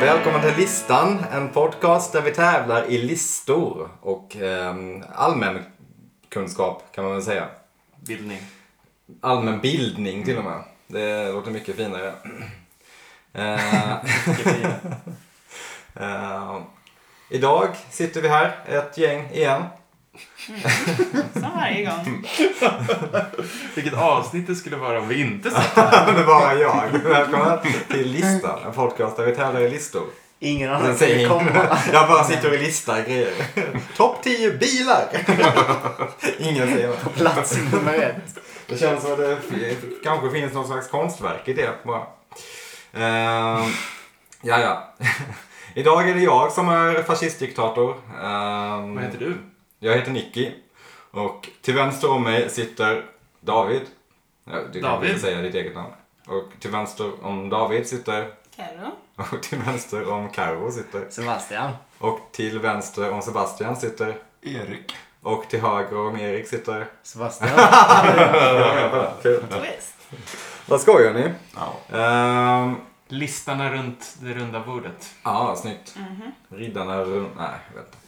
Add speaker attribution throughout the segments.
Speaker 1: Välkommen till Listan, en podcast där vi tävlar i listor och ehm, allmän kunskap kan man väl säga.
Speaker 2: Bildning.
Speaker 1: Allmän bildning till och med. Det låter mycket finare. Eh, eh, idag sitter vi här, ett gäng igen.
Speaker 3: Som varje gång.
Speaker 2: Vilket avsnitt det skulle vara om vi inte satt.
Speaker 1: Det var jag. Välkomna till Listan, en podcast där vi tävlar i listor.
Speaker 4: Ingen
Speaker 1: Den
Speaker 4: annan
Speaker 1: säger
Speaker 4: skulle komma.
Speaker 1: Jag bara sitter och listar grejer. Topp 10 bilar! Ingen säger något.
Speaker 4: Plats nummer ett.
Speaker 1: Det känns som att det f- kanske finns någon slags konstverk i det bara. Ehm, ja, ja. Idag är det jag som är fascistdiktator. Ehm,
Speaker 2: Vad heter du?
Speaker 1: Jag heter Nicky. Och till vänster om mig sitter David. Ja, Du kan
Speaker 2: David?
Speaker 1: väl säga ditt eget namn. Och till vänster om David sitter.
Speaker 3: Carro.
Speaker 1: Och till vänster om Karo sitter.
Speaker 4: Sebastian.
Speaker 1: Och till vänster om Sebastian sitter.
Speaker 5: Erik.
Speaker 1: Och till höger om Erik sitter.
Speaker 4: Sebastian.
Speaker 1: Kul.
Speaker 3: Twist.
Speaker 1: Vad skojar ni?
Speaker 5: Ja.
Speaker 1: Ehm,
Speaker 2: Listarna runt det runda bordet.
Speaker 1: Ja, snyggt. Riddarna runt... Nej, jag vet inte.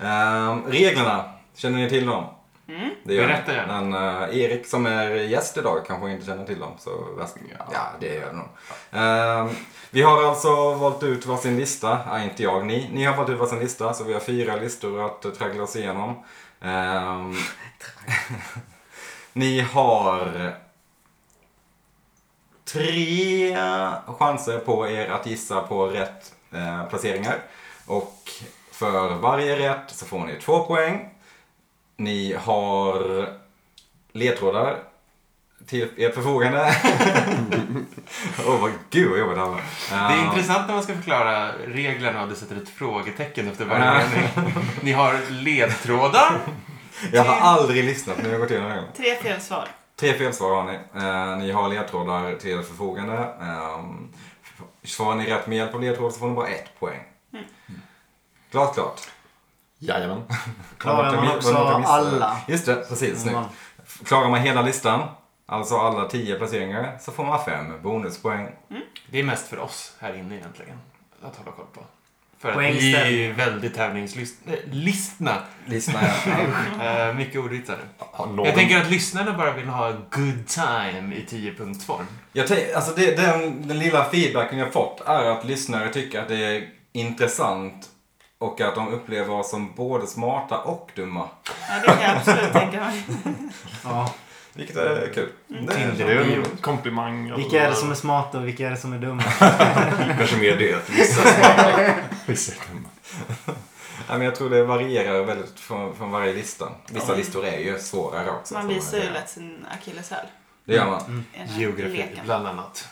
Speaker 1: Ehm, reglerna, känner ni till dem? Det gör ni.
Speaker 2: Berätta gärna.
Speaker 1: Men eh, Erik som är gäst idag kanske inte känner till dem. Så värst- ja. det gör de nog. Ehm, vi har alltså valt ut varsin lista. Nej, inte jag. Ni. Ni har valt ut varsin lista. Så vi har fyra listor att eh, traggla oss igenom. Ehm, ni har tre chanser på er att gissa på rätt eh, placeringar. Och för varje rätt så får ni två poäng. Ni har ledtrådar till ert förfogande. Åh, vad gud vad jobbigt det här var.
Speaker 2: Det är
Speaker 1: Eh,
Speaker 2: intressant när man ska förklara reglerna och du sätter ett frågetecken efter varje mening. Ni har ledtrådar.
Speaker 1: Jag har aldrig lyssnat när jag gått igenom det här.
Speaker 3: Tre fel svar.
Speaker 1: Tre felsvar har ni. Eh, ni har ledtrådar till ert förfogande. Ehm, svarar ni rätt med hjälp av ledtråd så får ni bara ett poäng. Klart, klart.
Speaker 5: Jajamän.
Speaker 1: Vad
Speaker 4: Klarar
Speaker 1: de inte
Speaker 4: man
Speaker 1: mi-
Speaker 4: också
Speaker 1: vad de inte missade.
Speaker 4: alla.
Speaker 1: Just det, precis.
Speaker 4: Mm.
Speaker 1: Snyggt. Klarar man hela listan, alltså alla tio placeringar, så får man fem bonuspoäng.
Speaker 2: Det är mest för oss här inne egentligen. Att hålla koll på. För att vi är
Speaker 4: Poängställning.
Speaker 2: ju väldigt tävlingslystna.
Speaker 1: Lyssna gärna.
Speaker 2: Eh, mycket ordvitsare.
Speaker 5: Har någon...
Speaker 2: Jag tänker att lyssnarna bara vill ha good time i 10-punktsform.
Speaker 1: Jag tänk, alltså det, den, den lilla feedbacken jag fått är att lyssnare tycker att det är intressant och att de upplever oss som både smarta och dumma.
Speaker 3: Ja, det kan jag absolut tänka mig.
Speaker 4: Ja.
Speaker 1: Vilket
Speaker 2: Mm.
Speaker 1: är kul. Det är-
Speaker 5: Det är ju en komplimang.
Speaker 4: Vilka är det som är smarta och vilka är det som är dumma?
Speaker 5: Kanske mer det. att Vissa smakar. Vissa är dumma.
Speaker 1: Ja, men jag tror det varierar väldigt från, från varje lista. Vissa
Speaker 2: Mm.
Speaker 1: listor är ju svårare också.
Speaker 3: Man
Speaker 1: så
Speaker 3: visar ju
Speaker 1: det-
Speaker 3: lätt sin akilleshäl.
Speaker 1: Det gör man. Mm.
Speaker 3: i den här
Speaker 2: Geografi,
Speaker 3: leken.
Speaker 2: bland annat.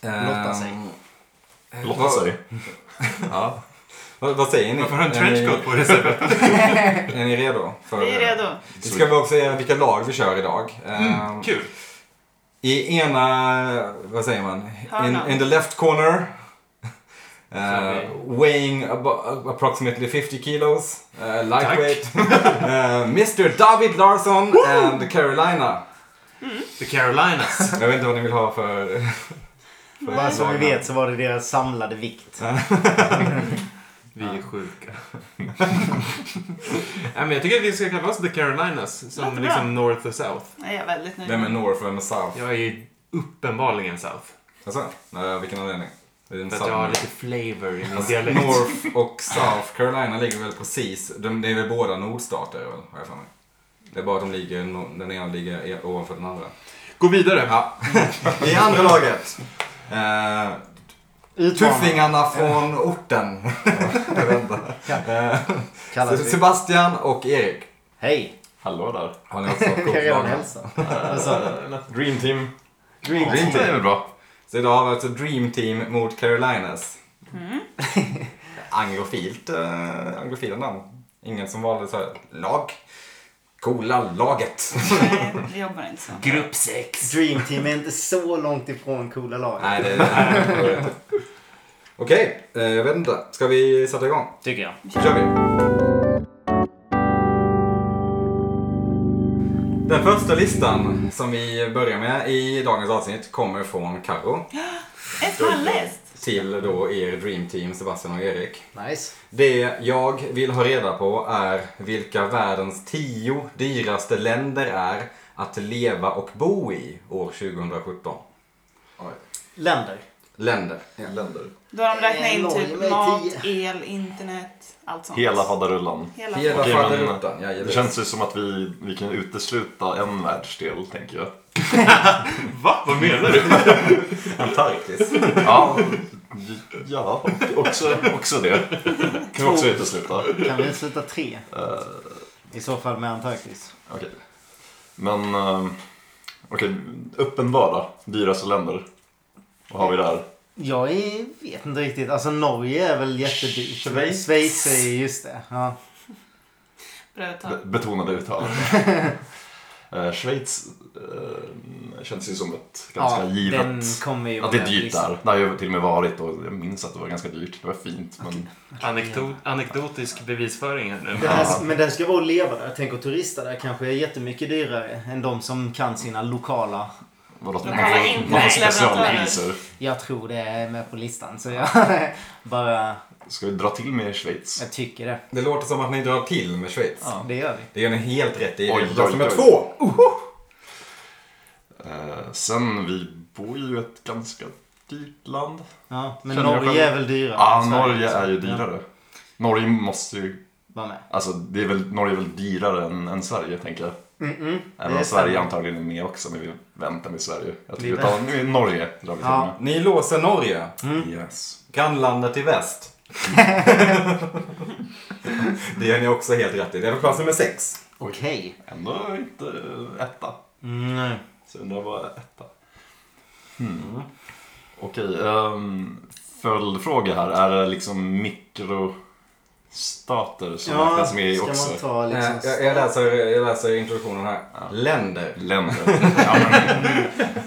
Speaker 4: Lottar sig.
Speaker 1: Ehm,
Speaker 5: Lotta
Speaker 1: vad-
Speaker 5: sig.
Speaker 1: Ja. Vad, vad säger ni?
Speaker 2: Varför har du en
Speaker 1: Är ni-
Speaker 2: trenchcoat på dig Sebbe?
Speaker 1: Är ni redo? För,
Speaker 3: Vi är redo. Mm.
Speaker 1: Vi ska väl också säga vilka lag vi kör idag. Ehm,
Speaker 2: Kul.
Speaker 1: I ena, vad säger man? In,
Speaker 3: Hörnan.
Speaker 1: in the left corner. eh,
Speaker 2: Okej.
Speaker 1: weighing abo- approximately 50 kilos. eh, lightweight. eh, Mr David Larsson and Carolina.
Speaker 2: The Carolinas.
Speaker 1: Jag vet inte vad ni vill ha för... för
Speaker 4: Bara så vi
Speaker 1: lagnamn.
Speaker 4: vet så var det deras samlade vikt.
Speaker 2: Vi är sjuka. Nej, men jag tycker att vi ska kalla oss The Carolinas. Som
Speaker 3: Låter
Speaker 2: liksom North och South.
Speaker 3: Nej, jag är väldigt nöjd.
Speaker 1: Vem är North och vem är South?
Speaker 2: Jag är ju uppenbarligen South.
Speaker 1: Alltså, eh, vilken anledning? Det är en
Speaker 2: För att jag
Speaker 1: Southern-
Speaker 2: har lite flavor i min
Speaker 1: Alltså,
Speaker 2: dialekt.
Speaker 1: North och South Carolina ligger väl precis, de, det är väl båda nordstater väl, har jag för mig. Det är bara att de ligger, no- den ena ligger e- ovanför den andra.
Speaker 2: Gå vidare.
Speaker 1: Ja. I andra laget. Eh,
Speaker 4: Utmaning
Speaker 1: tuffingarna från orten. Jag vet inte. Eh,
Speaker 4: kallas vi.
Speaker 1: Sebastian och Erik.
Speaker 4: Hej!
Speaker 5: Hallå där.
Speaker 1: Har ni också
Speaker 4: Kan jag redan
Speaker 1: kortbanor?
Speaker 4: hälsa? Vad sa du?
Speaker 5: Dream team.
Speaker 1: Dream
Speaker 4: Dream
Speaker 5: Det är
Speaker 1: team.
Speaker 5: väl bra.
Speaker 1: Så idag har vi alltså Dream Team mot Carolinas. Anglofilt, eh, anglofila namn. Ingen som valde så här, lag. Coola laget.
Speaker 3: Nej, det jobbar inte så.
Speaker 2: Grupp 6.
Speaker 4: Dream Team är inte så långt ifrån coola lag.
Speaker 1: Nej, det är Okej, eh, jag vet inte. Ska vi sätta igång?
Speaker 4: Tycker jag.
Speaker 1: Då kör vi. Den första listan som vi börjar med i dagens avsnitt kommer från Karo.
Speaker 3: Ett halvläst!
Speaker 1: till då er Dream Team, Sebastian och Erik.
Speaker 4: Nice.
Speaker 1: Det jag vill ha reda på är vilka världens tio dyraste länder är att leva och bo i år 2017.
Speaker 5: Oj,
Speaker 4: Länder.
Speaker 1: Länder.
Speaker 5: länder.
Speaker 3: Då har de räknat in
Speaker 4: Norge
Speaker 3: typ
Speaker 4: med
Speaker 3: mat,
Speaker 4: tio.
Speaker 3: el, internet, allt sånt.
Speaker 5: Hela faderullan.
Speaker 3: Hela
Speaker 1: Hela
Speaker 5: Okej, men-
Speaker 1: faderuttan. Ja,
Speaker 5: Det känns ju som att vi, vi kan utesluta en världsdel, tänker jag.
Speaker 2: Va? Vad menar du?
Speaker 1: Antarktis.
Speaker 5: Ja, ja också, också det. Kan vi också utesluta.
Speaker 4: Kan vi sluta tre?
Speaker 5: Eh.
Speaker 4: I så fall med Antarktis.
Speaker 5: Okej. Men, eh, okej, uppenbara dyraste länder. Vad har vi där?
Speaker 4: Jag är, vet inte riktigt. Alltså Norge är väl jättedyrt.
Speaker 5: Schweiz.
Speaker 4: Schweiz är just det. Ja.
Speaker 3: Bra att ta.
Speaker 5: Be- betonade uttalande. Eh, Schweiz eh, känns ju som ett ganska
Speaker 4: ja,
Speaker 5: givet...
Speaker 4: Den kommer ju
Speaker 5: Att det är
Speaker 4: med
Speaker 5: dyrt
Speaker 4: listan.
Speaker 5: där. Det har jag till och med varit och jag minns att det var ganska dyrt. Det var fint men...
Speaker 2: Anekdot, anekdotisk bevisföring här nu.
Speaker 4: Det här, men det här ska vara att leva där. Tänk att turista där kanske är jättemycket dyrare än de som kan sina lokala.
Speaker 5: Vadå,
Speaker 3: Men
Speaker 5: man
Speaker 3: kolla
Speaker 5: får,
Speaker 3: in
Speaker 5: man får
Speaker 3: på
Speaker 5: specialpriser.
Speaker 4: Jag tror det är med på listan så jag bara
Speaker 5: Ska vi dra till med Schweiz?
Speaker 4: jag tycker det.
Speaker 1: Det låter som att ni drar till med Schweiz.
Speaker 4: Ja, det gör vi.
Speaker 1: Det gör ni helt rätt i.
Speaker 5: Oj,
Speaker 1: Det är
Speaker 5: oj,
Speaker 1: nummer
Speaker 5: oj.
Speaker 1: två.
Speaker 5: Eh, sen, vi bor ju i ett ganska dyrt land.
Speaker 4: Ja, men
Speaker 5: Känner jag
Speaker 4: Norge
Speaker 5: själv-
Speaker 4: är väl dyrare?
Speaker 5: Ja,
Speaker 4: än Sverige,
Speaker 5: Norge
Speaker 4: så-
Speaker 5: är ju
Speaker 4: ja,
Speaker 5: dyrare. Norge måste ju...
Speaker 4: Var med.
Speaker 5: Alltså, det är väl, Norge är väl dyrare än, än Sverige, tänker jag.
Speaker 4: Mm-mm,
Speaker 5: Även
Speaker 4: det
Speaker 5: om
Speaker 4: är
Speaker 5: Sverige
Speaker 4: sant.
Speaker 5: antagligen är med också, men vi väntar med Sverige. Jag
Speaker 4: Vi
Speaker 5: tycker vi tar nu är Norge, drar vi till
Speaker 4: Ja.
Speaker 1: Ni låser Norge.
Speaker 4: Mm.
Speaker 5: med. Yes.
Speaker 1: Grannlandet i väst. det gör ni också helt rätt i. Det är på plats nummer sex.
Speaker 4: Okej.
Speaker 5: Ändå inte eh, etta.
Speaker 4: Mm,
Speaker 5: Så undrar vad etta. Hmm. Okej, um, följdfråga här. Är det liksom mikrostater som
Speaker 4: ja,
Speaker 5: räknas med
Speaker 4: ska
Speaker 5: också?
Speaker 4: man ta liksom...
Speaker 1: Eh, jag, jag, läser, jag läser introduktionen här. Länder.
Speaker 5: Länder. ja, men,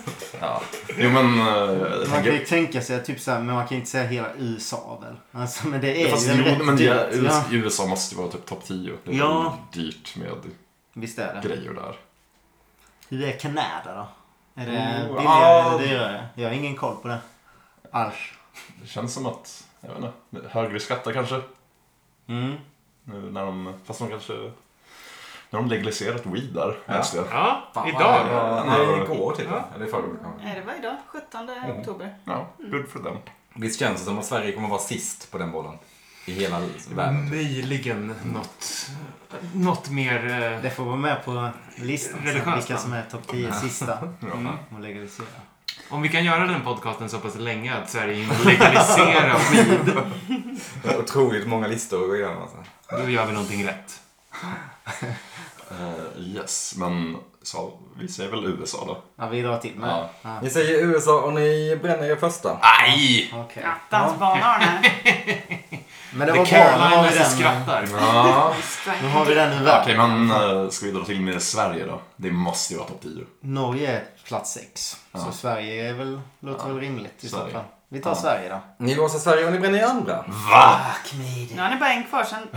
Speaker 5: ja. Jo men, eh, jag
Speaker 4: Man kan ju
Speaker 5: tänker...
Speaker 4: tänka sig typ såhär, men man kan ju inte säga hela USA väl? Alltså, men det är
Speaker 5: Fast
Speaker 4: ju
Speaker 5: jo,
Speaker 4: rätt
Speaker 5: men det,
Speaker 4: dyrt.
Speaker 5: är-
Speaker 4: ja.
Speaker 5: US- USA måste ju vara typ topp 10. Det är
Speaker 4: Ja.
Speaker 5: dyrt med
Speaker 4: Visst är det.
Speaker 5: grejer där.
Speaker 4: Hur är Kanada då? Är det
Speaker 5: Mm,
Speaker 4: billigare
Speaker 5: ja.
Speaker 4: eller dyrare? Jag har ingen koll på det. Alls.
Speaker 5: Det känns som att, jag vet inte, högre skatter kanske.
Speaker 4: Mm.
Speaker 5: Nu när de, fast de kanske, nu har de legaliserat weed där.
Speaker 1: Ja.
Speaker 5: älskar jag.
Speaker 2: Ja,
Speaker 4: Fan,
Speaker 2: idag.
Speaker 5: vad Ja,
Speaker 1: nej,
Speaker 5: ja.
Speaker 1: igår till och med.
Speaker 2: Ja.
Speaker 1: Eller i förrgår kanske.
Speaker 3: Nej, det var idag. 17 oktober.
Speaker 5: Ja, good for them.
Speaker 1: Visst känns det som att Sverige kommer vara sist på den bollen? I hela världen.
Speaker 2: Möjligen något, något mer... eh,
Speaker 4: Det får vara med på listan sen,
Speaker 2: Religiöst
Speaker 4: vilka
Speaker 2: land.
Speaker 4: som är topp 10 sista. Mm.
Speaker 5: Ja.
Speaker 4: Och legalisera.
Speaker 2: Om vi kan göra den podcasten så pass länge att Sverige inte legaliserar weed,
Speaker 1: Det är
Speaker 5: Mm.
Speaker 1: Otroligt många listor att gå igenom alltså.
Speaker 2: då gör vi någonting rätt.
Speaker 5: Eh, yes, men så, vi säger väl USA då?
Speaker 4: Ja, vi drar till med.
Speaker 5: Ja.
Speaker 4: Ja.
Speaker 1: Ni säger USA och ni bränner er första.
Speaker 5: Nej!
Speaker 4: Okej.
Speaker 3: Attans barn Arne.
Speaker 4: Men det
Speaker 2: The
Speaker 4: var bra. Nu har vi
Speaker 2: Carolinas
Speaker 4: den,
Speaker 2: skrattar.
Speaker 5: Ja.
Speaker 4: nu har vi den ur
Speaker 5: Okej,
Speaker 4: världen.
Speaker 5: men eh, ska vi dra till med Sverige då? Det måste ju vara topp 10.
Speaker 4: Norge är plats 6.
Speaker 5: Ja.
Speaker 4: Så Sverige är väl, låter väl rimligt i så
Speaker 5: Sverige.
Speaker 4: fall. Vi tar
Speaker 5: Ja.
Speaker 4: Sverige då.
Speaker 1: Ni låser Sverige och ni bränner er andra.
Speaker 5: Va?
Speaker 4: Fuck me.
Speaker 3: Nu har ni bara en kvar, sen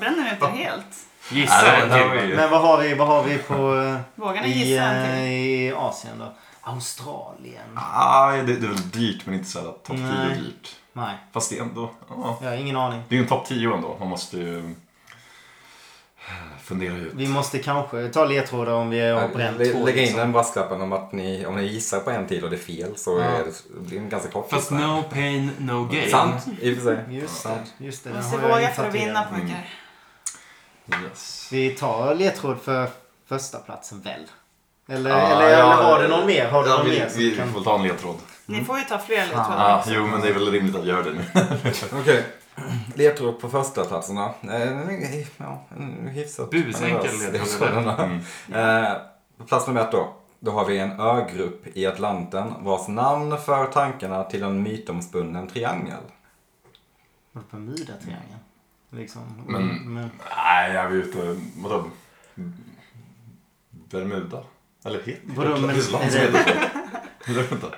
Speaker 3: bränner ni ut er helt.
Speaker 2: Gissa
Speaker 5: Nej, det var-
Speaker 2: en
Speaker 5: det var
Speaker 2: till.
Speaker 5: ju-
Speaker 4: Men vad har vi, vad har vi på... eh,
Speaker 3: Vågar ni
Speaker 4: I,
Speaker 3: gissa en
Speaker 4: eh,
Speaker 3: till?
Speaker 4: I Asien då? Australien?
Speaker 5: Nej, det, det är väl dyrt men inte såhär topp 10
Speaker 4: Nej.
Speaker 5: dyrt.
Speaker 4: Nej,
Speaker 5: Fast det är ändå, ja.
Speaker 4: jag har ingen aning.
Speaker 5: Det är ju en topp 10 ändå. Man måste ju eh, fundera ut.
Speaker 4: Vi måste kanske ta ledtrådar om vi har bränt
Speaker 1: Lä-
Speaker 4: två.
Speaker 1: Lägg in
Speaker 4: liksom.
Speaker 1: den brasklappen om att ni, om ni gissar på en tid och det är fel så
Speaker 4: Ja.
Speaker 1: är det, det är en ganska kort
Speaker 2: Fast
Speaker 1: lista.
Speaker 2: no pain, no gain.
Speaker 1: Sant, i och för sig.
Speaker 4: Just
Speaker 1: Sant.
Speaker 4: det, just det. den
Speaker 3: Måste
Speaker 4: har jag
Speaker 3: våga
Speaker 4: inte
Speaker 3: för att
Speaker 4: tatuerat.
Speaker 3: vinna pojkar.
Speaker 5: Yes.
Speaker 4: Vi tar ledtråd för första platsen väl? Eller,
Speaker 5: Ah,
Speaker 4: eller, eller
Speaker 5: ja,
Speaker 4: har du någon mer? Har du
Speaker 5: Ja,
Speaker 4: någon
Speaker 5: vi,
Speaker 4: mer som
Speaker 5: vi
Speaker 4: kan...
Speaker 5: får ta en ledtråd.
Speaker 3: Ni får ju ta fler
Speaker 5: Ja,
Speaker 3: ledtrådar.
Speaker 5: jo, men det är väl rimligt att göra det nu.
Speaker 1: Okej. Ledtråd på första platserna. Eh, ja, en hyfsat
Speaker 2: Busenkel
Speaker 1: generös
Speaker 2: ledtråd.
Speaker 1: ledtråd.
Speaker 5: Mm.
Speaker 1: Eh, Plats nummer ett då. Då har vi en ögrupp i Atlanten vars namn för tankarna till en mytomspunnen triangel.
Speaker 4: Var det Bermudatriangeln? Liksom.
Speaker 5: Men-
Speaker 4: men...
Speaker 5: Nej, jag är ute... Vadå? Bermuda? Eller heter
Speaker 4: Vadå, men-
Speaker 5: det ett land som
Speaker 4: är det-
Speaker 5: heter det? Vänta.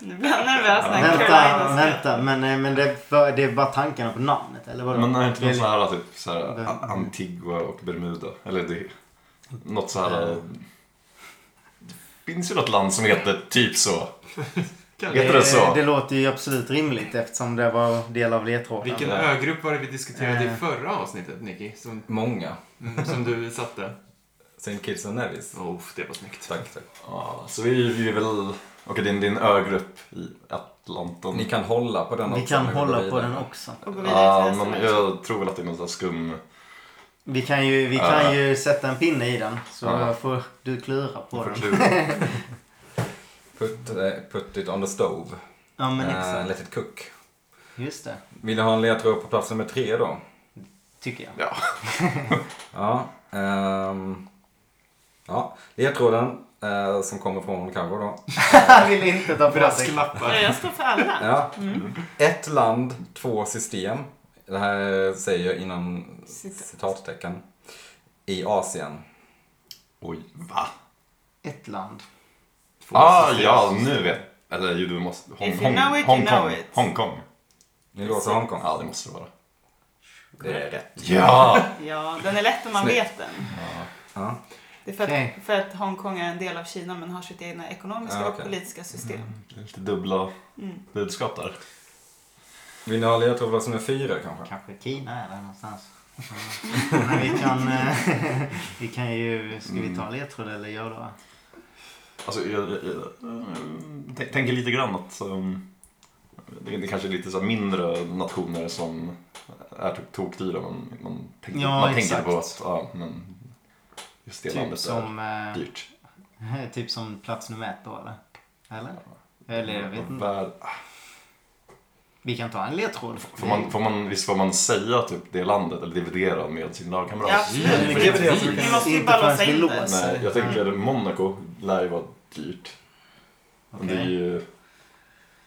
Speaker 3: Nu blir jag nervös när
Speaker 4: Vänta,
Speaker 3: Carolina ska...
Speaker 4: vänta. Men, eh, men det, är bara- det är bara tankarna på namnet eller vadå?
Speaker 5: Men är inte
Speaker 4: Det är
Speaker 5: någon sån här typ så här,
Speaker 4: Vem?
Speaker 5: Antigua och Bermuda? Eller det...
Speaker 4: Eh.
Speaker 5: Något så här... Det finns ju något land som heter typ så. Heter det så?
Speaker 4: Eh, Det låter ju absolut rimligt eftersom det var del av ledtråden.
Speaker 2: Vilken
Speaker 1: Ja.
Speaker 2: ögrupp var det vi diskuterade i
Speaker 4: Eh.
Speaker 2: förra avsnittet, Nicky? Som,
Speaker 1: Många.
Speaker 2: mm, som du satte?
Speaker 1: St. Kitts and Nevis.
Speaker 2: Oh, det var snyggt.
Speaker 1: Tack, tack.
Speaker 5: Ja, så vi, vi är väl... Okej, det är din ögrupp i Atlanten.
Speaker 1: Ni kan hålla på den
Speaker 4: Vi
Speaker 1: också
Speaker 4: kan
Speaker 1: när vi går
Speaker 4: hålla på
Speaker 1: vidare.
Speaker 4: den också.
Speaker 3: Och gå vidare
Speaker 5: Ja,
Speaker 3: till nästa
Speaker 5: men
Speaker 3: match.
Speaker 5: jag tror väl att det är någon sån här skum...
Speaker 4: Vi kan ju, vi
Speaker 5: Ja.
Speaker 4: kan ju sätta en pinne i den. Så
Speaker 5: Ja.
Speaker 4: får du klura på den.
Speaker 5: förklur-
Speaker 1: Put, eh, put it on the stove.
Speaker 4: Ja men
Speaker 1: Eh,
Speaker 4: exakt.
Speaker 1: let it cook.
Speaker 4: Just det.
Speaker 1: Vill du ha en ledtråd på plats nummer tre då?
Speaker 4: Tycker jag.
Speaker 5: Ja.
Speaker 1: Ja. ehm, ja. Ledtråden eh, som kommer från Carro då.
Speaker 4: Jag vill inte ta på det.
Speaker 3: Ja,
Speaker 2: Brasklappar.
Speaker 3: jag står för alla.
Speaker 1: Ja.
Speaker 4: Mm.
Speaker 1: Ett land, två system. Det här säger jag inom
Speaker 3: Citat.
Speaker 1: citattecken. I Asien.
Speaker 5: Oj, va?
Speaker 4: Ett land.
Speaker 2: Två
Speaker 5: Ah,
Speaker 2: system.
Speaker 5: ja, nu vet Eller ju, du måste... Hong,
Speaker 3: If you
Speaker 5: Hong,
Speaker 3: know it, you
Speaker 5: Hongkong.
Speaker 3: know it.
Speaker 5: Hongkong.
Speaker 1: Nu låter Hongkong.
Speaker 5: Ja, det måste det vara.
Speaker 1: Det är rätt.
Speaker 5: Ja!
Speaker 3: Ja, den är lätt om man
Speaker 1: Snyggt.
Speaker 3: vet den.
Speaker 1: Ja.
Speaker 3: Det är för att,
Speaker 4: Okej.
Speaker 3: för att Hongkong är en del av Kina men har sitt egna ekonomiska
Speaker 1: Ja,
Speaker 3: och
Speaker 1: okej.
Speaker 3: politiska system.
Speaker 5: Det är Lite dubbla
Speaker 3: Mm.
Speaker 5: budskap där.
Speaker 1: Vill ni ha ledtråd på plats nummer fyra kanske?
Speaker 4: Kanske Kina är där någonstans. Men vi kan, eh, vi kan ju, ska vi
Speaker 5: Mm.
Speaker 4: ta ledtråd eller gör det?
Speaker 5: Alltså, jag, jag, jag tänk- tänker lite grann att um, det, det kanske är lite så här mindre nationer som är typ tokdyra. Man, man, tänker,
Speaker 4: Ja,
Speaker 5: man tänker
Speaker 4: exakt.
Speaker 5: på att ja, men just det
Speaker 4: Typ
Speaker 5: landet
Speaker 4: som,
Speaker 5: är
Speaker 4: eh,
Speaker 5: dyrt.
Speaker 4: typ som plats nummer ett då eller? Eller? Eller jag vet inte.
Speaker 5: Värd-
Speaker 4: Vi kan ta en ledtråd.
Speaker 5: Får man, får man, visst får man säga typ det landet eller dividera med sin lagkamrat?
Speaker 3: Ja, absolut. Mm.
Speaker 1: Det
Speaker 4: Mm.
Speaker 1: är väl det som
Speaker 3: Vi
Speaker 1: kan-
Speaker 3: måste ju
Speaker 4: Inte
Speaker 3: bara
Speaker 4: förrän
Speaker 3: låsa
Speaker 4: vi
Speaker 3: in det.
Speaker 4: låser.
Speaker 5: Nej, jag tänker Monaco lär ju vara dyrt. Men det är ju...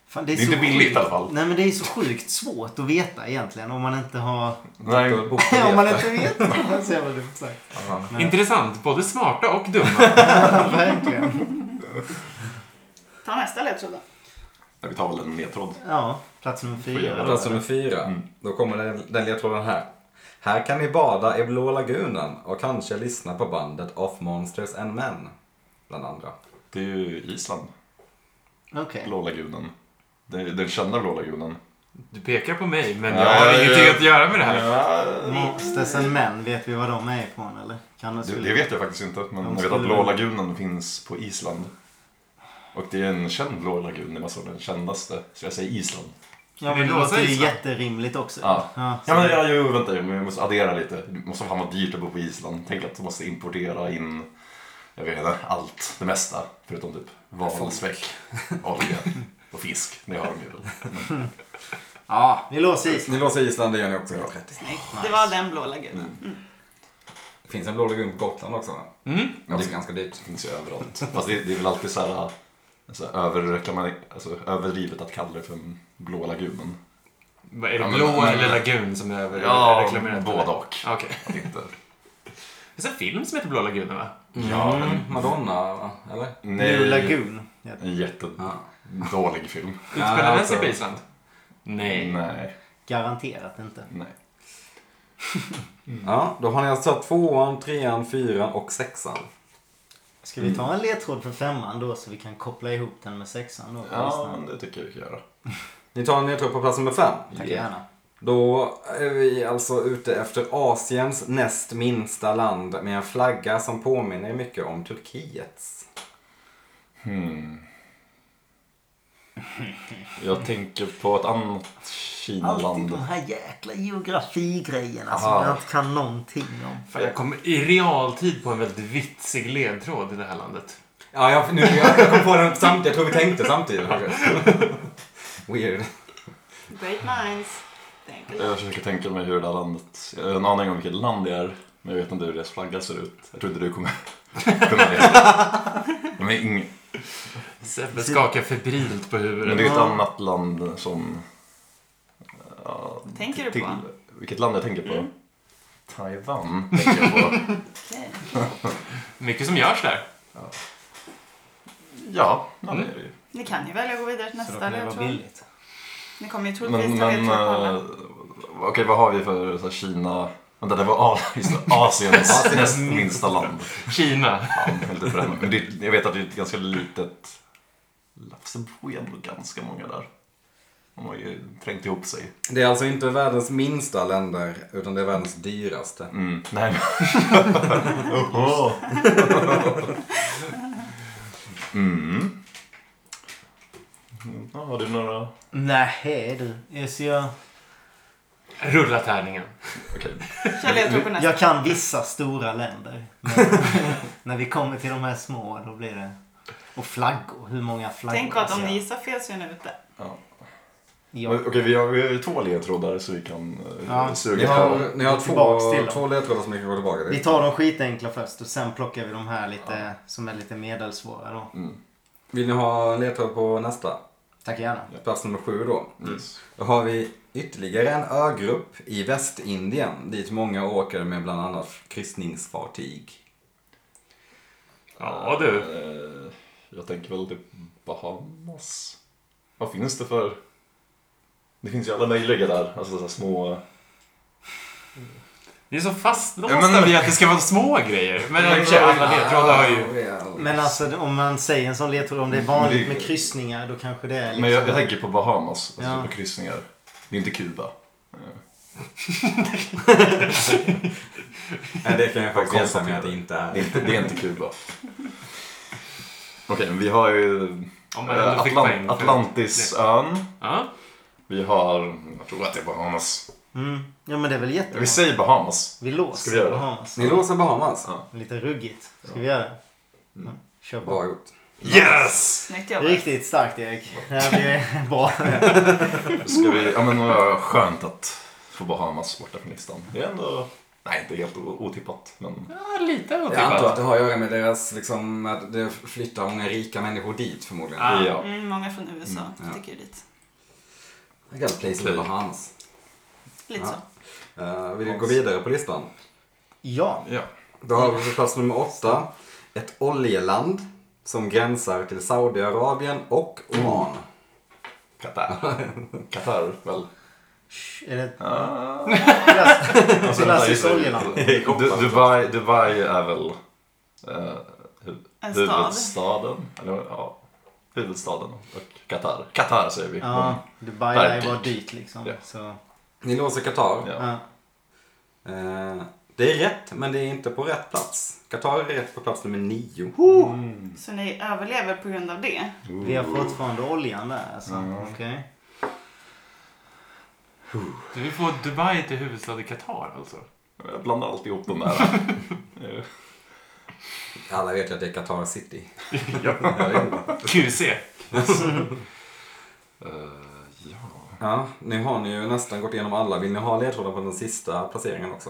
Speaker 4: Fan, det är,
Speaker 5: Det är
Speaker 4: så
Speaker 5: inte billigt i alla fall.
Speaker 4: Nej men det är så sjukt svårt att veta egentligen om man inte har...
Speaker 5: Nej,
Speaker 1: Då borde
Speaker 4: om man
Speaker 1: vi veta.
Speaker 4: inte vet. Det är så jävla dumt sagt.
Speaker 1: Ja.
Speaker 2: Intressant. Både smarta och dumma.
Speaker 4: Verkligen.
Speaker 3: Ta nästa ledtråd då.
Speaker 5: vi tar väl en ledtråd.
Speaker 4: Ja, plats nummer fyra.
Speaker 1: Plats
Speaker 4: då.
Speaker 1: nummer alltså fyra. Då kommer den, den ledtråden här. Här kan ni bada i Blå lagunen och kanske lyssna på bandet Off Monsters and Men. Bland andra.
Speaker 5: Det är ju Island.
Speaker 4: Okej.
Speaker 5: Blå lagunen. Det är den kända Blå lagunen.
Speaker 2: Du pekar på mig, men jag
Speaker 5: Ja,
Speaker 2: har
Speaker 5: ja,
Speaker 2: ingenting
Speaker 5: ja.
Speaker 2: att göra med det här.
Speaker 5: Ja,
Speaker 4: Monsters and Men, vet vi var de är ifrån eller? Kan det,
Speaker 5: det, det vet jag faktiskt inte,
Speaker 4: De
Speaker 5: men jag vet att
Speaker 4: skulle-
Speaker 5: Blå lagunen finns på Island. Och det är en känd blå lagun, det måste vara den kändaste. Så jag säger Island.
Speaker 4: Ja
Speaker 2: Vill
Speaker 4: men
Speaker 2: du
Speaker 4: det
Speaker 2: låsa
Speaker 4: låter ju
Speaker 2: Island?
Speaker 4: jätterimligt också.
Speaker 5: Ja.
Speaker 4: Ja, så
Speaker 5: Ja men jag, jo, vänta, jag måste addera lite. Det måste fan vara dyrt att bo på Island. Tänk att de måste importera in, jag vet inte, allt, det mesta. Förutom typ valspäck, olja och fisk. Det har de ju väl.
Speaker 4: ja vi låser
Speaker 1: Ni
Speaker 4: Island.
Speaker 1: låser Island, det gör ni också. Ja.
Speaker 3: Det var den blå lagunen. Mm.
Speaker 1: Det finns en Blå lagun på Gotland också va?
Speaker 2: Mm.
Speaker 1: Det är också ganska dyrt.
Speaker 5: Det finns ju överallt. Fast det, det är väl alltid så här, alltså, överreklamar- alltså, överdrivet att kalla det för en blå lagunen.
Speaker 2: Vad Är det
Speaker 5: Ja, men-
Speaker 2: blå
Speaker 5: men-
Speaker 2: eller lagun som är över- reklamerat?
Speaker 5: både och.
Speaker 2: Okej.
Speaker 5: Att Inte.
Speaker 2: Det finns en film som heter Blå lagunen, va?
Speaker 5: Ja,
Speaker 1: Mm. Madonna, va? eller?
Speaker 4: Blue Lagoon. Ja.
Speaker 5: En
Speaker 1: Ja.
Speaker 5: jättedålig film.
Speaker 2: Utspelar
Speaker 1: Ja,
Speaker 2: den sig
Speaker 1: alltså.
Speaker 2: på Island? Nej.
Speaker 5: Nej,
Speaker 4: Garanterat inte.
Speaker 5: nej.
Speaker 1: Ja, då har ni alltså tvåan, trean, fyran och sexan.
Speaker 4: Ska vi ta en ledtråd för femman då så vi kan koppla ihop den med sexan då? på
Speaker 5: Ja,
Speaker 4: listan?
Speaker 5: men det tycker jag vi kan göra.
Speaker 1: Ni tar en ledtråd på plats nummer fem.
Speaker 4: Tack
Speaker 5: Ja.
Speaker 4: gärna.
Speaker 1: Då är vi alltså ute efter Asiens näst minsta land med en flagga som påminner mycket om Turkiets.
Speaker 5: Jag tänker på ett annat
Speaker 4: Alltid de
Speaker 5: Kinaland.
Speaker 4: här jäkla geografigrejerna som
Speaker 5: Aha.
Speaker 4: jag inte kan någonting om.
Speaker 2: Fan, jag kom i realtid på en väldigt vitsig ledtråd i det här landet.
Speaker 1: Ja, jag, nu, jag, jag kom på den samtidigt. Jag tror vi tänkte samtidigt. faktiskt. Weird.
Speaker 3: Great minds. Thank you.
Speaker 5: Jag försöker tänka mig hur det här landet... Jag har en aning om vilket land det är, men jag vet inte hur deras flagga ser ut. Jag tror inte du kommer kunna det. Men, ing...
Speaker 2: Sebbe skakar febrilt på
Speaker 5: men
Speaker 2: huvudet.
Speaker 5: det är ett annat land som... Ja,
Speaker 3: Vad tänker du
Speaker 5: till...
Speaker 3: på? Mm.
Speaker 5: Vilket land jag tänker på? Taiwan tänker jag på.
Speaker 3: Okej.
Speaker 2: Mycket som görs där.
Speaker 5: Ja, ja det är det ju.
Speaker 3: Ni kan ju välja att gå vidare till
Speaker 4: Så då
Speaker 3: nästa
Speaker 4: kan det vara
Speaker 3: ledtråd.
Speaker 4: billigt.
Speaker 3: Ni kommer ju
Speaker 5: Men,
Speaker 3: troligtvis ta
Speaker 5: men
Speaker 3: ledtråd på
Speaker 5: eh,
Speaker 3: alla.
Speaker 5: okej, vad har vi för så här, Kina? Vänta, det var A- just det, Asiens näst minsta land.
Speaker 2: Kina.
Speaker 5: Ja, lite för det. men det, jag vet att det är ett ganska litet Fast det bor ju ändå ganska många där. De har ju trängt ihop sig.
Speaker 1: Det är alltså inte världens minsta länder, utan det är världens dyraste.
Speaker 5: Mm. Nej, men... mm. Ja, har du några...
Speaker 4: Nej du. Yes, jag,
Speaker 2: Rulla tärningen.
Speaker 5: Okej.
Speaker 3: Kör ledtråd på nästa.
Speaker 4: jag kan vissa stora länder. Men när vi kommer till de här små då blir det... Och flaggor. Hur många flaggor? Alltså,
Speaker 3: Tänk på att om
Speaker 4: ser
Speaker 3: ni
Speaker 4: jag?
Speaker 3: gissar fel så är ni ute.
Speaker 5: Ja.
Speaker 4: Ja.
Speaker 5: Men, Okej, vi har, vi har ju två ledtrådar så vi kan eh,
Speaker 4: Ja.
Speaker 1: Ni
Speaker 5: suga på.
Speaker 1: har, ni har
Speaker 4: Tillbaks till
Speaker 1: två,
Speaker 4: dem.
Speaker 1: två ledtrådar som ni kan gå tillbaka
Speaker 4: Vi
Speaker 1: till.
Speaker 4: tar de skitenkla först och sen plockar vi de här lite som är lite medelsvåra då.
Speaker 5: Mm.
Speaker 1: Vill ni ha en ledtråd på nästa?
Speaker 4: Tack gärna.
Speaker 1: Plats nummer sju då.
Speaker 5: Yes.
Speaker 1: Då har vi ytterligare en ögrupp i Västindien dit många åker med bland annat kryssningsfartyg.
Speaker 2: Ja du.
Speaker 5: Eh, Jag tänker väl typ Bahamas. Vad finns det för... Det finns ju alla möjliga där. Alltså så här små...
Speaker 2: Vi är så fastlåsta
Speaker 5: Ja, men-
Speaker 2: vid att det ska vara små grejer. Men i och för sig, alla ledtrådar har
Speaker 1: Ah,
Speaker 2: ju...
Speaker 4: Men alltså om man säger en sån ledtråd, om det är vanligt
Speaker 5: Mm. Men det-
Speaker 4: med kryssningar då kanske det är liksom...
Speaker 5: Men jag, jag tänker på Bahamas, alltså
Speaker 4: Ja.
Speaker 5: på kryssningar. Det är inte Kuba.
Speaker 1: Nej, det kan jag faktiskt gissa med att det inte
Speaker 5: Det är
Speaker 1: är.
Speaker 5: inte, det är inte Kuba. Okej, men vi har ju
Speaker 2: Om man
Speaker 5: eh,
Speaker 2: ändå fick poäng.
Speaker 5: Atlant-
Speaker 2: för-
Speaker 5: Atlantisön.
Speaker 2: Ja.
Speaker 5: Vi har... Jag tror att det är Bahamas.
Speaker 4: Mm. Ja men det är väl jättebra.
Speaker 5: Vi säger Bahamas.
Speaker 4: Vi
Speaker 5: Ska
Speaker 4: låser
Speaker 5: vi göra det?
Speaker 4: Bahamas.
Speaker 1: Ni låser Bahamas.
Speaker 5: Ja.
Speaker 4: Lite ruggigt. Ska vi göra det?
Speaker 5: Mm.
Speaker 4: Ja. Kör på.
Speaker 1: Bra gjort.
Speaker 5: Yes!
Speaker 3: Snyggt jobbat.
Speaker 4: Riktigt starkt Erik. Det här blir bra.
Speaker 5: Ska vi... Ja, men vad skönt att få Bahamas borta från listan. Det är ändå... Nej, inte helt o- otippat, men...
Speaker 2: ja, lite typ
Speaker 1: Jag antar att
Speaker 2: otippat.
Speaker 1: det har att göra med deras, liksom, att det flyttar många rika människor dit förmodligen.
Speaker 2: Ah.
Speaker 5: Ja.
Speaker 3: Mm, många från USA
Speaker 1: ja.
Speaker 3: sticker ju dit.
Speaker 1: I got a place in
Speaker 5: Okej.
Speaker 1: Bahamas.
Speaker 3: Lite
Speaker 1: Ja.
Speaker 3: så.
Speaker 1: Eh, vill du gå vidare på listan?
Speaker 4: Ja.
Speaker 5: ja.
Speaker 1: Då har vi på plats nummer åtta. Ett oljeland som gränsar till Saudiarabien och Oman.
Speaker 5: Qatar. Qatar, väl?
Speaker 4: Shh, Är det
Speaker 5: Ah.
Speaker 4: klass-
Speaker 5: Alltså,
Speaker 4: klassiskt oljeland?
Speaker 5: Du, Dubai, Dubai är väl eh, hu-
Speaker 3: En stad.
Speaker 5: huvudstaden? Eller, ja, huvudstaden och Qatar. Qatar säger vi.
Speaker 4: Ja, Dubai
Speaker 5: Där är
Speaker 4: lär ju vara
Speaker 5: dyrt.
Speaker 4: dyrt liksom.
Speaker 5: Ja.
Speaker 4: Så,
Speaker 1: Ni låser Qatar.
Speaker 5: Ja.
Speaker 4: ja.
Speaker 1: Eh, det är rätt, men det är inte på rätt plats. Qatar är rätt på plats nummer nio.
Speaker 3: Så ni överlever på grund av det.
Speaker 4: Vi har fortfarande oljan där alltså. Okej.
Speaker 2: Du vill få Dubai till huvudstad i Qatar alltså?
Speaker 5: Jag blandar alltid ihop de där.
Speaker 1: Alla vet ju att det är Qatar City.
Speaker 5: ja.
Speaker 1: Jag vet inte.
Speaker 2: QC.
Speaker 5: Eh, ja.
Speaker 1: ja, nu har ni ju nästan gått igenom alla. Vill ni ha ledtrådar på den sista placeringen också?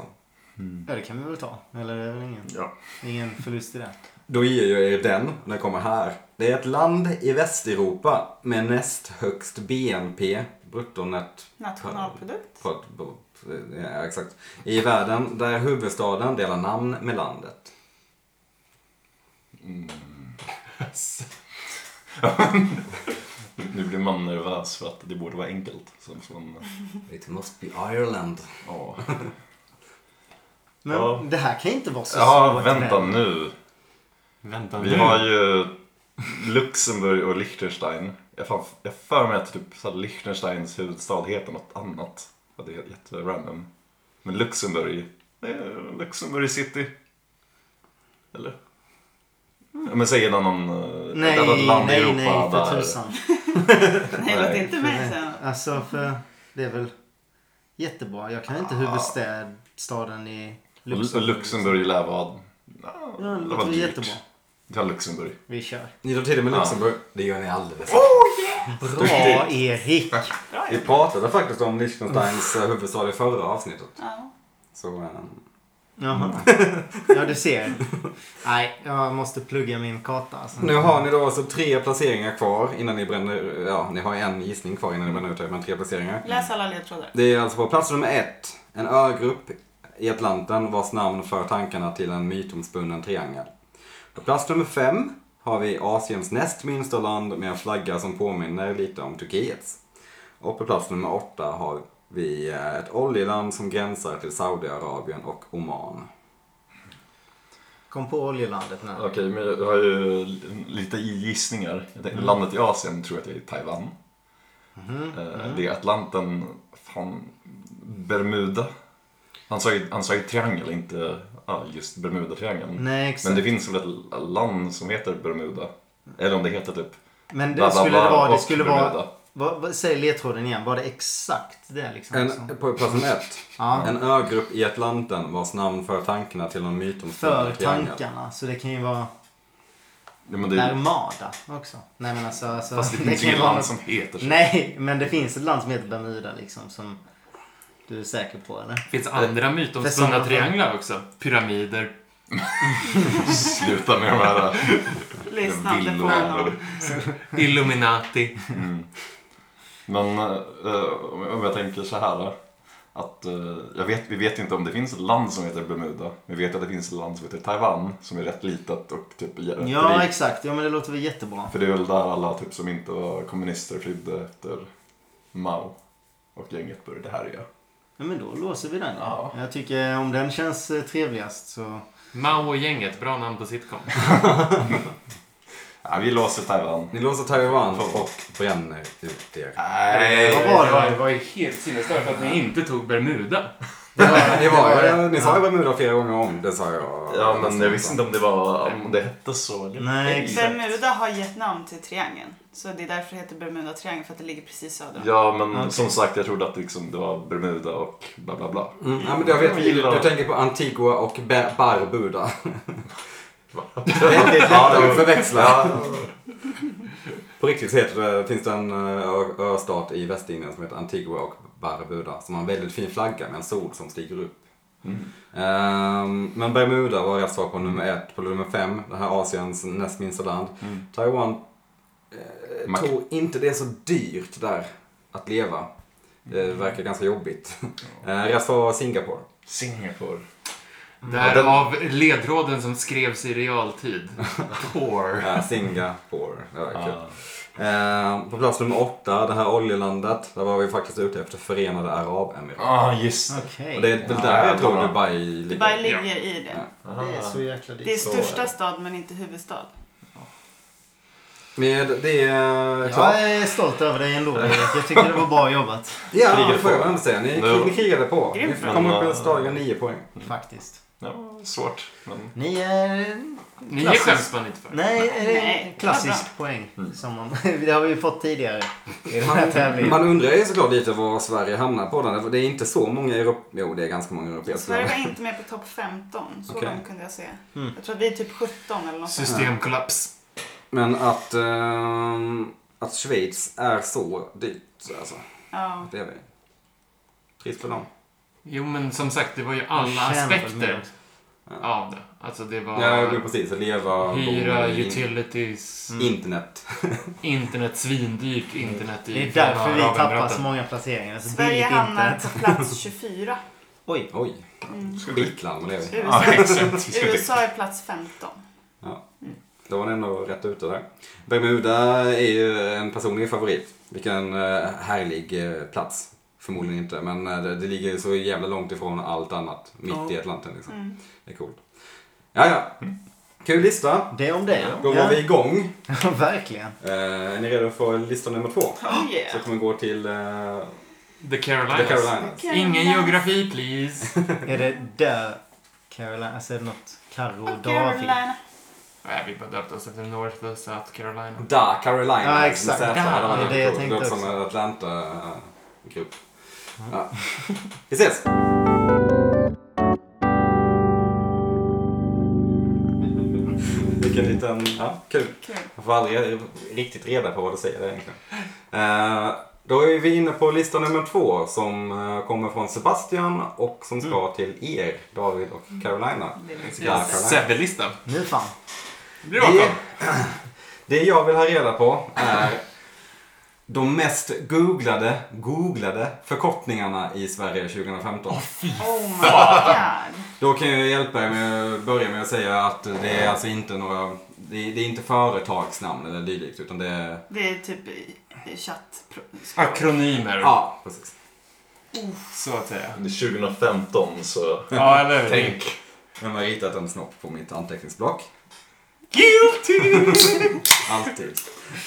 Speaker 4: Ja, det kan vi väl ta. Eller det är väl ingen,
Speaker 5: ja.
Speaker 4: ingen förlust i det.
Speaker 1: Då ger jag er den, den kommer här. Det är ett land i Västeuropa med näst högst BNP, bruttonet...
Speaker 3: Nationalprodukt.
Speaker 1: På, på, eh, ja, exakt. I världen, där huvudstaden delar namn med landet.
Speaker 5: Nu blir man nervös för att det borde vara enkelt. Så måste man,
Speaker 1: It must be Ireland.
Speaker 5: ja.
Speaker 4: Men
Speaker 5: Ja.
Speaker 4: det här kan ju inte vara så
Speaker 5: ja,
Speaker 4: svårt.
Speaker 5: vänta
Speaker 4: men-
Speaker 5: nu.
Speaker 2: Vänta
Speaker 5: Vi
Speaker 4: Mm.
Speaker 2: nu.
Speaker 5: har ju Luxemburg och Liechtenstein. Jag fan- jag för mig att typ så här Liechtensteins huvudstad heter något annat. Ja, Det är jätterandom. Men Luxemburg, det är Luxemburg city. Eller? Ja, men säg en annan... eh, ett annat
Speaker 4: Mm. Nej,
Speaker 5: land i
Speaker 4: nej,
Speaker 5: Europa
Speaker 4: nej för
Speaker 5: där.
Speaker 4: tusan.
Speaker 3: Nej, låt inte mig säga något.
Speaker 4: Alltså för det är väl jättebra. Jag kan inte huvudstaden i
Speaker 5: Luxemburg.
Speaker 4: Luxemburg.
Speaker 5: Luxemburg lär vara...
Speaker 4: Ja, det
Speaker 5: Det var
Speaker 4: låter
Speaker 5: dyrt.
Speaker 4: väl jättebra.
Speaker 5: Vi tar Luxemburg.
Speaker 4: Vi kör.
Speaker 1: Ni drar till det med Luxemburg. Det gör ni alldeles
Speaker 4: Bra Erik!
Speaker 3: Bra
Speaker 1: Vi
Speaker 3: jobbat.
Speaker 1: pratade faktiskt om Liechtensteins eh, huvudstad i förra avsnittet.
Speaker 3: Ja.
Speaker 1: Så, eh,
Speaker 4: Jaha. Ja du ser. Nej, jag måste plugga min karta. Alltså.
Speaker 1: nu har ni då alltså tre placeringar kvar innan ni bränner... Ja, ni har en gissning kvar innan ni bränner ut er, men tre placeringar.
Speaker 3: Läs alla ledtrådar.
Speaker 1: Det är alltså på plats nummer ett. En ögrupp i Atlanten vars namn för tankarna till en mytomspunnen triangel. På plats nummer fem har vi Asiens näst minsta land med en flagga som påminner lite om Turkiets. Och på plats nummer åtta har vi eh, ett oljeland som gränsar till Saudiarabien och Oman.
Speaker 4: Kom på oljelandet nu.
Speaker 5: Okej, men jag har ju lite gissningar. Jag
Speaker 4: Mm.
Speaker 5: tänkte, Landet i Asien tror jag att det är Taiwan.
Speaker 4: Mhm,
Speaker 5: Eh, Det är Atlanten, fan, Bermuda. Han sa ju, han sa ju triangel, inte ja, just Bermudatriangeln.
Speaker 4: Nej, Mm, exakt.
Speaker 5: Men det finns väl ett land som heter Bermuda? Eller om det heter typ
Speaker 4: Men
Speaker 5: bla,
Speaker 4: det
Speaker 5: bla,
Speaker 4: skulle
Speaker 5: bla
Speaker 4: det vara... Det
Speaker 5: och
Speaker 4: skulle
Speaker 5: Bermuda.
Speaker 4: vara vad, vad, säg ledtråden igen. Var det exakt det liksom? som-
Speaker 1: En, på plats nummer ett.
Speaker 4: Ja.
Speaker 1: En ögrupp i Atlanten vars namn för tankarna till en myt om
Speaker 4: för
Speaker 1: stora triangel.
Speaker 4: tankarna. Så det kan ju vara
Speaker 5: Ja, men det,
Speaker 4: Narmada också. Nej men alltså. alltså
Speaker 5: fast det finns
Speaker 4: kan ju
Speaker 5: inget
Speaker 4: vara
Speaker 5: land
Speaker 4: något-
Speaker 5: som heter så.
Speaker 4: Nej, men det finns ett land som heter Bermuda liksom som du är säker på eller?
Speaker 2: Det finns andra mytomspunna
Speaker 4: samma-
Speaker 2: trianglar också. Pyramider.
Speaker 5: Sluta med de här
Speaker 3: Lyssnade på
Speaker 5: villorna.
Speaker 3: honom.
Speaker 2: Illuminati.
Speaker 5: Men eh, om jag- om jag tänker så här. Att, eh, jag vet, vi vet inte om det finns ett land som heter Bermuda. Vi vet att det finns ett land som heter Taiwan som är rätt litet och typ rätt
Speaker 4: Ja
Speaker 5: rikt.
Speaker 4: exakt, ja men det låter väl jättebra.
Speaker 5: För det är väl där alla typ, som inte var kommunister flydde efter Mao och gänget började härja.
Speaker 4: Ja, men då låser vi den.
Speaker 5: Ja.
Speaker 4: Jag tycker om den känns eh, trevligast så.
Speaker 2: Mao och gänget. Bra namn på sitcom.
Speaker 5: Ja, vi låser Taiwan.
Speaker 1: Ni låser Taiwan och bränner ut er.
Speaker 5: Nej.
Speaker 4: Vad var det?
Speaker 2: Jag var ju helt sinnesstörd för att ni inte tog Bermuda.
Speaker 1: Det var, det var, ni sa ju Bermuda flera gånger om. Det sa jag.
Speaker 5: Ja, men jag visste inte om det, var, om det hette så. Eller?
Speaker 4: Nej, exakt.
Speaker 3: Bermuda har gett namn till triangeln. Så det är därför det heter Bermuda-triangeln, för att det ligger precis söder om.
Speaker 5: Ja, men som sagt, jag trodde att liksom, det var Bermuda och bla bla bla.
Speaker 1: Mm, ja, men jag vet, jag tänker på Antigua och Be- Barbuda. Det är lätt att förväxla. På riktigt så heter det, finns det en eh, ö- östat i Västindien som heter Antigua och Barbuda som har en väldigt fin flagga med en sol som stiger upp. Ehm, men Bermuda var rätt svar på nummer ett. På nummer fem, det här Asiens näst minsta land.
Speaker 5: Mm.
Speaker 1: Taiwan
Speaker 5: Man-
Speaker 1: jag tror inte det är så dyrt där att leva. Det
Speaker 5: Mm.
Speaker 1: verkar ganska jobbigt. Eh, Rätt svar var Singapore.
Speaker 5: Singapore.
Speaker 2: Mm. Därav ledtråden som skrevs i realtid. Poor.
Speaker 1: Eh, Singapore, det var kul. Eh, På plats nummer åtta, det här oljelandet, där var vi faktiskt ute efter Förenade Arabemiraten.
Speaker 5: Ah, just det.
Speaker 4: Okej.
Speaker 1: Och det är väl där jag tror Dubai
Speaker 3: Dubai
Speaker 1: ligger.
Speaker 3: ligger i det.
Speaker 4: Det är så jäkla
Speaker 3: Det är
Speaker 4: dyrt.
Speaker 3: största stad men inte huvudstad.
Speaker 1: Med det eh, klart.
Speaker 4: Jag är stolt över dig ändå Erik. Jag tycker det var bra jobbat.
Speaker 1: Ja, det
Speaker 5: krigade
Speaker 1: får jag
Speaker 5: på.
Speaker 1: väl ändå säga. Ni,
Speaker 5: Nu-
Speaker 1: ni krigade på. Ni
Speaker 3: Grymt bra.
Speaker 1: kom upp i en stad och nio poäng.
Speaker 5: Mm.
Speaker 4: Faktiskt.
Speaker 5: Ja, svårt. Men...
Speaker 4: Ni är...
Speaker 2: Ni
Speaker 4: Klassiskt.
Speaker 2: skäms man inte för.
Speaker 4: Nej, är det
Speaker 3: Nej,
Speaker 4: klassisk poäng. Som man... det har vi ju fått tidigare i den här
Speaker 1: Man,
Speaker 4: tävlingen.
Speaker 1: man undrar ju såklart lite var Sverige hamnar på den. för Det är inte så många europe... Jo, det är ganska många europeiska
Speaker 3: Sverige
Speaker 1: länder.
Speaker 3: var inte med på topp 15, så
Speaker 1: Okej.
Speaker 3: långt kunde jag se. Jag tror att vi är typ 17 eller något sånt.
Speaker 2: Systemkollaps.
Speaker 1: Men att, ehm, att Schweiz är så dyrt alltså.
Speaker 3: Ja.
Speaker 1: Det är vi. Trist för dem.
Speaker 2: Jo, men som sagt, det var ju
Speaker 4: Man
Speaker 2: alla
Speaker 4: tjänar väl
Speaker 2: aspekter
Speaker 4: mer.
Speaker 2: av det. Alltså, det var
Speaker 1: Ja, det är precis. Att leva,
Speaker 2: hyra,
Speaker 1: bo i
Speaker 2: utilities,
Speaker 1: internet.
Speaker 2: internet svindyrt, internet i
Speaker 4: Mm. Det är
Speaker 2: Förenade
Speaker 4: därför vi tappar
Speaker 2: Arabemiraten.
Speaker 4: så många placeringar. Så
Speaker 3: Sverige
Speaker 4: billigt
Speaker 3: hamnar
Speaker 4: inte.
Speaker 3: på plats 24.
Speaker 4: Oj.
Speaker 1: Oj. Skitland man lever i.
Speaker 3: USA,
Speaker 5: Ja, exakt. Vi ska inte-
Speaker 3: USA är plats 15.
Speaker 1: Då var ni ändå rätt ute där. Bermuda är ju en personlig favorit. Vilken eh, härlig eh, plats. Förmodligen inte, men eh, det, det ligger så jävla långt ifrån allt annat. Mitt i Atlanten liksom.
Speaker 3: Mm.
Speaker 1: Det är coolt. Ja, ja. Kul lista.
Speaker 4: Det är om det.
Speaker 1: Då var vi igång.
Speaker 4: Ja, verkligen.
Speaker 1: Eh, är ni redo för lista nummer två?
Speaker 3: Oh
Speaker 1: Så
Speaker 3: yeah.
Speaker 1: kommer vi gå till eh,
Speaker 2: The Carolinas.
Speaker 1: The Carolinas.
Speaker 2: Ingen geografi, please.
Speaker 4: Är det där Carolina? Alltså är det något Carro och David?
Speaker 3: Carolina.
Speaker 2: Nej, vi bara döpte oss efter North och South Carolina.
Speaker 1: Da Carolina.
Speaker 4: Ja, exakt.
Speaker 1: Med Z.
Speaker 4: Da,
Speaker 1: hade varit
Speaker 4: det är det jag tänkte
Speaker 1: coolt. Det låter som en Atlanta-grupp. Ja. Vi ses! Vilken liten... Ja, kul.
Speaker 3: Kul.
Speaker 1: Man får aldrig riktigt reda på vad det säger egentligen. Eh, Då är vi inne på lista nummer två som eh, kommer från Sebastian och som ska till er, David och Carolina.
Speaker 3: Det är lite
Speaker 1: Ja,
Speaker 3: kul.
Speaker 1: Carolina.
Speaker 2: Säbelista.
Speaker 4: Nu fan.
Speaker 2: Det blir
Speaker 1: Det,
Speaker 2: Jakob.
Speaker 1: det jag vill ha reda på är de mest googlade, googlade förkortningarna i Sverige 2015.
Speaker 3: Oh my god.
Speaker 1: Då kan jag hjälpa er med att börja med att säga att det är alltså inte några, det är, det är inte företagsnamn eller dylikt utan det är,
Speaker 3: Det är typ i- i chatt.
Speaker 2: Akronymer,
Speaker 1: ja precis.
Speaker 2: så att säga.
Speaker 5: Det är 2015 så
Speaker 2: Ja, eller hur?
Speaker 5: tänk.
Speaker 1: Vem har ritat en snopp på mitt anteckningsblock?
Speaker 2: Guilty!
Speaker 1: Alltid.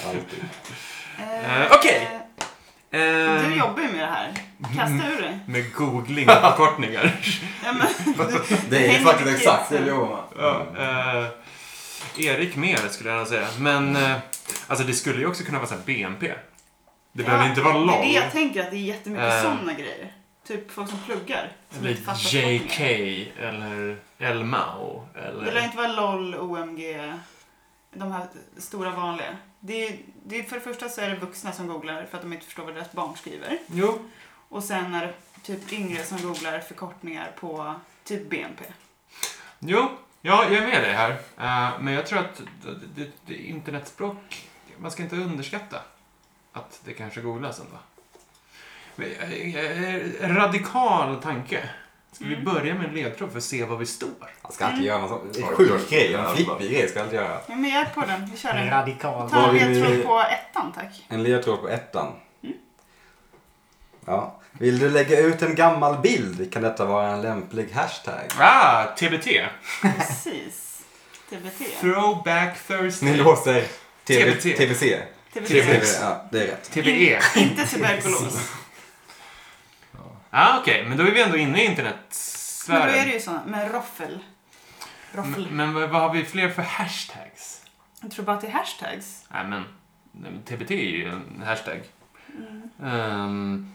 Speaker 1: Alltid.
Speaker 2: Eh, okej.
Speaker 3: eh, Du
Speaker 2: Eh,
Speaker 3: jobbar ju med det här. Kasta ur dig.
Speaker 2: med googling och förkortningar.
Speaker 3: Ja, men,
Speaker 1: Det är
Speaker 3: Häng
Speaker 1: faktiskt
Speaker 3: med
Speaker 1: exakt det Mm.
Speaker 3: kidsen.
Speaker 1: jag lovar.
Speaker 2: Ja, eh, Erik mer skulle jag gärna säga. Men eh, alltså det skulle ju också kunna vara så här BNP. Det behöver
Speaker 3: ja,
Speaker 2: inte vara
Speaker 3: Det är typ
Speaker 2: lång.
Speaker 3: det jag tänker, att det är jättemycket
Speaker 2: Eh.
Speaker 3: sådana grejer. Typ folk som pluggar. Som inte fattar
Speaker 2: Eller JK
Speaker 3: förkortningar.
Speaker 2: eller El Mao. Eller...
Speaker 3: Det lär inte vara LOL, OMG, de här stora vanliga. Det är, det är, för det första så är det vuxna som googlar för att de inte förstår vad deras barn skriver.
Speaker 2: Jo,
Speaker 3: Och sen är det typ yngre som googlar förkortningar på typ BNP.
Speaker 2: jo, ja, jag är med dig här. Eh, men jag tror att det, det, det, internetspråk, man ska inte underskatta att det kanske googlas ändå. Men, eh, eh, radikal tanke. Ska
Speaker 3: Mm.
Speaker 2: vi börja med en ledtråd för att se var vi står?
Speaker 1: Jag ska alltid göra någon sån det är
Speaker 5: Ja,
Speaker 1: en
Speaker 5: klart.
Speaker 1: sjuk grej. En flippig grej ska jag alltid göra.
Speaker 3: Ja, men jag är på den, vi kör den.
Speaker 4: Radikal.
Speaker 3: Ta en
Speaker 1: Vad vill vi-
Speaker 3: ledtråd på ettan tack.
Speaker 1: En ledtråd på ettan.
Speaker 2: Mm.
Speaker 1: Ja. Vill du lägga ut en gammal bild kan detta vara en lämplig hashtag.
Speaker 2: Ah, TBT.
Speaker 3: Precis. TBT.
Speaker 2: Throwback
Speaker 1: Ni
Speaker 2: Thursday.
Speaker 1: låser TV,
Speaker 2: TBT.
Speaker 1: TBC.
Speaker 2: TBT.
Speaker 3: TBT.
Speaker 1: TV, ja, det är rätt.
Speaker 2: TBE.
Speaker 3: Inte tuberkulos.
Speaker 2: Ah, Okej, men då är vi ändå inne i
Speaker 3: Men då är
Speaker 2: internetsfären.
Speaker 3: det ju såna. Men roffel. Roffel.
Speaker 2: Men, men vad, vad har vi fler för hashtags?
Speaker 3: Jag tror bara att det är hashtags.
Speaker 2: Nej, men men TBT är ju en hashtag.
Speaker 3: Mm.
Speaker 2: Ehm,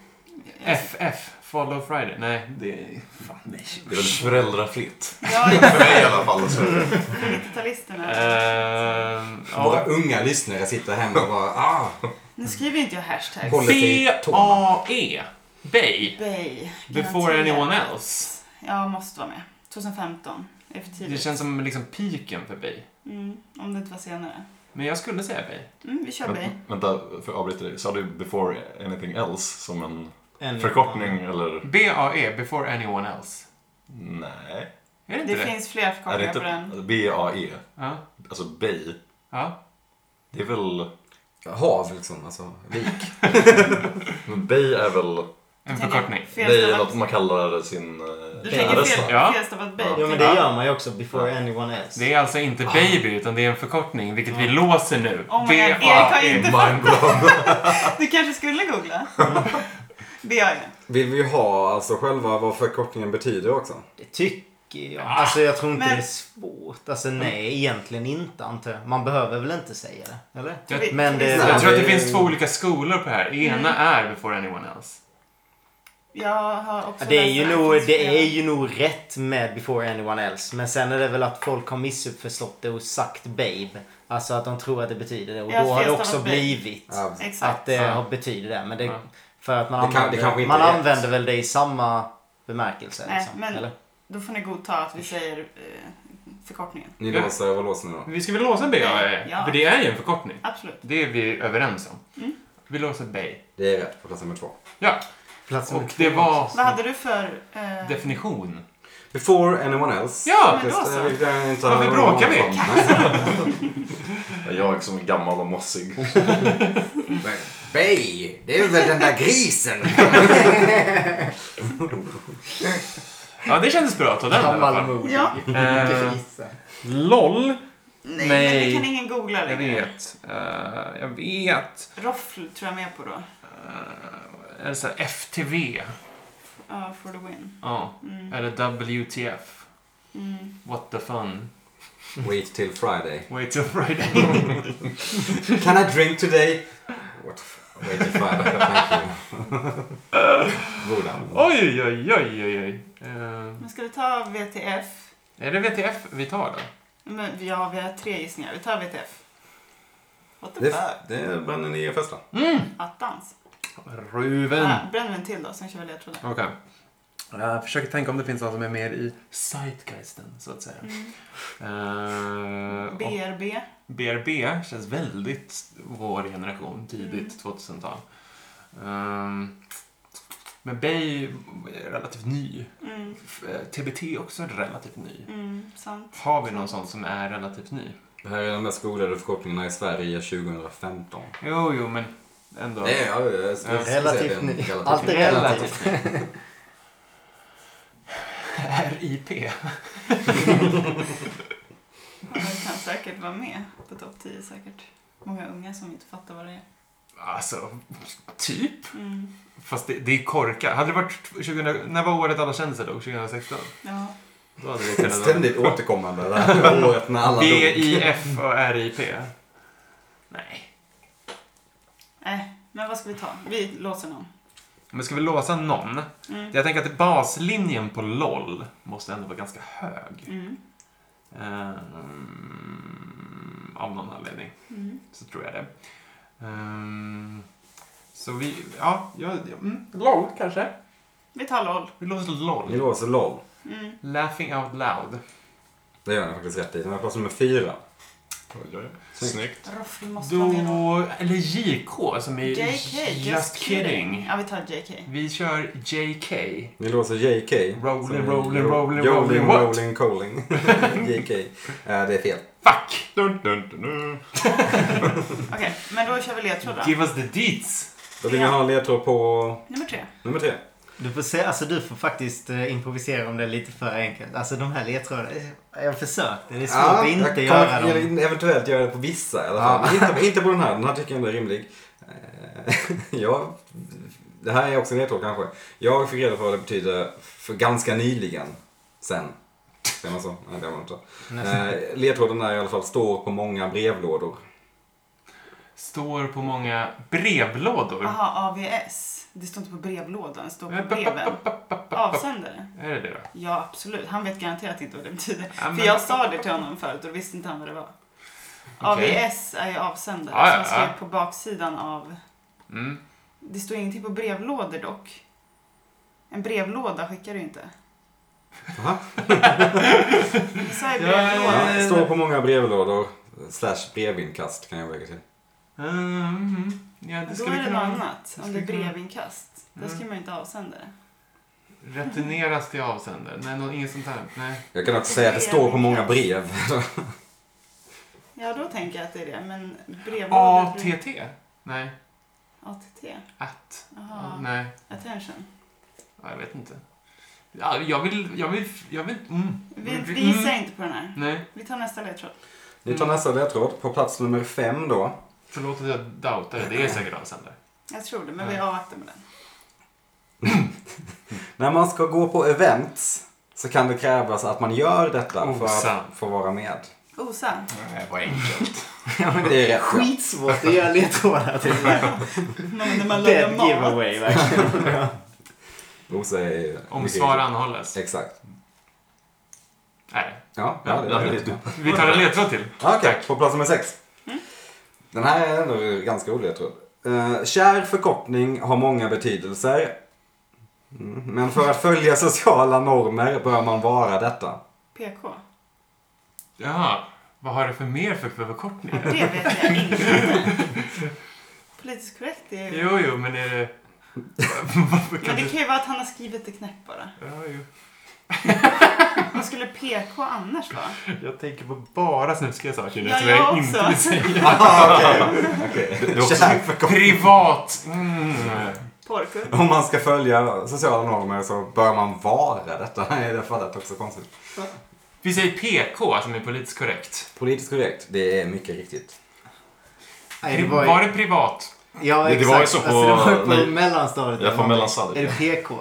Speaker 2: FF, Follow Friday. Nej,
Speaker 5: Det är, fan, nej. det är väl föräldrafritt.
Speaker 3: Ja, jag
Speaker 5: För mig i alla fall. alltså. Så är det.
Speaker 3: är 90-talisterna.
Speaker 2: Ehm,
Speaker 1: Våra
Speaker 2: ja.
Speaker 1: unga lyssnare sitter hemma och bara ah,
Speaker 3: Nu skriver inte jag hashtags.
Speaker 1: Håll-
Speaker 2: B-A-E. E. Bay.
Speaker 3: Bay.
Speaker 2: Before
Speaker 3: Garanterat.
Speaker 2: anyone else.
Speaker 3: Jag måste vara med. 2015. Det är för
Speaker 2: Det
Speaker 3: tidigt.
Speaker 2: känns som liksom piken för Bay.
Speaker 3: Mm, om det inte var senare.
Speaker 2: Men jag skulle säga Bay.
Speaker 3: Mm, vi kör Bay.
Speaker 5: Men, vänta, för jag avbryter dig. Sa du before anything else som en
Speaker 4: En-
Speaker 5: förkortning eller?
Speaker 2: B-A-E, E, Before anyone else.
Speaker 5: Nej.
Speaker 2: Är typ det inte
Speaker 3: Det
Speaker 2: det?
Speaker 3: finns fler
Speaker 5: Är det
Speaker 3: förkortningar på den.
Speaker 5: inte B-A-E?
Speaker 2: Ja.
Speaker 5: Alltså bay.
Speaker 2: ja.
Speaker 5: Det är väl...
Speaker 1: hav liksom, alltså vik.
Speaker 5: Men bay är väl...
Speaker 2: En
Speaker 3: tänker
Speaker 2: förkortning.
Speaker 5: Bay är
Speaker 3: Felstavat
Speaker 5: något man kallar sin... eh,
Speaker 3: Du
Speaker 5: kära
Speaker 3: tänker fel-
Speaker 5: nästa.
Speaker 2: Ja.
Speaker 3: felstavat Bay.
Speaker 4: Ja men det gör man ju också before anyone else.
Speaker 2: Det är alltså inte
Speaker 5: Ah.
Speaker 2: baby, utan det är en förkortning, vilket vi låser nu. E.
Speaker 3: Oh my god,
Speaker 2: B-A-E.
Speaker 3: Erik har ju inte
Speaker 5: Mind blown.
Speaker 3: Du kanske skulle googla? BAE.
Speaker 1: Vill vi ha alltså själva vad förkortningen betyder också?
Speaker 4: Det tycker jag. Alltså jag tror inte
Speaker 3: Men-
Speaker 4: det är svårt. Alltså nej, egentligen inte antar jag. Man behöver väl inte säga det? Eller?
Speaker 2: Jag-
Speaker 4: Men det...
Speaker 2: Jag
Speaker 1: Nej.
Speaker 2: tror att det finns två olika skolor på det här. Ena
Speaker 3: Mm.
Speaker 2: är before anyone else.
Speaker 3: Jag har också
Speaker 4: Ja, Det är,
Speaker 3: läst
Speaker 4: ju
Speaker 3: här.
Speaker 4: nog, det är ju nog rätt med Before Anyone Else. Men sen är det väl att folk har missuppförstått det och sagt babe. Alltså att de tror att det betyder det. Och
Speaker 3: Ja,
Speaker 4: då har det
Speaker 3: förresten
Speaker 4: också
Speaker 3: att babe.
Speaker 4: blivit
Speaker 1: Ja.
Speaker 3: Exakt.
Speaker 4: att eh, det
Speaker 2: Ja.
Speaker 4: har- betyder det. Men det,
Speaker 2: Ja.
Speaker 4: för att man,
Speaker 1: Det kan- det
Speaker 4: använder,
Speaker 1: kanske inte
Speaker 4: man
Speaker 1: är rätt.
Speaker 4: använder väl det i samma bemärkelse.
Speaker 3: Nej,
Speaker 4: liksom,
Speaker 3: men-
Speaker 4: eller?
Speaker 3: Då får ni godta att vi säger eh, förkortningen.
Speaker 1: Ni
Speaker 2: Ja.
Speaker 1: låser, vad låser ni då?
Speaker 2: Vi ska väl låsa BAE?
Speaker 3: Ja.
Speaker 2: För det är ju en förkortning.
Speaker 3: Absolut.
Speaker 2: Det är vi överens om. Vi låser BAE.
Speaker 1: Det är rätt på plats nummer två.
Speaker 2: Ja,
Speaker 4: Plats nummer
Speaker 2: och
Speaker 4: två.
Speaker 2: det var
Speaker 3: Vad hade du för... Eh,
Speaker 2: definition.
Speaker 1: Before anyone else.
Speaker 2: Ja,
Speaker 3: men då så.
Speaker 1: Det kan jag inte
Speaker 2: Varför
Speaker 1: ha-
Speaker 2: bråkar vi?
Speaker 5: Jag som är gammal och mossig.
Speaker 1: Men, Bay, det är väl den där grisen.
Speaker 2: Ja, det kändes bra att ta den i alla
Speaker 4: Gammal
Speaker 2: fall.
Speaker 4: mod.
Speaker 3: ja.
Speaker 2: Eh, LOL.
Speaker 3: Nej, men
Speaker 2: Nej.
Speaker 3: det kan ingen googla
Speaker 2: Jag
Speaker 3: längre.
Speaker 2: vet. Eh, jag vet.
Speaker 3: Roffl tror jag med på då.
Speaker 2: Eh, eller så här, FTV.
Speaker 3: Ja, for the win.
Speaker 2: Ja.
Speaker 3: Mm.
Speaker 2: Eller WTF.
Speaker 3: Mm.
Speaker 2: What the fun.
Speaker 1: Wait till Friday.
Speaker 2: Wait till Friday.
Speaker 1: Can I drink today? What the f- Wait till Friday, thank you. Goda.
Speaker 2: Oj, oj, oj, oj, oj. Eh,
Speaker 3: Men ska du ta VTF?
Speaker 2: är det VTF vi tar då?
Speaker 3: Men, ja, vi har tre gissningar. Vi tar VTF. What the fuck?
Speaker 1: Det, det bränner ni i första.
Speaker 3: Attans.
Speaker 2: Ruven.
Speaker 3: Ah, bränn en till då, sen kör vi ledtråden.
Speaker 2: Okej. Jag försöker tänka om det finns något som är mer i zeitgeisten, så att säga.
Speaker 3: Mm.
Speaker 2: Eh, och
Speaker 3: BRB.
Speaker 2: BRB känns väldigt vår generation,
Speaker 1: Mm.
Speaker 2: tidigt 2000-tal. Ehm, men Bay är relativt ny.
Speaker 3: Mm,
Speaker 2: F- eh, TBT också är relativt ny.
Speaker 3: mm, sant.
Speaker 2: Har vi någon sån som är relativt ny?
Speaker 1: Det här är de mest googlade förkortningarna i Sverige 2015.
Speaker 2: Jo, jo, men ändå.
Speaker 1: Det är, ja, det är- jag skulle säga
Speaker 4: Relativt
Speaker 1: det är en
Speaker 4: ny.
Speaker 1: relativt
Speaker 4: Allt är
Speaker 1: ny.
Speaker 4: relativt.
Speaker 2: Relativt. IP.
Speaker 3: Ja, det kan säkert vara med på topp 10 säkert. Många unga som inte fattar vad det är.
Speaker 2: Alltså, typ.
Speaker 3: Mm.
Speaker 2: Fast det, det är korkat. Hade det varit 2000, när var året alla kändisar dog? 2016?
Speaker 3: Ja.
Speaker 2: Då hade det
Speaker 1: Ett
Speaker 2: kunnat vara.
Speaker 1: ständigt återkommande det här året när alla dog.
Speaker 2: BIF och RIP. Nej.
Speaker 3: Nej, Äh, men vad ska vi ta? Vi låser någon.
Speaker 2: Men ska vi låsa någon?
Speaker 3: Mm.
Speaker 2: Jag tänker att baslinjen på LOL måste ändå vara ganska hög.
Speaker 3: Mm.
Speaker 2: Ehm, av någon anledning.
Speaker 3: Mm.
Speaker 2: Så tror jag det. Ehm, så vi, ja, ja, ja mm, LOL kanske?
Speaker 3: Vi tar LOL.
Speaker 2: Vi låser
Speaker 1: Ni
Speaker 2: LOL.
Speaker 1: låser LOL.
Speaker 3: Mm.
Speaker 2: Laughing out loud.
Speaker 1: Det gör ni faktiskt rätt i. Den var plats nummer fyra.
Speaker 5: Snyggt.
Speaker 3: Ruff, vi måste vara med då.
Speaker 2: Då, eller JK som är
Speaker 3: JK, just,
Speaker 2: kidding.
Speaker 3: Ja, vi tar JK.
Speaker 2: Vi kör JK.
Speaker 1: Ni låser JK.
Speaker 2: Rolling,
Speaker 1: som är
Speaker 2: rolling,
Speaker 1: ro-
Speaker 2: rolling, rolling,
Speaker 1: rolling,
Speaker 2: what?
Speaker 1: rolling, calling. JK. Eh, Det är fel.
Speaker 2: Fuck!
Speaker 5: Dun, dun, dun, dun.
Speaker 3: Okej, men då kör vi ledtrådar.
Speaker 2: Mm. Give us the deets.
Speaker 1: Då vill ni ha en ledtråd på
Speaker 3: Nummer tre.
Speaker 1: nummer tre.
Speaker 4: Du får, se, alltså, du får faktiskt eh, improvisera om det är lite för enkelt. Alltså de här ledtrådarna. eh, Jag försökte. Det är svårt att
Speaker 1: jag
Speaker 4: inte
Speaker 1: kan
Speaker 4: göra dem.
Speaker 1: Eventuellt göra det på vissa i alla fall. Men Inte, inte på den här. Den här tycker jag ändå är rimlig. Eh, ja, det här är också en ledtråd kanske. Jag fick reda på vad det betyder för ganska nyligen. Sen. Säger man så? Nej, det gör man inte. Eh, ledtråden är i alla fall står på många brevlådor.
Speaker 2: Står på många brevlådor.
Speaker 3: Aha, AVS. Det står inte på brevlådan, det står på breven. Avsändare?
Speaker 2: Är det det då?
Speaker 3: Ja, absolut. Han vet garanterat inte vad det betyder.
Speaker 2: Ja, men-
Speaker 3: För jag sa det till honom förut och då visste inte han vad det var.
Speaker 2: Okej.
Speaker 3: AVS är ju avsändare.
Speaker 2: Ja, ja,
Speaker 3: som står
Speaker 2: ja.
Speaker 3: på baksidan av...
Speaker 2: Mm.
Speaker 3: Det står ingenting på brevlådor dock. En brevlåda skickar du inte.
Speaker 1: Va?
Speaker 3: Vi sa ju
Speaker 2: Ja,
Speaker 3: brevlåda.
Speaker 1: Ja, står på många brevlådor. Slash brevinkast kan jag lägga till.
Speaker 2: Mm. Ja, det
Speaker 3: Då
Speaker 2: skulle
Speaker 3: är det något
Speaker 2: kunna
Speaker 3: annat.
Speaker 2: det
Speaker 3: Om
Speaker 2: skulle
Speaker 3: det är
Speaker 2: kunna- Mm.
Speaker 3: brevinkast. Då skriver man ju inte avsändare.
Speaker 2: returneras till avsändare. Nej, någon, inget sånt här. Nej.
Speaker 1: Jag kan också säga att det står på många brev.
Speaker 3: Ja, då tänker jag att det är det. Men brevlåda...
Speaker 2: ATT? Nej.
Speaker 3: ATT?
Speaker 2: Att?
Speaker 3: Jaha.
Speaker 2: Nej.
Speaker 3: Attention.
Speaker 2: Ja, jag vet inte. Ja, jag vill... Jag vill... Jag vill mm.
Speaker 3: Vi,
Speaker 2: Mm.
Speaker 3: vi gissar inte på den här.
Speaker 2: Nej.
Speaker 3: Vi tar nästa ledtråd.
Speaker 1: Ni tar nästa ledtråd. På plats nummer fem då.
Speaker 2: Förlåt att jag doubtade. Det är säkert avsändare.
Speaker 3: Jag tror det, men vi
Speaker 2: Ja.
Speaker 3: avvaktar med den.
Speaker 1: När man ska gå på events så kan det krävas att man gör detta för
Speaker 2: Osant.
Speaker 1: att få vara med.
Speaker 3: Osant.
Speaker 5: Nej, vad enkelt.
Speaker 1: Det är rätt. ja.
Speaker 4: Skitsvårt att göra ledtrådar till.
Speaker 3: Men när man lagar
Speaker 4: Dead
Speaker 3: mat.
Speaker 4: giveaway verkligen.
Speaker 1: Osa är...
Speaker 2: Om
Speaker 1: mycket
Speaker 2: svar
Speaker 1: riktigt.
Speaker 2: anhålles.
Speaker 1: Exakt.
Speaker 2: Nej.
Speaker 1: Ja, ja,
Speaker 2: Ja,
Speaker 1: det är
Speaker 2: blandat.
Speaker 1: riktigt.
Speaker 2: Vi tar en ledtråd till.
Speaker 1: Ja, Okej, på plats nummer sex. Den här är ändå ganska rolig, jag tror. Eh, kär förkortning har många betydelser. Mm, Men för att följa sociala normer bör man vara detta.
Speaker 3: PK.
Speaker 2: Jaha. Vad har du för mer för för förkortning?
Speaker 3: Det vet jag inte. Politiskt korrekt är ju...
Speaker 2: Jo, jo, men är det... Varför
Speaker 3: Men
Speaker 2: kan
Speaker 3: det
Speaker 2: du...
Speaker 3: kan ju vara att han har skrivit det knäppt bara.
Speaker 2: Ja, jo.
Speaker 3: Vad skulle PK annars vara?
Speaker 2: Jag tänker på bara snuskiga saker nu
Speaker 3: Ja,
Speaker 2: som
Speaker 3: jag
Speaker 2: jag inte
Speaker 3: också.
Speaker 2: vill säga.
Speaker 1: Aha, okej. Okej.
Speaker 5: Det är också-
Speaker 1: Kär förkortning.
Speaker 2: Privat! Mm.
Speaker 3: Porrkugg?
Speaker 1: Om man ska följa sociala normer så bör man vara detta. I det fallet också konstigt.
Speaker 2: Vi säger PK som är politiskt korrekt.
Speaker 1: Politiskt korrekt, det är mycket riktigt.
Speaker 4: Nej, det
Speaker 2: var,
Speaker 4: var ju...
Speaker 2: det privat?
Speaker 4: Ja,
Speaker 5: Det-
Speaker 4: exakt.
Speaker 5: det var ju så på-
Speaker 4: alltså, det var ju på
Speaker 5: nej.
Speaker 4: mellanstadiet.
Speaker 5: Jag får
Speaker 4: Är
Speaker 5: mellanstadiet,
Speaker 4: det
Speaker 5: ja.
Speaker 4: PK?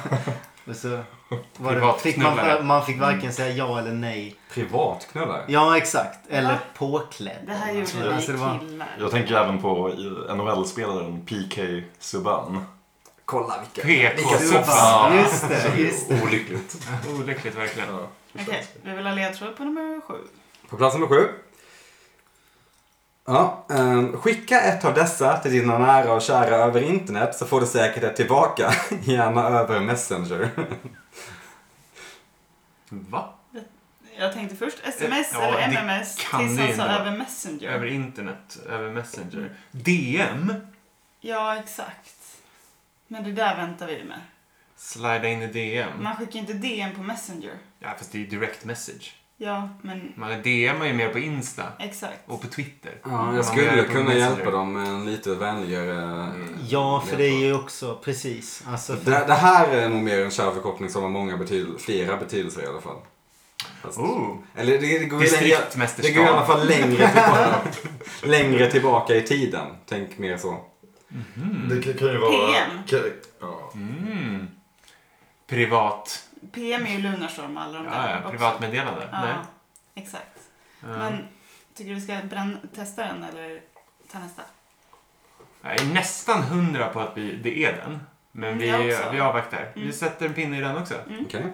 Speaker 4: Alltså, och så var det,
Speaker 2: Privat
Speaker 4: fick man,
Speaker 2: knullare.
Speaker 4: man fick varken säga ja eller nej.
Speaker 1: Privat knullare?
Speaker 4: Ja, exakt. Eller
Speaker 3: Va?
Speaker 4: påklädd.
Speaker 3: Det här gjorde vi
Speaker 4: Alltså, det var-
Speaker 3: killar.
Speaker 5: Jag tänker även på i- NHL-spelaren PK Subban.
Speaker 1: Kolla vilka...
Speaker 2: PK soffan.
Speaker 4: Fan, Just det, just det.
Speaker 5: Olyckligt.
Speaker 2: Olyckligt verkligen.
Speaker 5: Ja.
Speaker 3: Okej, vi vill ha ledtråd på nummer sju.
Speaker 1: På plats nummer sju. Ja, ehm, skicka ett av dessa till dina nära och kära över internet så får du säkert ett tillbaka. Gärna över Messenger.
Speaker 2: Va?
Speaker 3: Jag tänkte först sms
Speaker 2: Ja,
Speaker 3: eller
Speaker 2: det
Speaker 3: mms
Speaker 2: kan
Speaker 3: tills
Speaker 2: det ju
Speaker 3: han sa
Speaker 2: inte vara.
Speaker 3: över messenger.
Speaker 2: Över internet, över Messenger. DM?
Speaker 3: Ja, exakt. Men det där väntar vi med.
Speaker 2: Slida in i DM.
Speaker 3: Man skickar inte DM på messenger.
Speaker 2: Ja, fast det är direct message.
Speaker 3: Ja, men
Speaker 2: Man DMar ju mer på Insta
Speaker 3: exakt.
Speaker 2: och på Twitter.
Speaker 1: Ja,
Speaker 2: Man
Speaker 1: jag skulle
Speaker 2: gör det på
Speaker 1: kunna
Speaker 2: Messenger.
Speaker 1: hjälpa dem med en lite vänligare... eh,
Speaker 4: Ja, för det är ju också precis. Alltså, för,
Speaker 1: Det, det här är nog mer en kär förkortning som har många betydel- flera betydelser i alla fall. Fast-
Speaker 2: Oh,
Speaker 1: Eller det, det, går ju längre, det går i alla
Speaker 2: distriktmästerskap.
Speaker 1: fall längre tillbaka, längre tillbaka i tiden. Tänk mer så.
Speaker 5: Mm.
Speaker 6: Det kan- kan ju vara...
Speaker 3: PM.
Speaker 6: Kan, ja.
Speaker 2: Mm. Privat.
Speaker 3: PM är ju Lunarstorm och alla de
Speaker 2: Ja,
Speaker 3: där
Speaker 2: ja,
Speaker 3: också.
Speaker 2: privatmeddelande.
Speaker 3: Ja,
Speaker 2: Nej.
Speaker 3: exakt.
Speaker 2: Ja.
Speaker 3: Men tycker du vi ska bränn- testa den eller ta nästa?
Speaker 2: Jag är nästan hundra på att vi, det är den. Men vi,
Speaker 3: Mm, Jag också.
Speaker 2: vi avvaktar. Vi
Speaker 3: Mm.
Speaker 2: sätter en pinne i den också.
Speaker 1: Okej.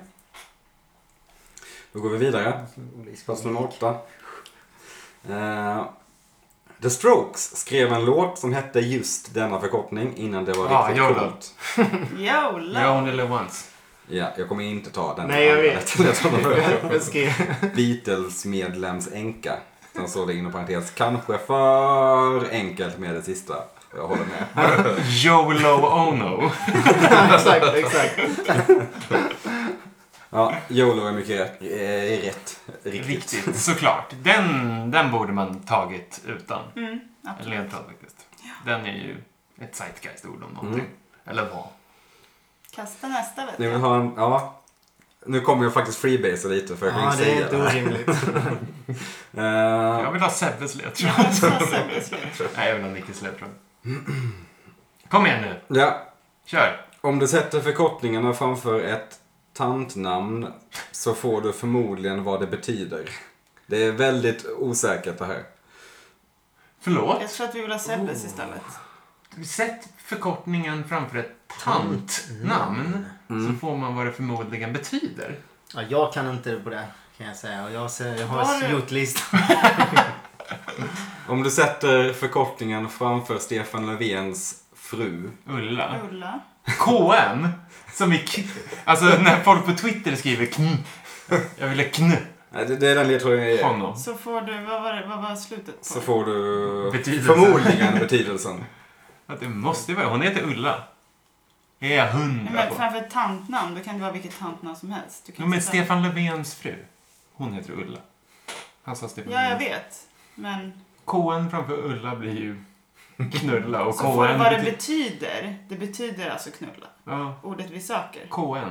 Speaker 1: Då går vi vidare. Plats nummer åtta. Eh, The Strokes skrev en låt som hette just denna förkortning innan det var
Speaker 2: Ah,
Speaker 1: riktigt
Speaker 2: YOLO.
Speaker 1: coolt.
Speaker 2: You
Speaker 3: Jola!
Speaker 2: only live once.
Speaker 1: Ja, jag kommer inte ta den.
Speaker 4: Nej, jag
Speaker 1: andra
Speaker 4: vet.
Speaker 1: rätten jag tar den förra.
Speaker 4: Jag skrev-
Speaker 1: Beatles medlems änka. Sen står det inom parentes, kanske för enkelt med det sista. Jag håller med.
Speaker 2: YOLO ONO.
Speaker 4: exakt, exakt.
Speaker 1: Ja, YOLO är mycket rätt. Eh, Är rätt. Riktigt.
Speaker 2: Riktigt, såklart. Den, den borde man tagit utan
Speaker 3: Mm,
Speaker 2: en
Speaker 3: absolut.
Speaker 2: ledtråd faktiskt. Den är ju ett zeitgeist-ord om någonting.
Speaker 1: Mm.
Speaker 2: Eller vad.
Speaker 3: Kasta nästa vet
Speaker 1: Ni vill
Speaker 3: jag.
Speaker 1: ha en, ja. Nu kommer jag faktiskt freebase lite för jag kan
Speaker 4: Ja,
Speaker 1: inte
Speaker 4: det är
Speaker 1: säga
Speaker 4: inte
Speaker 1: det här.
Speaker 4: orimligt.
Speaker 1: Eh,
Speaker 2: Jag vill ha Sebbes ledtråd.
Speaker 3: Jag vill ha Sebbe slut.
Speaker 2: Nej, jag vill ha Nickes ledtråd. Kom igen nu.
Speaker 1: ja,
Speaker 2: Kör.
Speaker 1: om du sätter förkortningarna framför ett tantnamn så får du förmodligen vad det betyder. Det är väldigt osäkert det här.
Speaker 2: Förlåt.
Speaker 3: Jag tror att vi vill ha
Speaker 2: Oh.
Speaker 3: Sebbes istället.
Speaker 2: Sätt förkortningen framför ett tantnamn
Speaker 3: Mm.
Speaker 2: så får man vad det förmodligen betyder.
Speaker 4: Ja, jag kan inte på det kan jag säga. Och jag, ser, jag
Speaker 3: Var
Speaker 4: har
Speaker 3: det-
Speaker 4: gjort listan.
Speaker 1: Om du sätter förkortningen framför Stefan Löfvens fru.
Speaker 2: Ulla.
Speaker 3: Ulla.
Speaker 2: KM? Som i k- Alltså när folk på Twitter skriver kn. Jag ville kn
Speaker 1: Nej, Det, det är den ledtråden jag
Speaker 3: Eh.
Speaker 1: ger.
Speaker 2: honom.
Speaker 3: Så får du, vad var, det, vad var slutet på?
Speaker 1: Så får du
Speaker 2: Betydelsen.
Speaker 1: förmodligen betydelsen.
Speaker 2: Att det måste vara. Hon heter Ulla. Det är jag
Speaker 3: Nej,
Speaker 2: hundra
Speaker 3: men
Speaker 2: på.
Speaker 3: framför ett tantnamn, då kan det vara vilket tantnamn som helst. Du kan
Speaker 2: Jo, men
Speaker 3: sätta-
Speaker 2: Stefan Löfvens fru. Hon heter Ulla. Han sa Stefan
Speaker 3: Ja, jag
Speaker 2: Löfven.
Speaker 3: vet. Men
Speaker 2: KN framför Ulla blir ju knulla och
Speaker 3: så får du
Speaker 2: KN
Speaker 3: vad det
Speaker 2: betyder...
Speaker 3: betyder. Det betyder alltså knulla.
Speaker 2: Ja,
Speaker 3: Ordet vi söker.
Speaker 2: KN.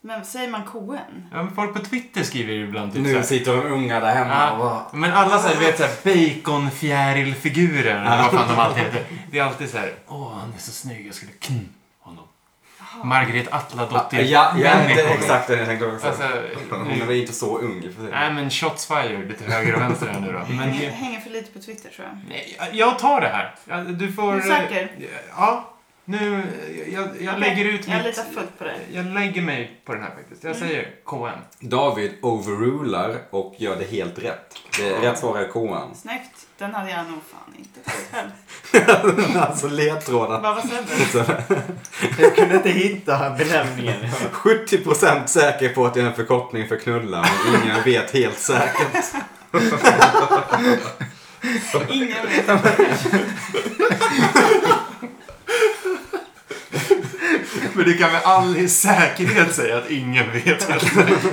Speaker 3: Men säger man KN?
Speaker 2: Ja, men folk på Twitter skriver ju ibland typ
Speaker 1: Nu
Speaker 2: såhär.
Speaker 1: sitter de unga där hemma och bara...
Speaker 2: Ja, men alla så här, du vet såhär baconfjärilfigurer eller vad fan de alltid heter. Det är alltid såhär, åh han är så snygg, jag skulle kn honom. Margret Atladottir.
Speaker 1: Ja, ja, det
Speaker 2: typ Människor.
Speaker 1: är exakt det jag tänkte också.
Speaker 2: Alltså,
Speaker 1: Hon är
Speaker 2: nu,
Speaker 1: väl inte så ung i och för sig.
Speaker 2: nej men shots fired lite höger och vänster här nu då. Men
Speaker 3: Hänger,
Speaker 2: jag,
Speaker 3: hänger för lite på Twitter tror jag.
Speaker 2: nej, jag- jag tar det här. Ja, Du får... eh,
Speaker 3: Är du säker?
Speaker 2: Ja. Nu, jag, jag lägger ut
Speaker 3: Jag
Speaker 2: mitt...
Speaker 3: litar fullt på dig.
Speaker 2: Jag lägger mig på den här faktiskt. Jag
Speaker 3: Mm.
Speaker 2: säger KN.
Speaker 1: David overrular och gör det helt rätt. Det är rätt svar är koan.
Speaker 3: Snyggt. Den hade jag nog fan inte fått själv.
Speaker 1: alltså ledtrådar.
Speaker 3: Vad var Sebbe?
Speaker 4: Jag kunde inte hitta benämningen.
Speaker 1: 70% säker på att det är en förkortning för knulla, men ingen vet helt säkert.
Speaker 3: Ingen vet.
Speaker 2: Men du kan med all säkerhet säga att ingen vet.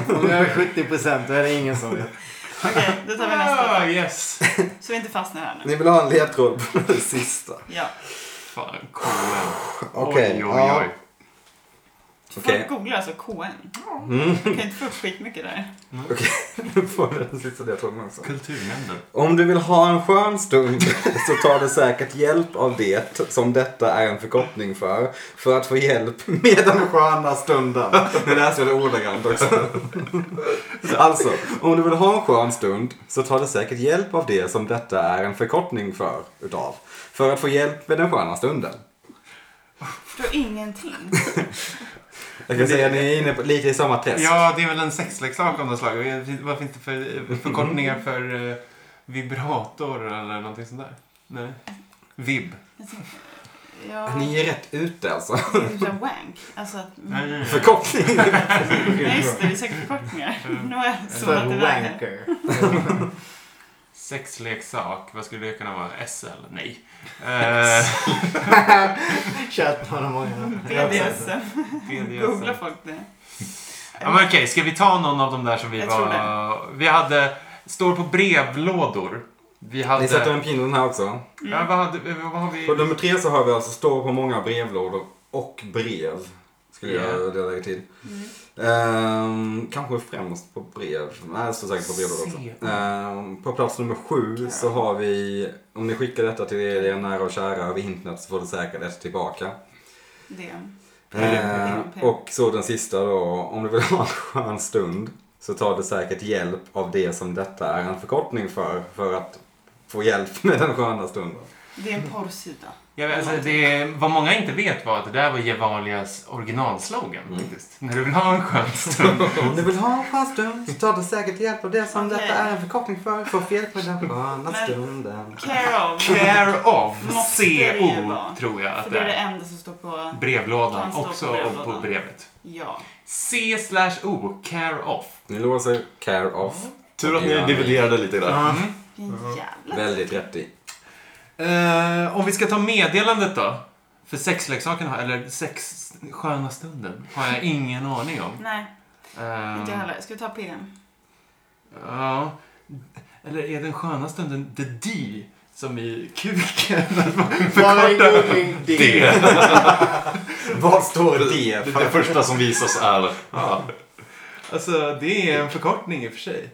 Speaker 4: Om jag är 70% då är det ingen som vet.
Speaker 3: Okej, då tar vi
Speaker 2: Ah,
Speaker 3: nästa.
Speaker 2: yes.
Speaker 3: Så vi inte fastnar här nu.
Speaker 1: Ni vill ha en ledtråd på det sista?
Speaker 3: Ja.
Speaker 2: Fan, KN.
Speaker 1: Okej,
Speaker 2: Oj, oj,
Speaker 1: ja.
Speaker 2: oj.
Speaker 1: Okej.
Speaker 3: Folk googlar alltså KN. Man kan inte få upp skitmycket där.
Speaker 1: Okej, nu får du den sista ledtråden också.
Speaker 2: Kulturnämnden.
Speaker 1: Om du vill ha en skön stund så tar du säkert hjälp av det som detta är en förkortning för. För att få hjälp med den sköna stunden. Nu läser jag det ordagrant också. Alltså, om du vill ha en skön stund så tar du säkert hjälp av det som detta är en förkortning för. Utav. För att få hjälp med den sköna stunden.
Speaker 3: Förstår ingenting.
Speaker 1: Jag kan säga att ni är inne på, lite i samma träsk.
Speaker 2: Ja, det är väl en sexleksak av något slag. Vad finns det för förkortningar för eh, vibrator eller någonting sånt där? Nej. Vib.
Speaker 3: Ja,
Speaker 1: Ni är rätt ute alltså.
Speaker 3: det är ju så här wank. Alltså att...
Speaker 2: Nej, nej, nej.
Speaker 1: Förkortning.
Speaker 3: Nej, just det. Det är säkert förkortningar.
Speaker 2: Mm.
Speaker 3: Nu har jag
Speaker 4: För
Speaker 3: zonat iväg här.
Speaker 4: wanker.
Speaker 2: Sexleksak, vad skulle det kunna vara? SL? Nej. Eh,
Speaker 4: Kört på honom många.
Speaker 3: BDSM.
Speaker 2: BDSM.
Speaker 3: Googlar folk det?
Speaker 2: Ja, men okej, ska vi ta någon av de där som vi
Speaker 3: Jag tror
Speaker 2: var... Vi hade... Står på brevlådor. Vi hade...
Speaker 1: Ni sätter en pinne i den här också.
Speaker 2: ja, vad, hade vi- vad har vi?
Speaker 1: På nummer tre så har vi alltså står på många brevlådor och brev. Skulle
Speaker 2: Yeah.
Speaker 1: jag vilja lägga till.
Speaker 3: Mm,
Speaker 1: Ehm, kanske främst på brev. Nej, jag står säkert på brevlådor också.
Speaker 2: Se.
Speaker 1: Ehm, på plats nummer sju så har vi, om ni skickar detta till er nära och kära över internet så får du säkert ett tillbaka.
Speaker 3: Det.
Speaker 1: Eh, och så den sista då, om du vill ha en skön stund så tar du säkert hjälp av det som detta är en förkortning för, för att få hjälp med den sköna stunden.
Speaker 3: det är en porrsida.
Speaker 2: Jag vet, alltså, det, vad många inte vet var att det där var Gevalias originalslogan. Faktiskt. När du vill ha en skön stund.
Speaker 1: Om du vill ha en skön stund så tar du säkert hjälp av det som
Speaker 3: Okej.
Speaker 1: detta är en förkortning för, för fel på den sköna
Speaker 3: Men-
Speaker 1: stunden.
Speaker 3: Care of.
Speaker 2: Care of.
Speaker 3: Måste det ju
Speaker 2: CO
Speaker 3: vara.
Speaker 2: tror jag
Speaker 3: För
Speaker 2: att
Speaker 3: det
Speaker 2: det
Speaker 3: är det
Speaker 2: är.
Speaker 3: enda som står på...
Speaker 2: Brevlådan
Speaker 3: Kan stå på
Speaker 2: också och på
Speaker 3: brevlådan.
Speaker 2: brevet.
Speaker 3: Ja.
Speaker 2: C slash O. Care of.
Speaker 1: Ni låser care off.
Speaker 5: Tur att ni dividerade lite där.
Speaker 2: Mm.
Speaker 3: Vilken jävla...
Speaker 1: Väldigt rätt i.
Speaker 2: Eh, om vi ska ta meddelandet då. För sexleksaken, har- eller sex sköna stunden, har jag ingen aning om.
Speaker 3: Nej,
Speaker 2: Ehm,
Speaker 3: inte jag heller. Ska vi ta PM?
Speaker 2: Ja. Eller är den sköna stunden the D som i kuken?
Speaker 5: Det.
Speaker 1: Vad står det
Speaker 5: Det första som visas är... Ja.
Speaker 2: Alltså, det är en förkortning i och för sig.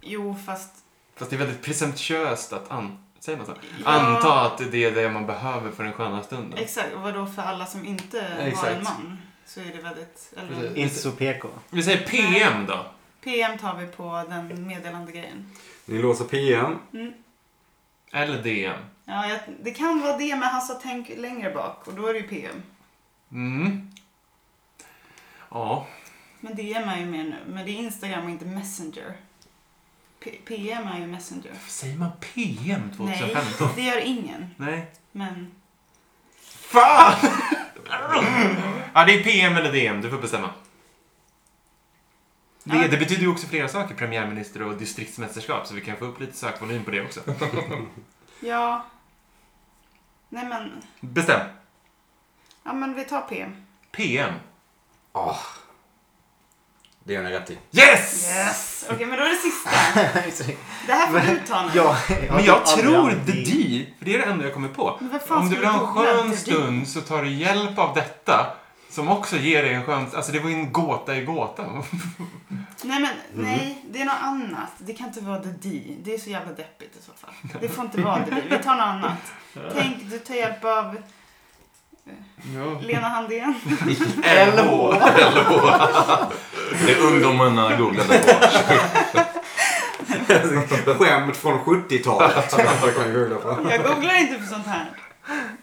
Speaker 3: Jo, fast...
Speaker 2: Fast det är väldigt presentiost att an... Säger man så?
Speaker 3: Ja.
Speaker 2: Anta att det är det man behöver för den sköna stunden.
Speaker 3: Exakt, och vadå för alla som inte har
Speaker 2: Exakt.
Speaker 3: en man? Så är det väldigt... Eller,
Speaker 2: Precis.
Speaker 4: Inte så PK.
Speaker 2: Vi säger PM då.
Speaker 3: PM tar vi på den meddelande grejen.
Speaker 1: Ni låser PM.
Speaker 2: Eller DM.
Speaker 3: Ja, jag, det kan vara det, men han sa tänk längre bak och då är det ju PM.
Speaker 2: Mm. Ja.
Speaker 3: Men DM är ju mer nu. Men det är Instagram och inte Messenger. P- PM är ju Messenger.
Speaker 2: Säger man PM
Speaker 3: Nej,
Speaker 2: 2015?
Speaker 3: det gör ingen.
Speaker 2: Nej.
Speaker 3: Men
Speaker 2: Fan! ja, det är PM eller DM. Du får bestämma. Det,
Speaker 3: Ja.
Speaker 2: det betyder ju också flera saker, premiärminister och distriktsmästerskap, så vi kan få upp lite sökvolym på det också.
Speaker 3: ja... Nej men,
Speaker 2: Bestäm.
Speaker 3: ja men vi tar PM.
Speaker 2: PM.
Speaker 1: Ah, det gör ni rätt i.
Speaker 2: Yes!
Speaker 3: Yes! Okej, men då är det sista. Det här får du ta nu.
Speaker 4: ja,
Speaker 2: Men jag tror
Speaker 4: aldrig-
Speaker 2: the D, för det är det enda jag kommer på.
Speaker 3: Men vad fan
Speaker 2: Om du
Speaker 3: ska
Speaker 2: vill ha en
Speaker 3: googla
Speaker 2: skön
Speaker 3: The D?
Speaker 2: stund så tar du hjälp av detta, som också ger dig en skön... Alltså det var ju en gåta i gåtan.
Speaker 3: Nej,
Speaker 2: Mm.
Speaker 3: men nej, det är något annat. Det kan inte vara The D. Det är så jävla deppigt i så fall. Det får inte vara The D. Vi tar något annat. Tänk, du tar hjälp av eh, Lena Handén.
Speaker 5: LH. Det ungdomarna googlade på.
Speaker 1: Skämt från 70-talet. som jag kan googla på.
Speaker 3: Jag googlar inte på sånt här.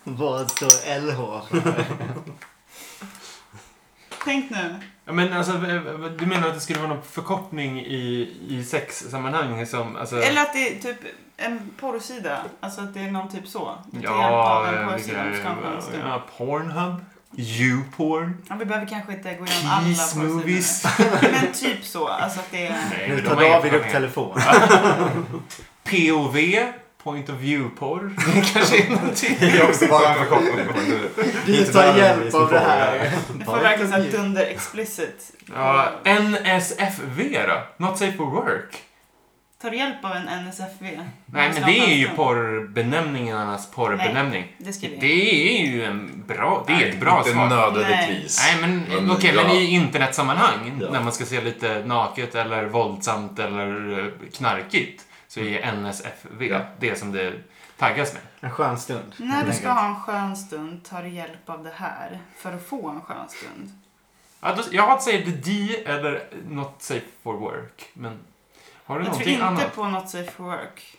Speaker 4: Vad står LH för?
Speaker 3: Tänk nu.
Speaker 2: Ja, men alltså, v- v- du menar att det skulle vara någon förkortning i, i sexsammanhang som... Alltså,
Speaker 3: Eller att det är typ en porrsida. Alltså att det är någon typ så. Du tar hjälp
Speaker 2: Ja,
Speaker 3: av en
Speaker 2: eh,
Speaker 3: porrsida om du ska ha en skön
Speaker 2: vilka-
Speaker 3: stund.
Speaker 2: ja, Pornhub. YouPorn.
Speaker 3: Ja, vi behöver kanske inte gå igenom alla
Speaker 2: Kiss movies.
Speaker 3: porrsidor. Men typ så. Alltså att det är...
Speaker 2: Nej,
Speaker 4: Nu
Speaker 2: de
Speaker 4: tar
Speaker 2: har inga
Speaker 4: David upp
Speaker 2: planer.
Speaker 4: telefonen.
Speaker 2: POV. Point of view-porr. Det kanske är någonting.
Speaker 1: Det är också bara en förkortning.
Speaker 4: Du
Speaker 1: Inte
Speaker 4: tar
Speaker 1: värre än vi
Speaker 4: hjälp
Speaker 1: som
Speaker 4: av det
Speaker 1: får
Speaker 4: här.
Speaker 3: Det får verkligen såhär dunder explicit. Eh,
Speaker 2: Ja, NSFV då? Not safe for work.
Speaker 3: Tar du hjälp av en NSFV?
Speaker 2: Nej, men det är ju porrbenämningarnas porrbenämning.
Speaker 3: Det ska vi inte.
Speaker 2: Det är ju en bra... Det är ett bra
Speaker 5: Inte
Speaker 2: svar.
Speaker 5: nödvändigtvis.
Speaker 2: Nej, men
Speaker 5: Men,
Speaker 2: okej,
Speaker 5: ja.
Speaker 2: men i internetsammanhang
Speaker 5: Ja.
Speaker 2: när man ska se lite naket eller våldsamt eller eh, knarkigt så är NSFV
Speaker 5: Mm. Ja.
Speaker 2: det som det taggas med.
Speaker 4: En skön stund.
Speaker 3: När du
Speaker 4: helt
Speaker 3: ska
Speaker 4: enkelt.
Speaker 3: ha en skön stund tar du hjälp av det här för att få en skön stund.
Speaker 2: Ja, då, jag har att säga the D eller not safe for work. Men har du
Speaker 3: Jag tror
Speaker 2: någonting
Speaker 3: inte
Speaker 2: annat?
Speaker 3: på något safe for work.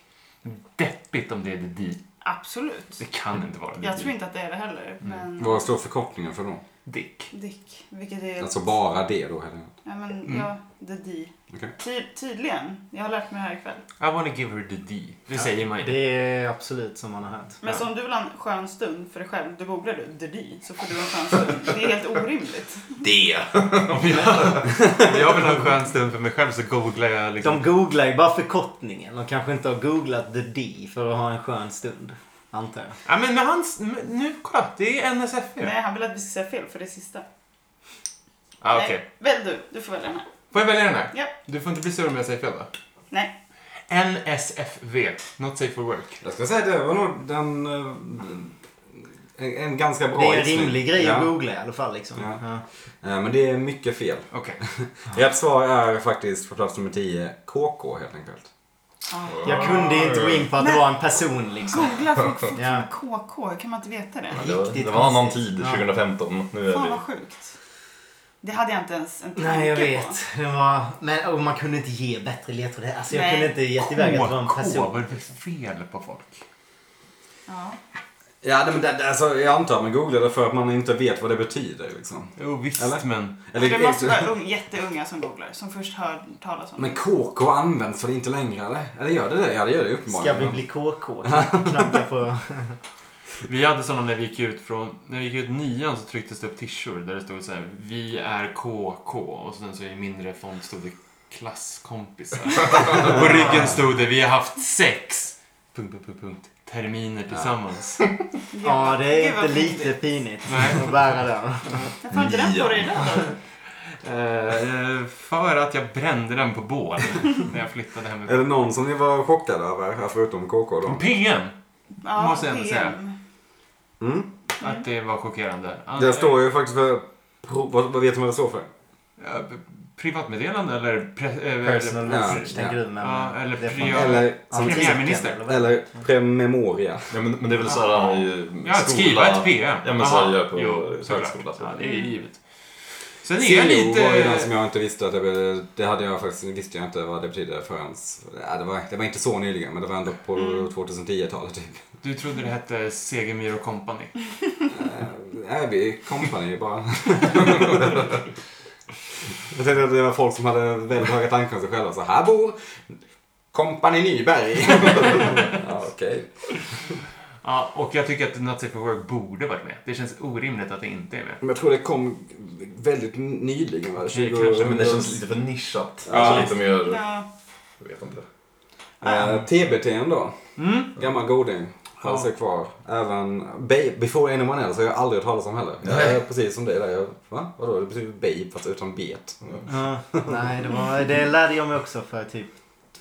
Speaker 2: Deppigt om det är the D.
Speaker 3: Absolut.
Speaker 2: Det Mm. kan inte vara the
Speaker 3: Jag
Speaker 2: D.
Speaker 3: tror inte att det är det heller. Men
Speaker 1: Vad står förkortningen för då?
Speaker 2: Dick.
Speaker 3: Dick, vilket är...
Speaker 1: Alltså bara det då? Eller?
Speaker 3: Ja, men
Speaker 2: Mm.
Speaker 3: ja, the D.
Speaker 1: Okej.
Speaker 3: Ty- tydligen. Jag har lärt mig det här ikväll.
Speaker 2: I wanna give her the D. Det säger man ju.
Speaker 4: Det är absolut som man har hört.
Speaker 3: Men
Speaker 2: Ja.
Speaker 3: så om du vill ha en skön stund för dig själv, då googlar du the D så får du en skön stund. Det är helt orimligt.
Speaker 5: Det.
Speaker 2: Om jag, om jag vill ha en skön stund för mig själv så googlar jag liksom
Speaker 4: De googlar ju bara förkortningen. De kanske inte har googlat the D för att ha en skön stund. Antar jag.
Speaker 2: Ja, men med hans... men Nu, kolla! Det är NSFV.
Speaker 3: Nej, han vill att vi ska säga fel för det sista.
Speaker 2: Ah,
Speaker 3: Nej.
Speaker 2: Okej.
Speaker 3: Välj du. Du får välja den här.
Speaker 2: Får jag välja den här?
Speaker 3: Ja.
Speaker 2: Du får inte bli sur om jag säger fel va?
Speaker 3: Nej.
Speaker 2: NSFV, Not Safe for Work.
Speaker 1: Jag ska säga att det var nog den... eh, En, en ganska bra
Speaker 4: Det är en
Speaker 1: gissning.
Speaker 4: rimlig grej
Speaker 1: ja.
Speaker 4: att googla i alla fall. Liksom.
Speaker 1: Ja.
Speaker 4: Ja.
Speaker 1: Eh, Men det är mycket fel.
Speaker 2: Okej.
Speaker 1: Rätt svar är faktiskt på plats nummer 10 KK helt enkelt.
Speaker 4: Jag kunde inte gå in på att det
Speaker 3: Nej.
Speaker 4: var en person liksom.
Speaker 3: Googla folk fort
Speaker 4: Ja.
Speaker 3: med KK. Kan man inte veta det?
Speaker 5: Det var,
Speaker 4: Riktigt
Speaker 5: det var en annan
Speaker 4: konstigt.
Speaker 5: tid,
Speaker 4: Ja.
Speaker 5: 2015. Nu är
Speaker 3: Fan
Speaker 5: vi...
Speaker 3: vad sjukt. Det hade jag inte ens en tanke
Speaker 4: Nej, jag
Speaker 3: på.
Speaker 4: vet. Det var... Men och man kunde inte ge bättre ledtrådar. Alltså, jag
Speaker 3: Nej.
Speaker 4: kunde inte gett iväg att det var en
Speaker 2: Vad
Speaker 4: person.
Speaker 2: är det för fel på folk?
Speaker 3: Ja.
Speaker 1: Ja, det- men det, det- alltså, jag antar att man googlade för att man inte vet vad det betyder liksom.
Speaker 2: Jo visst
Speaker 1: Eller?
Speaker 2: men.
Speaker 1: Eller,
Speaker 3: Alltså, det måste vara un- jätteunga som googlar. Som först hör talas om
Speaker 1: Men KK används väl inte längre eller? Eller gör det det? Ja, det gör det
Speaker 4: Ska
Speaker 1: uppenbarligen.
Speaker 4: vi bli KK? Knacka på...
Speaker 2: Vi hade sådana när vi gick ut från, när vi gick ut nian så trycktes det upp tishor där det stod så här Vi är KK och sen så i mindre font stod det klasskompisar. och på ryggen stod det vi har haft sex. Punkt, punkt, punkt, punkt. Terminer tillsammans.
Speaker 3: Gud,
Speaker 4: Ja, det är
Speaker 3: gud, vad
Speaker 4: inte lite
Speaker 3: pinigt.
Speaker 4: pinigt
Speaker 2: Nej.
Speaker 4: att bära den.
Speaker 3: Jag får inte den på dig idag då.
Speaker 2: Eh, för att jag brände den på bål när jag flyttade
Speaker 1: Är
Speaker 2: hemifrån.
Speaker 1: det någon som ni var chockade över? här Förutom KK
Speaker 4: Mm.
Speaker 1: då?
Speaker 2: PM!
Speaker 3: Ja,
Speaker 2: Måste jag ändå
Speaker 3: PM.
Speaker 1: Mm.
Speaker 2: Att det var chockerande.
Speaker 1: Det står ju faktiskt för... Pro, vad, vad vet du vad det står för?
Speaker 2: Ja, p- Privatmeddelande eller... Pre, eh,
Speaker 4: Personal
Speaker 1: Ja,
Speaker 4: research tänker du, men...
Speaker 2: Ja, eller
Speaker 4: det får
Speaker 2: prio-
Speaker 4: man-
Speaker 1: Eller,
Speaker 4: Ja, men-
Speaker 2: Premiärminister.
Speaker 4: eller vad?
Speaker 1: eller prememoria.
Speaker 5: Ja, men, men det är väl såhär i
Speaker 2: Ja, att skriva ett PM.
Speaker 5: Ja, men så här
Speaker 2: Aha.
Speaker 5: gör jag på
Speaker 2: Jo, såklart.
Speaker 5: högskolan.
Speaker 2: Ja, det är givet. Sen är jag
Speaker 1: Silo
Speaker 2: lite...
Speaker 1: E var ju den som jag inte visste att det, det hade jag faktiskt, visste jag inte vad det betydde förrän, ja, det, var, det var inte så nyligen men det var ändå på
Speaker 2: Mm.
Speaker 1: 2010-talet typ.
Speaker 2: Du trodde det hette Segemyhr och Company.
Speaker 1: Är vi company bara? jag tänkte att det var folk som hade väldigt höga tankar om sig själva. Så här bor company Nyberg. ja, okej.
Speaker 2: Ja, och jag tycker att Not Safe for Work borde varit med. Det känns orimligt att det inte är med.
Speaker 1: Men jag tror det kom väldigt nyligen va?
Speaker 2: Okej,
Speaker 1: 20...
Speaker 2: kanske,
Speaker 5: Men det känns lite för nischat.
Speaker 1: Ja.
Speaker 5: Alltså lite mer...
Speaker 3: Ja.
Speaker 5: Jag vet inte.
Speaker 1: Eh, TBT då.
Speaker 2: Mm.
Speaker 1: Gammal goding. Han
Speaker 2: Ja.
Speaker 1: sig kvar. Även Babe, Before Anyone Else har jag aldrig hört talas om heller. Jag är precis som dig där. Jag, va? Vadå? Det betyder Babe fast utan bet.
Speaker 4: Ja, nej, det, var, det lärde jag mig också för typ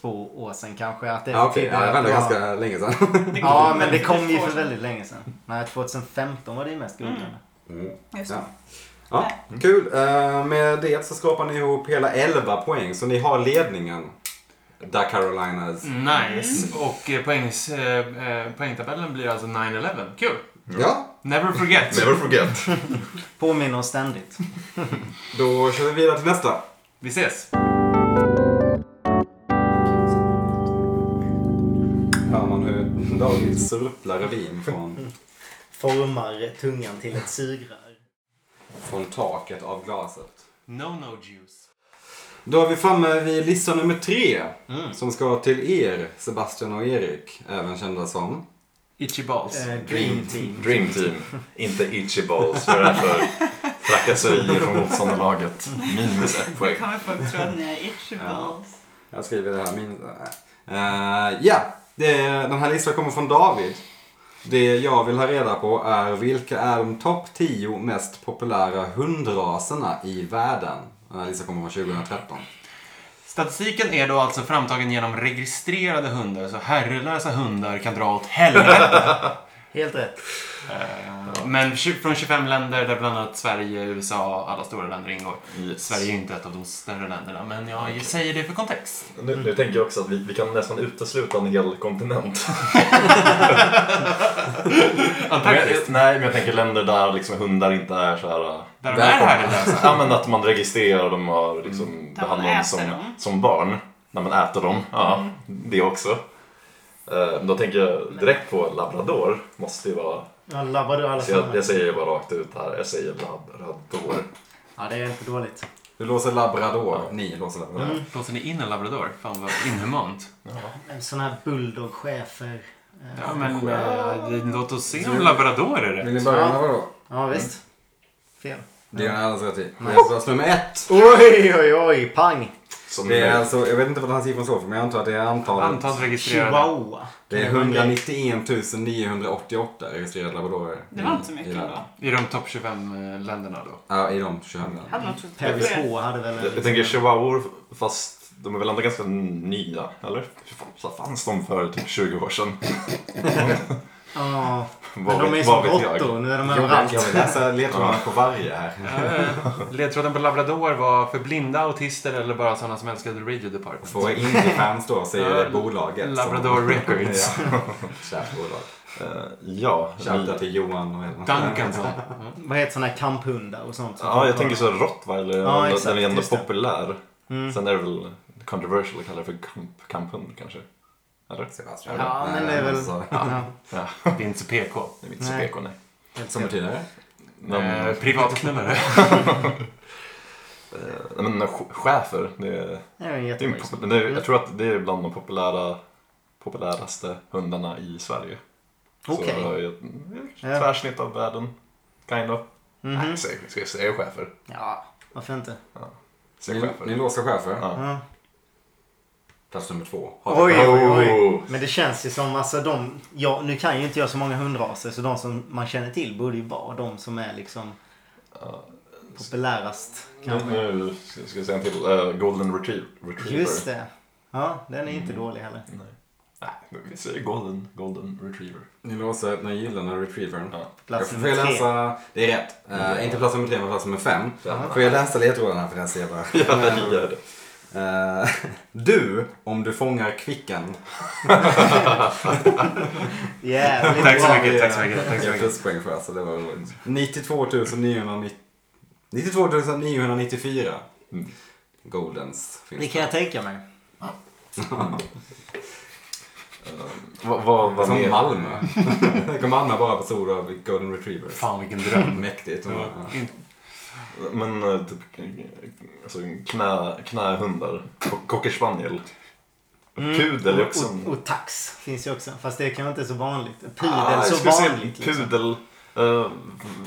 Speaker 4: två år sedan kanske. Att det
Speaker 1: Ja, okej. Ja,
Speaker 4: betyder
Speaker 1: det var
Speaker 4: att
Speaker 1: ändå
Speaker 4: det var-
Speaker 1: ganska länge sedan.
Speaker 3: Det
Speaker 4: Ja, men det kom ju
Speaker 3: två år
Speaker 4: för
Speaker 3: sedan.
Speaker 4: väldigt länge sedan. Nej, 2015 var det ju mest
Speaker 2: Mm.
Speaker 4: googlade.
Speaker 3: Just
Speaker 1: Ja.
Speaker 3: det.
Speaker 1: Ja, kul. Eh, med det så skapar ni ihop hela 11 poäng, så ni har ledningen. Där Carolinas.
Speaker 2: Nice. Och eh, poängs, eh, eh, poängtabellen blir alltså 9-11. Kul!
Speaker 1: Ja,
Speaker 2: Never forget.
Speaker 5: Never forget.
Speaker 4: Påminner oss ständigt.
Speaker 1: då kör vi vidare till nästa.
Speaker 2: Vi ses.
Speaker 1: Hör man hur David surplar revin från,
Speaker 4: Formar tungan till ett sugrör.
Speaker 1: från taket av glaset.
Speaker 2: No-no juice.
Speaker 1: Då är vi framme vid lista nummer tre. Som ska till er, Sebastian och Erik. Även kända som.
Speaker 2: Itchy balls.
Speaker 4: Eh, Dream team.
Speaker 5: Dream team. Inte itchy balls. Vad är det här för trakasserier från motståndarlaget? Minus ett poäng.
Speaker 3: Nu kommer folk tro att ni är itchy balls.
Speaker 1: Jag skriver det här min... Eh, ja, det, den här listan kommer från David. Det jag vill ha reda på är vilka är de topp 10 mest populära hundraserna i världen? Den här listan kommer från 2013.
Speaker 2: Statistiken är då alltså framtagen genom registrerade hundar, så herrelösa hundar kan dra åt helvete.
Speaker 4: Helt rätt.
Speaker 2: Eh, Men tju- från 25 länder där bland annat Sverige, USA, alla stora länder ingår.
Speaker 5: Yes.
Speaker 2: Sverige är ju inte ett av de större länderna, men jag säger det för kontext.
Speaker 5: Nu, nu tänker jag också att vi, vi kan nästan utesluta en hel kontinent. Men jag,
Speaker 2: Antarktis,
Speaker 5: nej, men jag tänker länder där liksom hundar inte är så här... äh,
Speaker 2: där de är
Speaker 1: Välkommen.
Speaker 2: herrelösa.
Speaker 5: Ja, men att man registrerar dem och liksom
Speaker 3: Där man
Speaker 5: behandlar dem
Speaker 3: äter
Speaker 5: som,
Speaker 3: dem.
Speaker 5: som barn. När man äter dem. Ja, det också. Eh, Då tänker jag direkt på labrador. Måste ju vara...
Speaker 4: Ja, labbar du alla
Speaker 5: Så jag,
Speaker 4: fall.
Speaker 5: jag säger ju bara rakt ut här. Jag säger labrador.
Speaker 4: Ja, det är inte dåligt.
Speaker 1: Du låser labrador. Ni låser labrador.
Speaker 2: Låser ni in en labrador? Fan vad inhumant.
Speaker 4: En sån här bulldog-chefer.
Speaker 2: Ja, men eh, låt oss se om labrador är
Speaker 1: Vill ni
Speaker 2: rätt.
Speaker 1: börja med vadå?
Speaker 4: Ja, visst. Fel.
Speaker 1: Mm. Det är alldeles rätt i. Plats nummer ett.
Speaker 4: Oj, oj, oj. Pang.
Speaker 5: Som
Speaker 1: Det är alltså, jag vet inte vad den här siffran står för men jag antar att det är antalet.
Speaker 2: Antalet registrerade.
Speaker 4: Chihuahua.
Speaker 1: Det är 191 988 registrerade labradorer.
Speaker 3: Det var inte så mycket
Speaker 1: i
Speaker 3: ändå.
Speaker 1: världen.
Speaker 2: I de topp 25-länderna då.
Speaker 1: Ja, i de 25 länderna.
Speaker 3: Hade man trott på
Speaker 4: Perry
Speaker 3: det?
Speaker 4: H hade väl
Speaker 5: Jag,
Speaker 4: en... liksom-
Speaker 5: jag tänker chihuahuor, fast de är väl ändå ganska nya, eller? Så fanns de för typ 20 år sedan?
Speaker 4: Ja.
Speaker 5: Vad
Speaker 4: Men de är
Speaker 5: vet-
Speaker 4: som
Speaker 5: vad vet jag?
Speaker 4: råttor. Nu är de
Speaker 1: Jag
Speaker 4: överallt.
Speaker 1: vill läsa ledtrådarna på varje här.
Speaker 2: Eh, Ledtråden på labrador var för blinda autister eller bara sådana som älskade Radio Department.
Speaker 1: För indiefans då så är det
Speaker 2: Ja,
Speaker 1: bolaget. som-
Speaker 2: Labrador Records.
Speaker 1: ja. Kärt bolag.
Speaker 5: Eh, Ja.
Speaker 1: Shoutout till Johan och hela-
Speaker 2: Duncans.
Speaker 4: Vad heter såna här kamphundar och sånt? som
Speaker 5: Ja, jag
Speaker 4: folk
Speaker 5: tänker
Speaker 4: har?
Speaker 5: så Rottweiler,
Speaker 4: Ja,
Speaker 5: den-
Speaker 4: exakt,
Speaker 5: den är ändå
Speaker 4: just det.
Speaker 5: populär.
Speaker 4: Mm.
Speaker 5: Sen är det väl controversial att kalla det för kamp, kamphund kanske? Eller?
Speaker 1: Sebastian. Eh,
Speaker 4: Ja, men det är väl-
Speaker 1: Så,
Speaker 4: Ja.
Speaker 2: Det är inte så PK.
Speaker 5: Det är inte så
Speaker 4: Nej.
Speaker 5: PK, nej.
Speaker 4: helt
Speaker 1: som
Speaker 4: rätt.
Speaker 1: betyder det?
Speaker 5: Men,
Speaker 2: Eh, Privatknullare.
Speaker 5: eh, men sch- schäfer, det är,
Speaker 4: Det är en
Speaker 5: det är en
Speaker 4: jättemärklig
Speaker 5: pop- det är, jag tror att det är bland de populära, populäraste hundarna i Sverige.
Speaker 4: Okej.
Speaker 5: Så, eh, mm,
Speaker 4: Ja.
Speaker 5: tvärsnitt av världen, kind of.
Speaker 4: Mhm.
Speaker 5: Nej, säg- ska jag säga chefer?
Speaker 4: Ja, varför inte?
Speaker 5: Säg
Speaker 1: Ni,
Speaker 5: chefer.
Speaker 1: ni låser chefer.
Speaker 5: Ja.
Speaker 4: Ja.
Speaker 1: Plats nummer två.
Speaker 4: Oj, oj, oj.
Speaker 5: Oh.
Speaker 4: Men det känns ju som, alltså de, ja, nu kan ju inte jag så många hundraser så de som man känner till borde ju vara de som är liksom populärast.
Speaker 5: Nu,
Speaker 4: Kanske.
Speaker 5: nu ska ska jag säga en till. Eh, Golden Retriever. Retriever.
Speaker 4: Just det. Ja, den är inte dålig heller.
Speaker 5: Nej. Nej, vi säger Golden, Golden Retriever.
Speaker 1: Ni låser den gyllene retrievern.
Speaker 5: Ja.
Speaker 4: Plats
Speaker 1: jag får
Speaker 4: nummer
Speaker 1: jag
Speaker 4: tre.
Speaker 1: läsa, det är rätt. Eh, inte plats nummer tre men plats nummer fem.
Speaker 5: Ja.
Speaker 1: Får jag läsa ledtrådarna för den ser bara.
Speaker 5: Ja, gör det.
Speaker 1: Eh, du, om du fångar Kvicken.
Speaker 4: Jävligt
Speaker 2: Tack så
Speaker 4: bra.
Speaker 2: mycket, tack så mycket, tack så
Speaker 1: Jag
Speaker 2: mycket.
Speaker 1: fick pluspoäng för alltså, det var roligt. 92 990 92 994.
Speaker 5: Mm.
Speaker 1: Goldens finns
Speaker 4: Det kan jag tänka mig.
Speaker 5: Vad vad-
Speaker 1: det.
Speaker 5: vad
Speaker 1: Som
Speaker 5: mer?
Speaker 1: Malmö. Tänk om Malmö bara bestod av Golden Retrievers.
Speaker 2: Fan vilken dröm.
Speaker 1: Mäktigt. Ja.
Speaker 2: In-
Speaker 5: Men eh, typ alltså, knä, knähundar. Cock- Cocker spaniel. Pudel är liksom- också en...
Speaker 4: Mm. Och, och tax finns ju också. Fast det kanske inte är så vanligt. Pudel
Speaker 5: Ah, jag
Speaker 4: så
Speaker 5: skulle säga
Speaker 4: vanligt liksom.
Speaker 5: Pudel. Eh,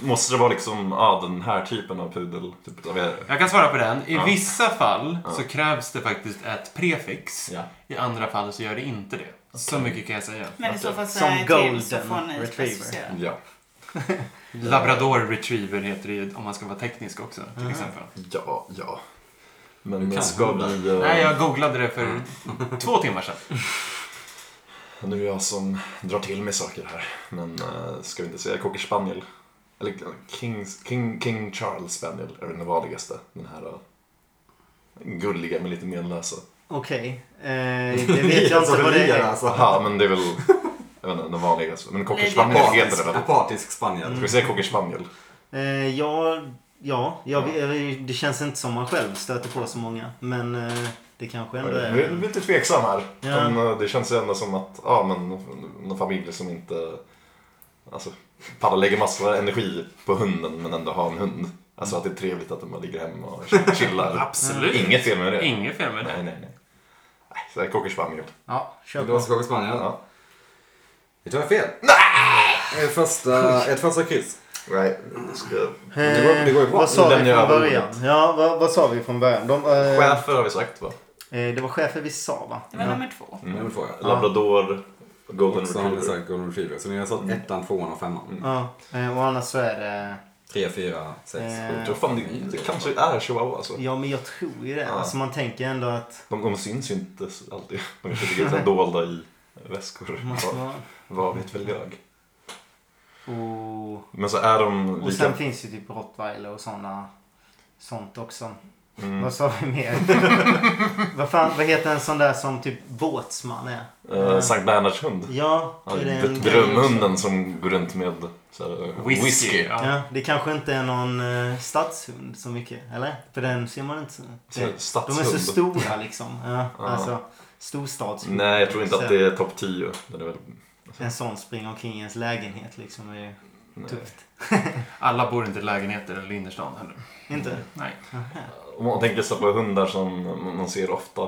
Speaker 5: måste det vara liksom ah, den här typen av pudel? Typ, av er?
Speaker 2: Jag kan svara på den. I
Speaker 5: Ja.
Speaker 2: vissa fall
Speaker 5: Ja.
Speaker 2: så krävs det faktiskt ett prefix.
Speaker 5: Ja.
Speaker 2: I andra fall så gör det inte det. Så mycket kan jag säga.
Speaker 3: Men i så fall
Speaker 4: Som
Speaker 3: säger jag till så
Speaker 4: golden
Speaker 3: får ni
Speaker 4: retriever.
Speaker 3: specificera.
Speaker 5: Ja.
Speaker 2: Labrador retriever heter det ju om man ska vara teknisk också, till exempel.
Speaker 5: Ja, ja. Men
Speaker 1: kan
Speaker 5: ska
Speaker 1: hundar.
Speaker 5: vi... eh,
Speaker 2: Nej, jag googlade det för två timmar sedan.
Speaker 5: Nu är jag som drar till mig saker här. Men eh, ska vi inte säga Cocker Spaniel? Eller eh, Kings, King, King Charles Spaniel är den vanligaste. Den här eh, gulliga men lite menlösa.
Speaker 4: Okej. Eh, det vet jag inte vad det är.
Speaker 1: Alltså.
Speaker 5: Jaha, men det är väl... Jag vet inte, den vanligaste. Men Cocker
Speaker 3: Nej,
Speaker 5: Spaniel heter
Speaker 1: Apatisk,
Speaker 5: det väl?
Speaker 1: apatisk spaniel.
Speaker 5: Ska vi säga Cocker Spaniel?
Speaker 4: Eh, ja, ja, jag, eh, det känns inte som man själv stöter på så många. Men eh, det kanske ändå
Speaker 5: Jag är
Speaker 4: är...
Speaker 5: lite tveksam här.
Speaker 4: Ja.
Speaker 5: Men eh, det känns ju ändå som att, ja men, någon familj som inte... Alltså, pallar lägga massa energi på hunden men ändå har en hund. Alltså att det är trevligt att de bara ligger hemma och chillar.
Speaker 2: Absolut.
Speaker 5: Inget fel med det.
Speaker 2: Inget fel med det.
Speaker 5: Nej, nej, nej. nej. Så här Cocker spaniel.
Speaker 4: Ja, kör
Speaker 1: Det var
Speaker 4: på.
Speaker 1: Skåne Spanien.
Speaker 5: Ja.
Speaker 1: Vi tar fel. Nej! Första, ett första kryss.
Speaker 5: Nej, ska jag...
Speaker 1: Det går- det går ju bra.
Speaker 4: vad sa
Speaker 5: Nu
Speaker 4: vi
Speaker 5: lämnar
Speaker 4: från
Speaker 5: jag över
Speaker 4: början? Ja, vad, vad sa vi från början? De, eh,
Speaker 5: Schäfer har vi sagt va?
Speaker 4: eh, det var chefer vi sa va?
Speaker 3: Det var
Speaker 4: Ja.
Speaker 3: nummer två.
Speaker 1: Nummer två ja.
Speaker 5: Labrador, Mm. golden
Speaker 1: Och så har ni
Speaker 5: retriever. Mm.
Speaker 1: sagt Golden Retriever. Så ni har satt ettan, tvåan och femman.
Speaker 4: Ja, eh, och annars så är det...
Speaker 1: Tre, fyra, sex,
Speaker 4: Eh,
Speaker 1: sju.
Speaker 5: Jag tror fan det, det kanske är chihuahua alltså.
Speaker 4: Ja, men jag tror ju det.
Speaker 5: Ja.
Speaker 4: Alltså man tänker ändå att...
Speaker 5: De, de syns ju inte alltid. De kanske ligger så här dolda i väskor.
Speaker 4: Måste
Speaker 5: Vad-
Speaker 4: vara.
Speaker 5: Vad vet väl jag?
Speaker 4: Och,
Speaker 5: Men så är de
Speaker 4: och sen
Speaker 5: lika...
Speaker 4: finns ju typ rottweiler och såna Sånt också.
Speaker 5: Mm,
Speaker 4: Vad sa vi mer? vad, fan, vad heter en sån där som typ båtsman är?
Speaker 5: eh, Sankt Bernhards hund.
Speaker 4: Ja,
Speaker 5: Ja,
Speaker 4: är det
Speaker 5: d-
Speaker 4: en
Speaker 5: Drömhunden som går runt med så här, eh,
Speaker 2: Whisky.
Speaker 5: whisky.
Speaker 2: Ja.
Speaker 4: Ja, det kanske inte är någon eh, stadshund så mycket, eller? För den ser man inte så...
Speaker 5: Så här,
Speaker 4: Det, de är
Speaker 5: Stadshund.
Speaker 4: så stora liksom. Ja,
Speaker 5: Ja.
Speaker 4: Alltså, storstadshund.
Speaker 5: Nej, jag tror inte att
Speaker 4: Så
Speaker 5: det är topp 10. Den är väl...
Speaker 4: En sån springer omkring i ens lägenhet liksom är ju
Speaker 5: nej.
Speaker 4: tufft.
Speaker 2: Alla bor inte i lägenheter eller innerstan heller.
Speaker 4: Inte?
Speaker 2: Nej.
Speaker 4: Aha.
Speaker 5: Om man tänker sig på hundar som man ser ofta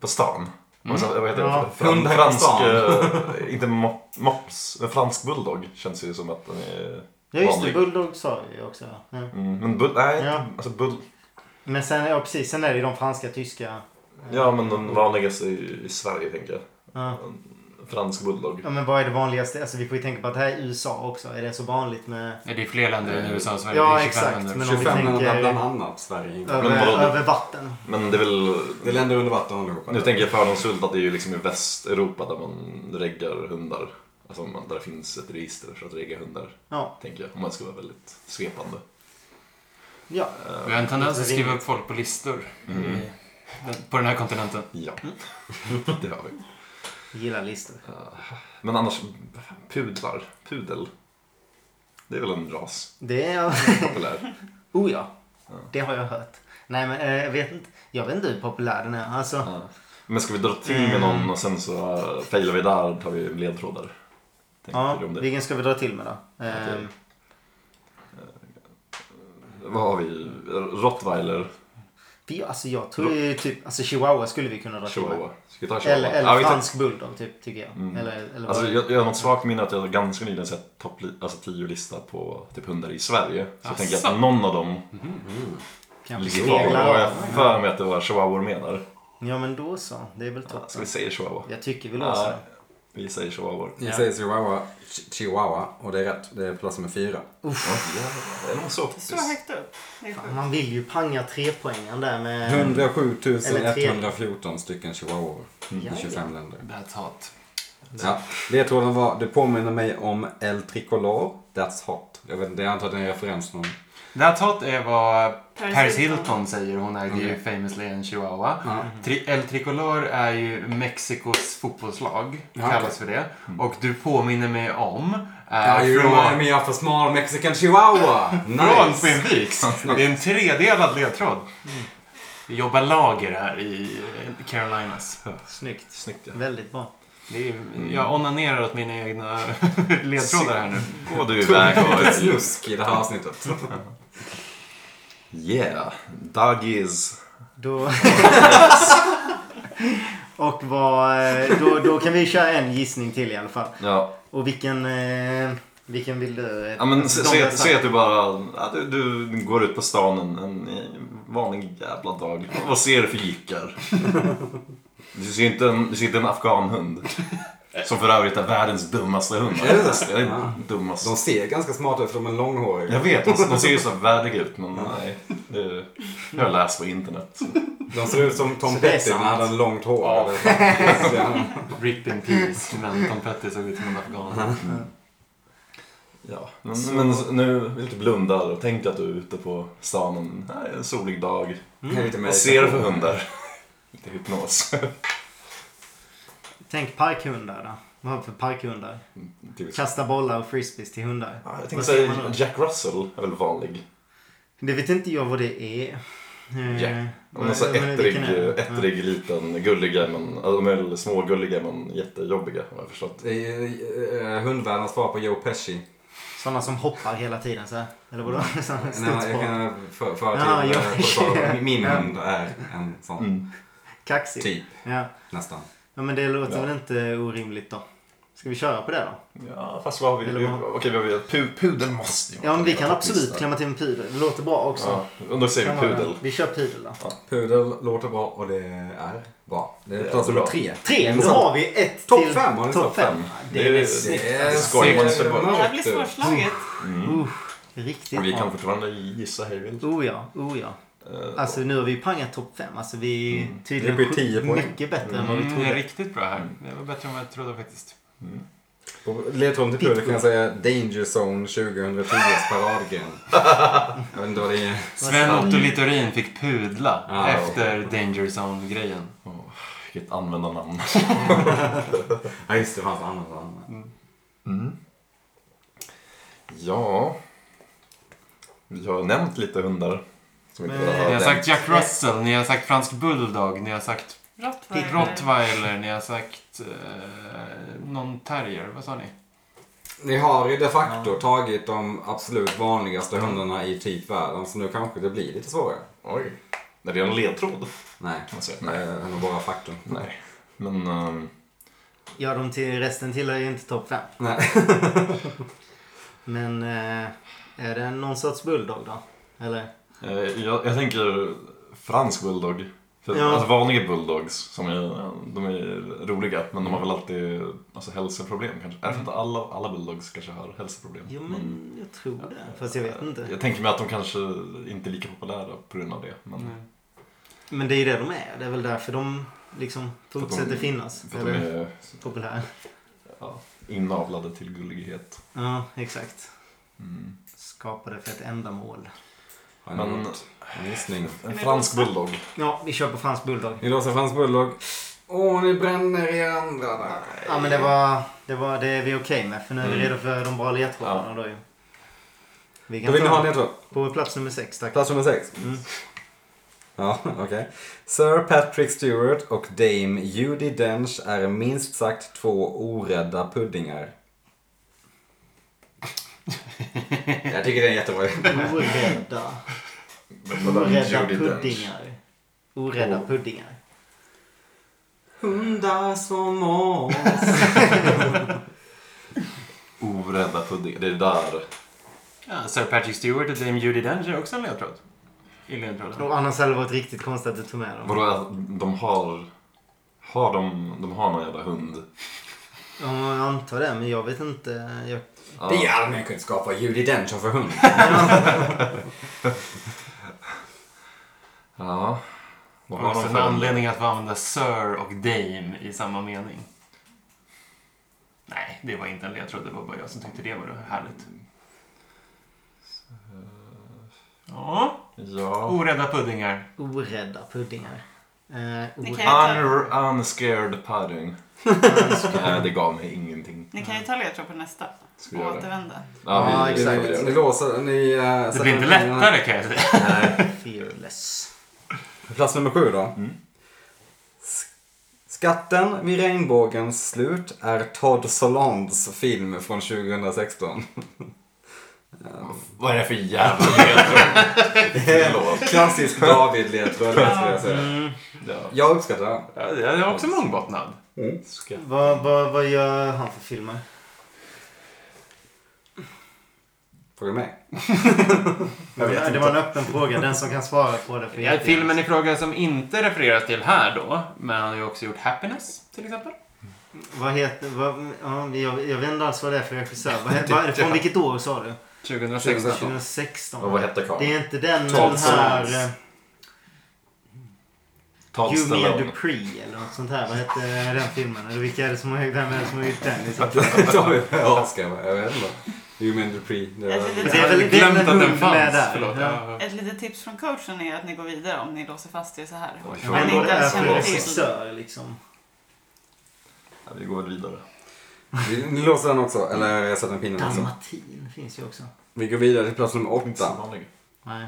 Speaker 5: på stan.
Speaker 2: Mm.
Speaker 5: Och så- Vad heter
Speaker 4: Ja,
Speaker 5: det? Fran-
Speaker 1: hundar på
Speaker 5: fransk,
Speaker 1: stan.
Speaker 5: eh, inte mop- mops, men fransk bulldog känns ju som att den är
Speaker 4: Ja just det,
Speaker 5: vanlig.
Speaker 4: bulldog sa vi ju också. Ja.
Speaker 5: Mm, men bull, nej,
Speaker 4: Ja.
Speaker 5: alltså bull,
Speaker 4: Men sen, ja precis, sen är det ju de franska, tyska.
Speaker 5: Ja, men de vanligaste i, i Sverige tänker jag.
Speaker 4: Ja.
Speaker 5: En Fransk bulldog.
Speaker 4: ja men vad är det vanligaste? Alltså vi får ju tänka på att det här är USA också. Är det så vanligt med
Speaker 2: Ja, det är fler länder än USA och Sverige.
Speaker 4: Ja,
Speaker 2: det är 25
Speaker 4: exakt,
Speaker 2: länder.
Speaker 4: men om vi
Speaker 1: 25 länder
Speaker 4: tänker-
Speaker 1: bland annat Sverige.
Speaker 4: över,
Speaker 5: vadå?
Speaker 4: över vatten?
Speaker 5: Men det är väl...
Speaker 1: Det är länder under vatten allihopa.
Speaker 5: Nu tänker jag fördomsfullt att det är ju liksom i Västeuropa där man reggar hundar. Alltså man- där det finns ett register för att regga hundar.
Speaker 4: Ja.
Speaker 5: Tänker jag, om man ska vara väldigt svepande.
Speaker 4: ja.
Speaker 2: Vi har en tendens att skriva upp folk på listor
Speaker 5: Mm.
Speaker 2: i- på den här kontinenten.
Speaker 5: Ja, det har vi.
Speaker 4: Gillar listor.
Speaker 5: Men annars, pudlar. Pudel. Det är väl en ras?
Speaker 4: Det är...
Speaker 5: Populär.
Speaker 4: oh ja. Det har jag hört. Nej men eh, jag vet inte. Jag vet inte hur populär den är. Alltså.
Speaker 5: Ja. Men ska vi dra till med någon och sen så eh, failar vi där tar vi ledtrådar? Tänkte
Speaker 4: Ja,
Speaker 5: du om det?
Speaker 4: vilken ska vi dra till med då? Ehm,
Speaker 5: Eh, Vad har vi? Rottweiler,
Speaker 4: vi, alltså jag tror ju typ, alltså chihuahua skulle vi kunna dra till med.
Speaker 5: chihuahua. Ska vi ta chihuahua?
Speaker 4: Eller, eller
Speaker 5: Ja, vi tar-
Speaker 4: fransk bulldog typ, tycker jag.
Speaker 5: Mm.
Speaker 4: Eller, eller
Speaker 5: Alltså,
Speaker 4: vad-
Speaker 5: jag, jag har något svagt minne att jag ganska nyligen sett topp alltså, tio lista på typ hundar i Sverige. Så jag tänker
Speaker 2: Asså.
Speaker 5: att någon av dem
Speaker 4: kanske
Speaker 5: ligger kvar. Och
Speaker 4: speglar.
Speaker 5: jag har för mig att det var chihuahuor med där.
Speaker 4: Ja men då så, det är väl
Speaker 5: Ska
Speaker 4: toppen.
Speaker 5: vi säga chihuahua?
Speaker 4: Jag tycker vi låser
Speaker 5: Nej, vi säger chihuahuor.
Speaker 1: Vi säger chihuahua, ch- chihuahua och det är rätt. Det är plats nummer fyra.
Speaker 5: Det är nog så.
Speaker 3: Så högt upp. Det är
Speaker 4: den.
Speaker 3: sjukt.
Speaker 4: Man vill ju panga trepoängaren där med...
Speaker 1: 107
Speaker 4: Eller tre.
Speaker 1: 114 stycken chihuahuor
Speaker 4: Ja,
Speaker 1: i 25 länder.
Speaker 2: That's hot.
Speaker 5: Mm.
Speaker 1: Ja. Ledtråden var, du påminner mig om El Tricolor, That's Hot. Jag, vet, inte, jag antar att det är en referens någon.
Speaker 2: That's hot är vad
Speaker 3: Paris
Speaker 2: Paris
Speaker 3: Hilton. Mm.
Speaker 2: Hilton säger. Hon äger ju famously en chihuahua.
Speaker 1: Ja.
Speaker 2: Tri- El Tricolor är ju Mexikos fotbollslag.
Speaker 1: Ja, Mm.
Speaker 2: kallas för det. Och du påminner mig om
Speaker 1: Ja,
Speaker 5: Ah,
Speaker 2: är
Speaker 1: you remind
Speaker 2: från,
Speaker 1: me of a small mexican chihuahua.
Speaker 2: från
Speaker 1: Nice.
Speaker 2: Spinnviks. Det är en tredelad ledtråd.
Speaker 3: Mm.
Speaker 2: Vi jobbar lager här i eh, Carolinas.
Speaker 4: Snyggt.
Speaker 5: Snyggt ja.
Speaker 4: Väldigt bra.
Speaker 2: Det är,
Speaker 1: Mm.
Speaker 2: jag onanerar åt mina egna ledtrådar här nu.
Speaker 5: Går du iväg
Speaker 1: Lite
Speaker 5: och...
Speaker 1: Snusk i det här avsnittet.
Speaker 5: Yeah. Doggies.
Speaker 4: Då... Och vad... eh, Då, då kan vi köra en gissning till i alla fall.
Speaker 5: Ja,
Speaker 4: Och vilken... Eh, vilken vill du? eh,
Speaker 5: ja men
Speaker 4: alltså,
Speaker 5: se,
Speaker 4: de
Speaker 5: se,
Speaker 4: där-
Speaker 5: se att du bara... Ja, du, du går ut på stan en, en vanlig jävla dag. Vad ser du för jyckar? Du ser ju inte en, du ser inte en afghanhund. Som för övrigt är världens dummaste hund.
Speaker 1: Är det det?
Speaker 5: Det är
Speaker 1: Ja.
Speaker 5: dummast.
Speaker 1: De ser ganska smarta ut för de är långhåriga.
Speaker 5: Jag vet, de, de ser ju så värdiga ut men nej. Det, jag har läst på internet.
Speaker 1: De ser ut som Tom
Speaker 4: Så det är
Speaker 1: Petty när
Speaker 4: sant.
Speaker 1: han hade långt hår.
Speaker 5: Ja.
Speaker 1: Eller så. Ja. Mm.
Speaker 2: Rip in peace. Men Tom Petty såg ut som en afghan. Mm.
Speaker 5: Ja, men, men nu vill du blunda och tänk dig att du är ute på stan en, nej, en solig dag.
Speaker 1: Det är lite
Speaker 5: Vad
Speaker 1: meditation.
Speaker 5: ser du för hundar? Lite hypnos.
Speaker 4: Tänk parkhundar då. Vad har vi för parkhundar?
Speaker 5: Typ.
Speaker 4: Kasta bollar och frisbees till hundar.
Speaker 5: Ja, jag tänkte
Speaker 4: Vad säger man
Speaker 5: säga
Speaker 4: då?
Speaker 5: Jack Russell är väl vanlig.
Speaker 4: Det vet inte jag vad det är. Eh,
Speaker 5: Jack.
Speaker 4: vad-
Speaker 5: De är så
Speaker 4: men
Speaker 5: ettrig,
Speaker 4: vilken är det?
Speaker 5: ettrig liten, gulliga men, alltså, de är väl smågulliga men jättejobbiga har jag förstått.
Speaker 1: Det är, eh, Hundvärldens svar på Joe Pesci.
Speaker 4: Sådana som hoppar hela tiden så här. Eller vadå? Sådana
Speaker 1: Nej, jag
Speaker 5: Typ.
Speaker 4: studsboll.
Speaker 1: kan föra för
Speaker 4: Ja,
Speaker 1: till
Speaker 4: Joe
Speaker 1: eh,
Speaker 4: Pesci.
Speaker 1: protokollet. Min
Speaker 4: Ja.
Speaker 1: hund är en sån.
Speaker 5: Mm.
Speaker 4: Kaxig.
Speaker 1: Typ,
Speaker 4: Ja.
Speaker 1: nästan.
Speaker 4: ja, men det låter
Speaker 5: Ja.
Speaker 4: väl inte orimligt då. Ska vi köra på det då?
Speaker 5: Ja, fast vad har vi?
Speaker 4: Eller
Speaker 5: vi-
Speaker 4: vad-
Speaker 5: Okej, vi har vi? Pu, pudel måste ju
Speaker 4: Ja, men vi kan
Speaker 5: vara
Speaker 4: absolut
Speaker 5: topplista.
Speaker 4: klämma till en pudel. Det låter bra också.
Speaker 5: Ja, och då säger
Speaker 4: Kan
Speaker 5: vi
Speaker 4: vara den.
Speaker 5: pudel.
Speaker 4: Vi kör pudel då.
Speaker 1: Pudel låter bra och det är bra. Det
Speaker 5: Det
Speaker 1: är
Speaker 5: är
Speaker 1: plats nummer
Speaker 5: bra.
Speaker 1: tre.
Speaker 4: Tre! Då har vi ett
Speaker 1: Topp
Speaker 4: till.
Speaker 1: fem, har ni
Speaker 4: Topp
Speaker 1: topp
Speaker 4: fem. Det är väl snyggt.
Speaker 1: Det är
Speaker 5: alltså. Skoj, man ska
Speaker 1: mörkt
Speaker 5: bara-
Speaker 3: Det här blir
Speaker 1: ut.
Speaker 3: svårslaget.
Speaker 4: Riktigt
Speaker 5: Vi
Speaker 4: bra.
Speaker 5: kan fortfarande gissa hej vilt.
Speaker 4: Oh ja, oh ja. Alltså nu har vi pangat topp 5. Alltså vi är tydligen
Speaker 1: Det blir 10 poäng.
Speaker 4: mycket bättre än vad vi
Speaker 2: Mm, det är
Speaker 4: trodde.
Speaker 2: riktigt bra här. Det var bättre än vad jag trodde faktiskt.
Speaker 1: Och Ledtråden till pudel kan jag säga Danger Zone 2010s paradgren. Jag vet inte vad det är.
Speaker 2: Sven Otto Littorin fick pudla
Speaker 1: Ja.
Speaker 2: efter Danger Zone-grejen.
Speaker 5: Vilket användarnamn.
Speaker 1: Ja just det, det fanns annat. annat.
Speaker 5: Mm. Ja. Vi har nämnt lite hundar. Som inte
Speaker 4: Men-
Speaker 5: har
Speaker 2: Ni har
Speaker 5: nämnt.
Speaker 2: sagt Jack Russell, ni har sagt fransk bulldog, ni har sagt
Speaker 3: Rottweiler.
Speaker 2: rottweiler, ni har sagt eh, någon terrier. Vad sa ni?
Speaker 1: Ni har ju de facto tagit de absolut vanligaste hundarna i typ världen så nu kanske det blir lite svårare.
Speaker 5: Oj. Är det en ledtråd?
Speaker 1: Nej,
Speaker 5: Man säger,
Speaker 1: det
Speaker 5: nej.
Speaker 1: är nog bara faktum.
Speaker 5: nej. Men ehm,
Speaker 4: Ja, de till, resten tillhör ju inte topp 5.
Speaker 1: Nej.
Speaker 4: Men eh, är det någon sorts bulldog då? Eller?
Speaker 5: Eh, Jag, jag tänker fransk bulldog. För
Speaker 4: Ja.
Speaker 5: alltså, vanliga bulldogs, som är, de är roliga, men de har väl alltid alltså, hälsoproblem kanske. Även inte alla, alla bulldogs kanske har hälsoproblem.
Speaker 4: Jo
Speaker 5: men,
Speaker 4: men jag tror det. Fast jag vet
Speaker 5: eh,
Speaker 4: inte.
Speaker 5: Jag tänker mig att de kanske inte är lika populära på grund av det. Men
Speaker 2: Nej.
Speaker 4: Men det är ju det de är. Det är väl därför de liksom fortsätter finnas.
Speaker 5: för att de
Speaker 4: Eller
Speaker 5: är
Speaker 4: populära.
Speaker 5: ja, inavlade till gullighet.
Speaker 4: Ja, exakt.
Speaker 5: Mm.
Speaker 4: Skapade för ett ändamål.
Speaker 1: Har ni
Speaker 5: Men-
Speaker 1: något? En gissning.
Speaker 5: En fransk bulldog.
Speaker 4: Ja, vi kör på fransk bulldog.
Speaker 1: Ni låser fransk bulldog. Åh, ni bränner er andra där.
Speaker 4: Ja men det var det, var, det är vi okej med för nu är vi
Speaker 5: Mm.
Speaker 4: redo för de bra ledtrådarna
Speaker 5: Ja.
Speaker 4: då ju. Vi
Speaker 1: Då
Speaker 4: kan
Speaker 1: vill ni ha en
Speaker 4: ta
Speaker 1: ledtråd.
Speaker 4: på plats nummer sex tack.
Speaker 1: Plats nummer sex.
Speaker 4: Mm.
Speaker 1: Ja, okej. Sir Patrick Stewart och Dame Judi Dench är minst sagt två orädda puddingar. Jag tycker det är jättebra.
Speaker 4: Orädda. Orädda puddingar. Orädda puddingar.
Speaker 1: Hundar som oss.
Speaker 5: Orädda pudding. Det är där.
Speaker 2: Ja, Sir Patrick Stewart och Dame Judi Dench är också en ledtråd. I ledtråden.
Speaker 4: Och annars hade det varit riktigt konstigt att du tog med dem.
Speaker 5: Vadå, att de har... Har de... De har någon jävla hund.
Speaker 4: Ja, men jag antar det men jag vet inte. Jag...
Speaker 5: Ja.
Speaker 1: Det är allmänkunskap vad Judi Dench har för hund.
Speaker 5: Ja. Vad har
Speaker 2: Också
Speaker 5: de
Speaker 2: en
Speaker 5: för anledning?
Speaker 2: anledning att använda Sir och Dame i samma mening. Nej, det var inte en ledtråd. Det var bara jag som tyckte det var härligt. Mm. Ja,
Speaker 5: Ja.
Speaker 2: orädda puddingar.
Speaker 4: Orädda puddingar. Eh,
Speaker 3: Ni
Speaker 4: orä-
Speaker 3: kan-
Speaker 5: Un unscared padding. Nej, det gav mig ingenting.
Speaker 3: Ni kan ju ta ledtråd på nästa.
Speaker 5: Ska vi
Speaker 3: Och
Speaker 5: göra det?
Speaker 3: återvända.
Speaker 4: Ja,
Speaker 5: vi-
Speaker 4: exakt.
Speaker 5: vi gör
Speaker 1: Ni
Speaker 5: det.
Speaker 1: låser, ni... eh,
Speaker 2: Det
Speaker 1: sätter
Speaker 2: blir inte
Speaker 1: fingrarna.
Speaker 2: lättare kan jag säga.
Speaker 4: Fearless.
Speaker 1: Plats nummer sju då.
Speaker 2: Mm.
Speaker 1: S- Skatten vid regnbågens slut är Todd Solonds film från 2016.
Speaker 5: Vad är det för jävla ledtråd? Förlåt.
Speaker 1: Klassisk David-ledtråd skulle jag säga.
Speaker 2: mm.
Speaker 5: Ja.
Speaker 1: Jag uppskattar den.
Speaker 2: Ja, det är också mångbottnad.
Speaker 4: Vad, vad, vad gör han för filmer?
Speaker 1: Frågar du mig?
Speaker 4: det var en öppen fråga. Den som kan svara på det får
Speaker 2: Det är filmen i fråga som inte refereras till här då, men han har ju också gjort Happiness till exempel.
Speaker 4: Vad heter... Vad, ja, jag, jag vet inte alls vad det är för regissör. Vad, he- vad, är det- från vilket år sa du?
Speaker 2: 2016.
Speaker 4: 2016.
Speaker 5: Och vad hette karln?
Speaker 4: Det är inte den med
Speaker 5: Todd
Speaker 4: den här...
Speaker 5: Solondz.
Speaker 4: eh,
Speaker 5: Todd
Speaker 4: Junior
Speaker 5: Stallone.
Speaker 4: Dupree eller något sånt här. Vad hette den filmen? Eller vilka är det som har gjort den? Vem är det som har gjort den? Liksom?
Speaker 1: David överraskar mig. Jag vet inte. Human Dupree. Det
Speaker 3: Ett
Speaker 1: var...
Speaker 3: litet,
Speaker 4: Det är väl-
Speaker 2: Jag glömt
Speaker 4: det är väl
Speaker 2: att den
Speaker 4: hund med
Speaker 2: fanns.
Speaker 4: där.
Speaker 2: Förlåt.
Speaker 4: Ja.
Speaker 2: Ja.
Speaker 3: ett litet tips från coachen är att ni går vidare om ni låser fast er så här.
Speaker 5: Oj,
Speaker 3: Men
Speaker 4: Men vad det
Speaker 3: inte
Speaker 4: är
Speaker 3: ens
Speaker 4: för
Speaker 3: känner till.
Speaker 4: regissör liksom.
Speaker 5: Mm. Ja, vi går väl vidare.
Speaker 1: Ni låser den också. Eller jag sätter en pinne också.
Speaker 4: Dalmatin finns ju också.
Speaker 1: Vi går vidare till plats nummer
Speaker 5: Inte så
Speaker 1: åtta.
Speaker 5: vanlig.
Speaker 4: Nej.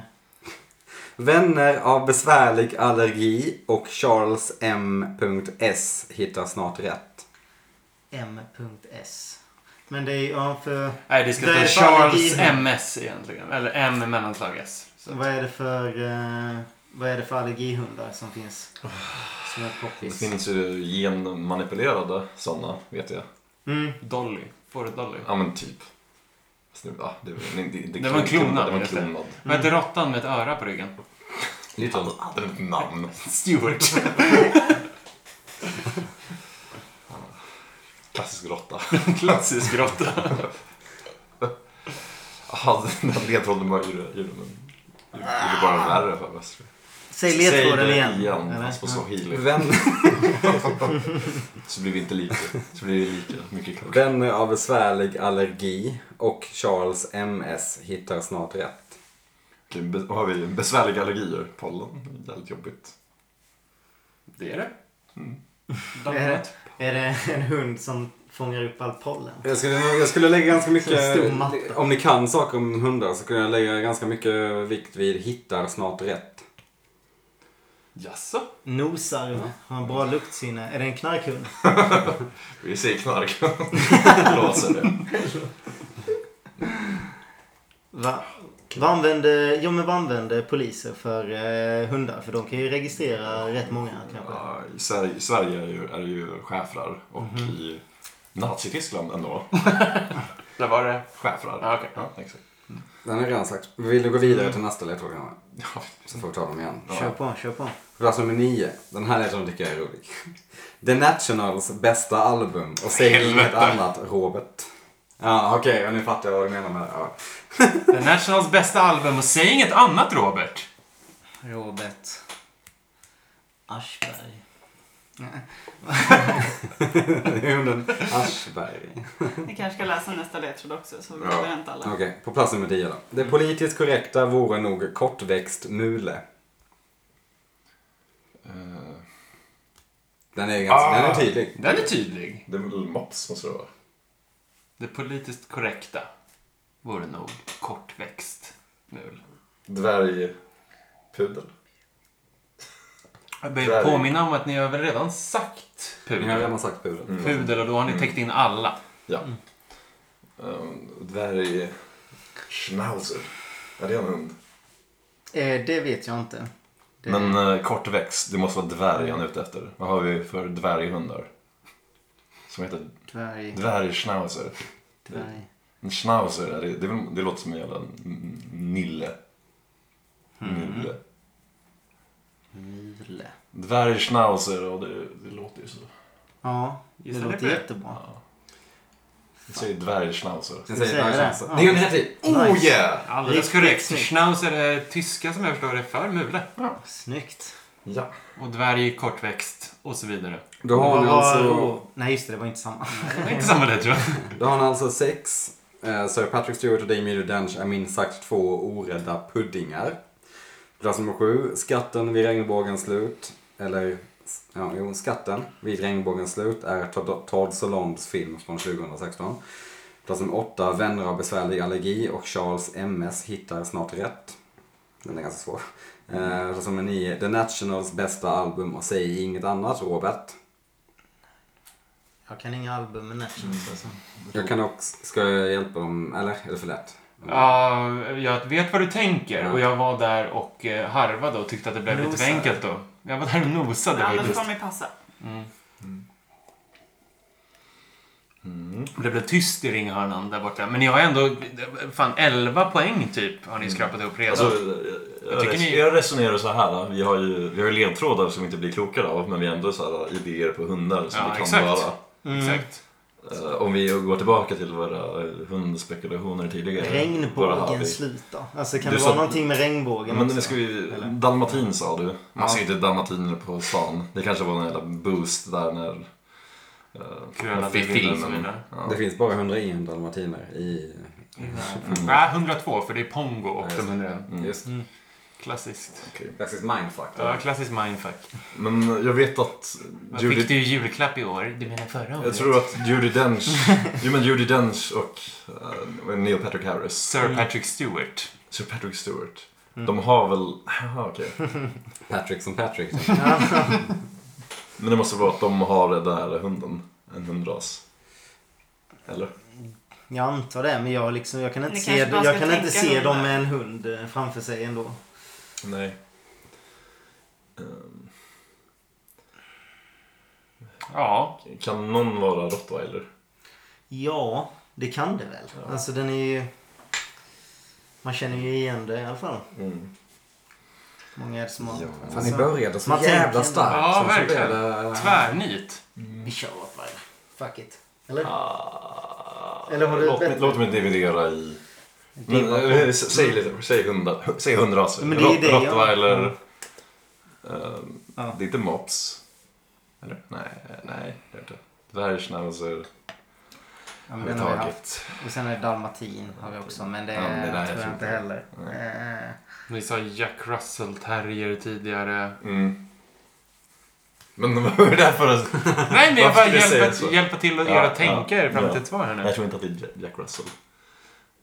Speaker 1: Vänner av besvärlig allergi och Charles M.S. hittar snart rätt.
Speaker 4: M.S. Men det är ju... Ja, för...
Speaker 2: Nej, det ska
Speaker 4: Det är
Speaker 2: stå
Speaker 4: fan
Speaker 2: Charles
Speaker 4: allergi.
Speaker 2: MS egentligen. Eller M mellanslag S. Så.
Speaker 4: Vad är det för... eh, vad är det för allergihundar som finns? Som är
Speaker 5: Det
Speaker 4: poppis.
Speaker 5: finns ju genmanipulerade sådana, vet jag.
Speaker 4: Mm.
Speaker 2: Dolly. Fåret Dolly.
Speaker 5: Ja, men typ. Fast nu- Ja, det, det, det,
Speaker 2: Det var en klonad,
Speaker 5: Det var en
Speaker 2: just det.
Speaker 5: klonad.
Speaker 2: Vad heter råttan med ett öra på ryggen?
Speaker 1: Lite.
Speaker 5: Hade den ett namn?
Speaker 2: Stewart.
Speaker 5: Klassisk råtta.
Speaker 2: Klassisk råtta.
Speaker 5: Jaha, den där ledtråden var ju det. men Det gjorde bara värre för mig.
Speaker 4: Säg ledtråden
Speaker 5: det
Speaker 4: igen. eller?
Speaker 5: fast på så healing.
Speaker 1: Vän...
Speaker 5: Så blir vi inte lika. Så blir det lika mycket klart.
Speaker 1: Vänner av besvärlig allergi och Charles M.S. hittar snart rätt.
Speaker 5: Okej, be- Då har vi besvärliga allergier. Pollen, jävligt jobbigt.
Speaker 2: Det är det.
Speaker 4: Ja. Är, det, är det en hund som fångar upp all pollen?
Speaker 1: Jag skulle, jag skulle lägga ganska mycket...
Speaker 4: Stor matta.
Speaker 1: Om ni kan saker om hundar så skulle jag lägga ganska mycket vikt vid hittar snart rätt.
Speaker 2: Jaså?
Speaker 4: Nosar,
Speaker 5: Mm.
Speaker 4: har en bra luktsinne. Är det en knarkhund?
Speaker 5: Vi säger knark. Låser det.
Speaker 4: Va? Vad använder, jo, men vad använder poliser för eh, hundar? För de kan ju registrera rätt många kanske.
Speaker 5: Ja, I Sverige, Sverige är, ju, är det ju schäfrar och
Speaker 2: Mhm.
Speaker 5: i Nazityskland ändå
Speaker 2: Där var det.
Speaker 5: schäfrar.
Speaker 2: Ja, okej.
Speaker 5: Ja, exakt.
Speaker 1: Den är redan sagt. Vill du gå vidare till nästa ledtråd? Janne? Så får vi ta dem igen.
Speaker 4: Kör på, kör på.
Speaker 1: Plats nummer nio. Den här ledtråden tycker jag är rolig. The Nationals bästa album och säg inget annat Robert. Ja, okej, och nu fattar jag vad du menar med det. Ja.
Speaker 2: The Nationals bästa album och säg inget annat Robert.
Speaker 4: Robert Aschberg.
Speaker 1: Det är hunden Aschberg.
Speaker 3: Ni kanske ska läsa nästa ledtråd också så vi
Speaker 1: Ja.
Speaker 3: behöver inte alla.
Speaker 1: Okej, på plats nummer 10 då. Det politiskt korrekta vore nog kortväxt mule.
Speaker 5: Eh,
Speaker 1: Den är ganska, den är tydlig.
Speaker 2: Den är tydlig.
Speaker 5: Det är väl mops måste det vara.
Speaker 2: Det politiskt korrekta vore nog kortväxt mul.
Speaker 5: Dvärgpudel.
Speaker 2: Jag behöver påminna om att ni har väl redan sagt
Speaker 1: Ni har
Speaker 2: pudel.
Speaker 1: redan sagt pudel.
Speaker 2: Pudel och då har ni täckt in alla.
Speaker 5: Ja.
Speaker 2: Mm.
Speaker 5: Um, dvärg... Schnauzer. Ja, det är en hund.
Speaker 4: Eh, det vet jag inte. Det-
Speaker 5: Men eh, kortväxt, det måste vara
Speaker 2: Mm.
Speaker 5: dvärg han är ute efter. Vad har vi för dvärghundar? Som heter
Speaker 4: Dvärg.
Speaker 5: dvärgschnauzer.
Speaker 4: Dvärg.
Speaker 5: En schnauzer, är det, det, är väl- det låter som en jävla n- nille.
Speaker 2: Mm.
Speaker 5: Nille.
Speaker 4: Mule.
Speaker 5: Dvärgschnauzer, och det, det låter ju så.
Speaker 4: Ja, det
Speaker 2: Gissar ni på
Speaker 4: låter
Speaker 2: det?
Speaker 4: jättebra.
Speaker 5: Jag säger dvärgschnauzer.
Speaker 1: Sen
Speaker 4: Vi
Speaker 1: säger
Speaker 4: säger
Speaker 1: det.
Speaker 4: det.
Speaker 1: Det är en rätt tid.
Speaker 4: Nice.
Speaker 5: yeah!
Speaker 2: Alldeles
Speaker 4: Riktigt
Speaker 2: korrekt.
Speaker 4: snyggt.
Speaker 2: Schnauz är det tyska som jag förstår det för mule.
Speaker 4: Snyggt.
Speaker 5: Ja.
Speaker 2: Och dvärg är kortväxt och så vidare.
Speaker 1: Då har
Speaker 4: Vad
Speaker 1: ni
Speaker 4: var
Speaker 1: alltså,
Speaker 4: Ro- Nej, just det. Det var inte samma.
Speaker 2: Det är inte samma det tror jag.
Speaker 1: då har ni alltså sex. Eh, Sir Patrick Stewart och Damien Dudench är minst sagt två orädda puddingar. Plats nummer sju. Skatten vid regnbågens slut. Eller, ja, jo, skatten vid regnbågens slut är Todd- Todd Solonds film från 2016. Plats nummer åtta. Vänner av besvärlig allergi och Charles MS hittar snart rätt. Den är ganska svår. Eh, plats nummer nio. The Nationals bästa album och säg inget annat, Robert.
Speaker 4: Jag kan inga album med Nationals alltså.
Speaker 1: Jag kan också, ska jag hjälpa dem, eller? Är det för lätt?
Speaker 2: Ja, jag vet vad du tänker och jag var där och eh, harvade och tyckte att det blev lite
Speaker 4: Nosade.
Speaker 2: för enkelt då. Jag var där och nosade
Speaker 3: Ja, men
Speaker 2: faktiskt.
Speaker 3: får mig passa.
Speaker 6: Mm.
Speaker 2: Det blev tyst i ringhörnan där borta. Men ni har ändå fan 11 poäng typ har ni skrapat ihop redan.
Speaker 6: Alltså,
Speaker 2: Jag
Speaker 6: jag,
Speaker 2: tycker ni-
Speaker 6: jag resonerar så här. Vi har ju, vi har ju ledtrådar som vi inte blir klokare av, men vi har ändå så här, idéer på hundar som
Speaker 2: Ja,
Speaker 6: vi kan
Speaker 2: exakt.
Speaker 6: vara.
Speaker 4: Mm.
Speaker 2: Exakt.
Speaker 6: Eh, Om vi går tillbaka till våra eh, hundspekulationer tidigare. Bara har vi-
Speaker 4: Regnbågens slut då? Alltså kan
Speaker 6: Du
Speaker 4: det
Speaker 6: sa-
Speaker 4: vara någonting med regnbågen
Speaker 6: Men
Speaker 4: också?
Speaker 6: nu ska vi...
Speaker 4: Eller?
Speaker 6: Dalmatin sa du. Man
Speaker 4: Ja.
Speaker 6: ser inte dalmatiner på stan. Det kanske var en jävla boost där när... Uh,
Speaker 2: Krönade bilden och så vidare.
Speaker 1: Det finns bara 101 dalmatiner i...
Speaker 6: Mm.
Speaker 2: Nej, 102 för det är Pongo och de 101.
Speaker 1: Just
Speaker 2: Klassiskt.
Speaker 1: Klassisk mindfuck.
Speaker 2: Ja, klassiskt mindfuck.
Speaker 6: Men jag vet att
Speaker 2: Vad
Speaker 6: Judy,
Speaker 2: Fick du i julklapp i år? Du menar förra året?
Speaker 6: jag tror att Judy Dench, jo men Judy Dench och eh, Neil Patrick Harris,
Speaker 2: Sir Patrick Stewart.
Speaker 6: Sir Patrick Stewart,
Speaker 4: Mm.
Speaker 6: de har väl, aha, okej.
Speaker 1: Patrick som Patrick.
Speaker 6: Men det måste vara att de har den där hunden, en hundras. Eller?
Speaker 4: Jag antar det, men jag, liksom, jag kan inte
Speaker 3: Ni
Speaker 4: se,
Speaker 3: kanske bara
Speaker 4: jag
Speaker 3: ska
Speaker 4: kan inte
Speaker 3: tänka
Speaker 4: se
Speaker 3: hundar.
Speaker 4: dem med en hund eh, framför sig ändå.
Speaker 6: Nej. Ehm,
Speaker 2: Ja,
Speaker 6: Kan någon vara rottweiler?
Speaker 4: Ja, det kan det väl. Alltså den är ju... Man känner ju igen det i alla fall. Många är Alltså, det som har...
Speaker 1: Fan, ni började så
Speaker 4: Man
Speaker 1: jävla
Speaker 4: tänker-
Speaker 1: starkt.
Speaker 2: Alltså, Ja,
Speaker 1: Sen så
Speaker 2: verkligen.
Speaker 1: blev det-
Speaker 2: tvärnit.
Speaker 4: Vi kör Rottweiler. Fuck it. Eller?
Speaker 5: Ah.
Speaker 4: Eller har du ett
Speaker 6: Låt,
Speaker 4: bättre?
Speaker 6: mig- låt mig dividera i... Men,
Speaker 4: Diva.
Speaker 6: eh, s- säg lite, säg hundra, säg hundraser.
Speaker 4: Men det är
Speaker 6: Rott-
Speaker 4: det jag-
Speaker 6: Rottweiler.
Speaker 4: Mm.
Speaker 6: ehm,
Speaker 4: Ja.
Speaker 6: Det är inte mops. Eller? Nej, nej. det är inte. Dvärgschnauzer.
Speaker 4: Ja, men
Speaker 6: Har vi
Speaker 4: den har vi haft.
Speaker 6: tagit.
Speaker 4: Och sen är det dalmatin har vi också, men det,
Speaker 6: Ja, men det där är
Speaker 4: tror jag
Speaker 6: fint.
Speaker 4: inte heller. Eh,
Speaker 2: Ni sa Jack Russell Terrier tidigare.
Speaker 6: Mm. Men vad var det där för att...
Speaker 2: Nej, men jag bara
Speaker 6: Varför skulle jag säga
Speaker 2: hjälpa,
Speaker 6: så?
Speaker 2: hjälpa till att
Speaker 6: Ja,
Speaker 2: göra
Speaker 6: ja,
Speaker 2: tänka er fram
Speaker 6: ja.
Speaker 2: till ett svar här nu.
Speaker 6: Jag tror inte att det är Ja- Jack Russell.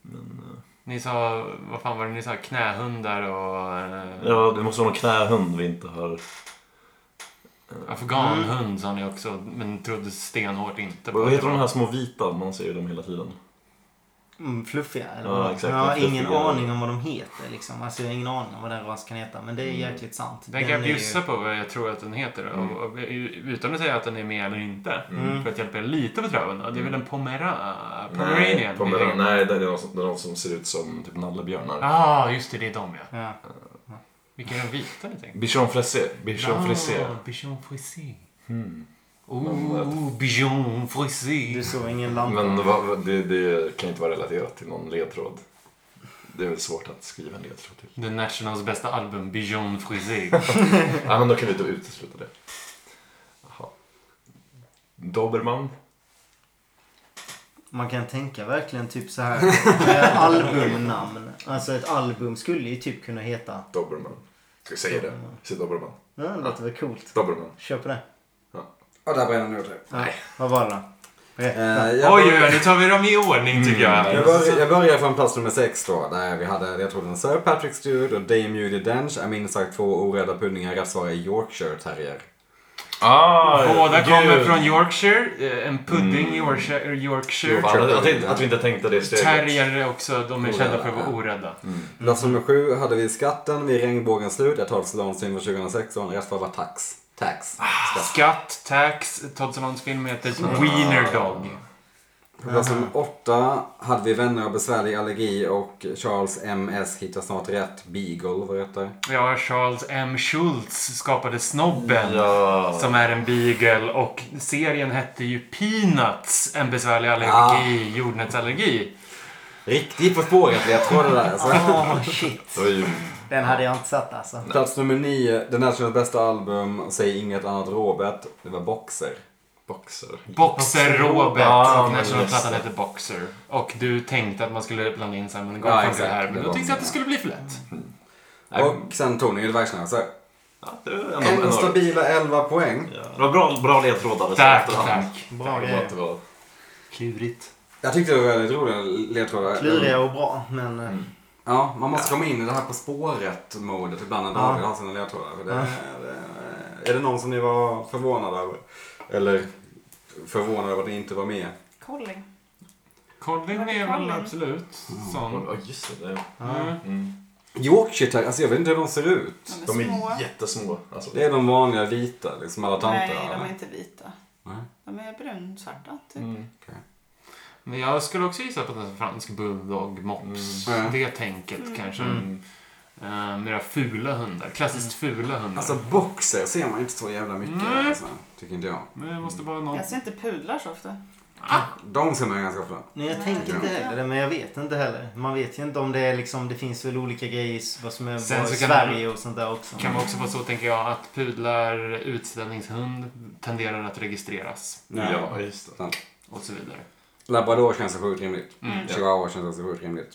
Speaker 6: Men, eh,
Speaker 2: Ni sa, vad fan var det ni sa, knähundar och eh,
Speaker 6: ja, det måste vara någon knähund vi inte har...
Speaker 2: afghanhund sa ni också, men trodde stenhårt inte på.
Speaker 6: Vad heter de här små vita? Man ser ju dem hela tiden.
Speaker 4: mm, fluffiga. Eller
Speaker 6: Ja,
Speaker 4: vad?
Speaker 6: exakt,
Speaker 4: jag har
Speaker 6: fluffiga.
Speaker 4: ingen aning om vad de heter. Liksom. Alltså, jag har ingen aning om vad den rasen kan heta. Men det
Speaker 6: Mm.
Speaker 4: är jäkligt sant.
Speaker 2: Den kan jag
Speaker 4: är ju-
Speaker 2: bjussa på vad jag tror att den heter.
Speaker 5: Mm.
Speaker 2: Och, och, utan att säga att den är med eller inte.
Speaker 4: Mm.
Speaker 2: För att hjälpa er lite på traven. då. Det är väl en pomera...
Speaker 5: Nej,
Speaker 2: Pomeranian?
Speaker 5: Pomeran, nej, det är någon som, det är någon som ser ut som typ nallebjörnar.
Speaker 2: Ah, just det. Det är de ja.
Speaker 4: Ja.
Speaker 2: Vilka är de vita ni tänker?
Speaker 5: Bichon frisé. Bichon frisé.
Speaker 2: Ah, Bichon frisé.
Speaker 5: Mm.
Speaker 2: Oh, Bichon frisé.
Speaker 4: Du såg ingen lampa.
Speaker 5: Men vad- vad- det, det kan ju inte vara relaterat till någon ledtråd. Det är väl svårt att skriva en ledtråd till.
Speaker 2: The Nationals bästa album, Bichon frisé.
Speaker 5: Ja, men då kan vi inte utesluta det. Jaha. Dobermann?
Speaker 4: Man kan tänka verkligen typ så här. eh, albumnamn. Alltså ett album skulle ju typ kunna heta.
Speaker 5: Dobermann. Ska vi säga det? Säg Dobermann.
Speaker 4: Ja, det låter väl coolt.
Speaker 5: Dobermann.
Speaker 4: Kör på det.
Speaker 1: Och där bränner du det.
Speaker 4: Ja. Vad var det då? Berätta.
Speaker 1: Eh, jag
Speaker 2: Oj, oj,
Speaker 1: börjar-
Speaker 2: oj, nu tar vi dem i ordning tycker jag.
Speaker 5: Mm.
Speaker 1: Jag börjar, jag börjar från plats nummer sex då, där vi hade, jag tror den Sir Patrick Stewart och Dame Judy Dench är minst sagt två orädda puddingar. Rätt svar är Yorkshire Terrier.
Speaker 5: Ah,
Speaker 2: Båda
Speaker 5: gud.
Speaker 2: kommer från Yorkshire. eh, En pudding i Yorkshire.
Speaker 5: Jo,
Speaker 2: Yorkshire.
Speaker 5: fan, att, att, att vi inte tänkte det steget.
Speaker 2: Terrier också. De är kända för att vara
Speaker 1: Orädda,
Speaker 2: orädda.
Speaker 1: Plats nummer sju hade vi Skatten vid regnbågens slut. Jag tar Sloansyn från 2016. Rätt svar var Tax. Tax.
Speaker 2: Ah,
Speaker 1: Skatt.
Speaker 2: Skatt, tax, Todd Solons film heter Wiener Dog.
Speaker 1: På plats nummer åtta hade vi Vänner av besvärlig allergi och Charles M.S. hittar snart rätt. Beagle var rätt där.
Speaker 2: Ja, Charles M. Schultz skapade Snobben.
Speaker 5: Ja.
Speaker 2: Som är en beagle och serien hette ju Peanuts. En besvärlig allergi, jordnötsallergi.
Speaker 1: Riktigt På spåret ledtråd det där. alltså. Så.
Speaker 4: Åh, shit.
Speaker 5: Det var ju
Speaker 4: Den hade jag inte satt alltså.
Speaker 1: Plats nummer nio, The Nationals bästa album, Säg inget annat Robert. Det var Boxer.
Speaker 5: boxer.
Speaker 2: Boxer Robert.
Speaker 5: Ja,
Speaker 2: och
Speaker 5: men just
Speaker 2: Nationalplattan
Speaker 5: det.
Speaker 2: hette Boxer. Och du tänkte att man skulle blanda in Simon
Speaker 1: Ja,
Speaker 2: Garfunkel
Speaker 1: exakt.
Speaker 2: här. Men
Speaker 1: Det
Speaker 2: då
Speaker 1: var
Speaker 2: tyckte jag att det skulle bli för lätt.
Speaker 5: Nej,
Speaker 1: Och sen Tony Dvärgsnäsa.
Speaker 6: Ja, det var ändå-
Speaker 1: En
Speaker 6: ändå-
Speaker 1: stabila 11 poäng.
Speaker 6: Ja, Det var bra, bra ledtrådar.
Speaker 2: Tack,
Speaker 6: efterhand.
Speaker 2: tack.
Speaker 4: Bra
Speaker 5: det var
Speaker 4: grejer.
Speaker 5: inte bra.
Speaker 2: Klurigt.
Speaker 1: Jag tyckte det var väldigt roliga ledtrådar.
Speaker 4: Kluriga och bra. Men
Speaker 6: Mm.
Speaker 4: eh,
Speaker 1: Ja, man måste komma in i det här På spåret-modet ibland när David har sina ledtrådar. För det, det, är det någon som ni var förvånade över? Eller förvånade över att ni inte var med?
Speaker 3: Colin.
Speaker 2: Colin är väl absolut sån.
Speaker 5: Ja, just det. det.
Speaker 2: Mm.
Speaker 5: Mm.
Speaker 1: Yorkshire Terrier, alltså jag vet inte hur de ser ut.
Speaker 3: De är,
Speaker 5: De
Speaker 3: små.
Speaker 5: är jättesmå. Alltså,
Speaker 1: Det är de vanliga vita, liksom alla tanter.
Speaker 3: Nej, de
Speaker 1: eller?
Speaker 3: är inte vita.
Speaker 1: Nej.
Speaker 3: De är brunsvarta, typ.
Speaker 2: Mm.
Speaker 5: Mm.
Speaker 2: Men jag skulle också gissa på att det är en fransk bulldog, mops.
Speaker 1: Mm. Ja.
Speaker 2: Det tänket kanske.
Speaker 5: Mm.
Speaker 2: Eh, mera fula hundar. Klassiskt fula hundar.
Speaker 1: Alltså boxer ser man inte så jävla mycket.
Speaker 3: Mm.
Speaker 2: Nej.
Speaker 1: Alltså, tycker inte jag.
Speaker 2: Men det måste vara någon...
Speaker 3: Jag ser inte pudlar så ofta.
Speaker 1: De ser man ganska ofta.
Speaker 4: nej, jag
Speaker 3: Nej,
Speaker 4: tänker inte
Speaker 3: ja.
Speaker 4: heller det, men jag vet inte heller. Man vet ju inte om det är liksom, det finns väl olika grejer vad som är
Speaker 2: Sen
Speaker 4: bra i
Speaker 2: så kan
Speaker 4: Sverige och sånt där också.
Speaker 2: Kan vara också vara så, tänker jag, att pudlar, utställningshund tenderar att registreras.
Speaker 5: Ja, just det.
Speaker 1: Sant.
Speaker 2: Och så vidare.
Speaker 1: Labrador känns så sjukt rimligt.
Speaker 2: Mm.
Speaker 1: Chihuahua känns också sjukt rimligt.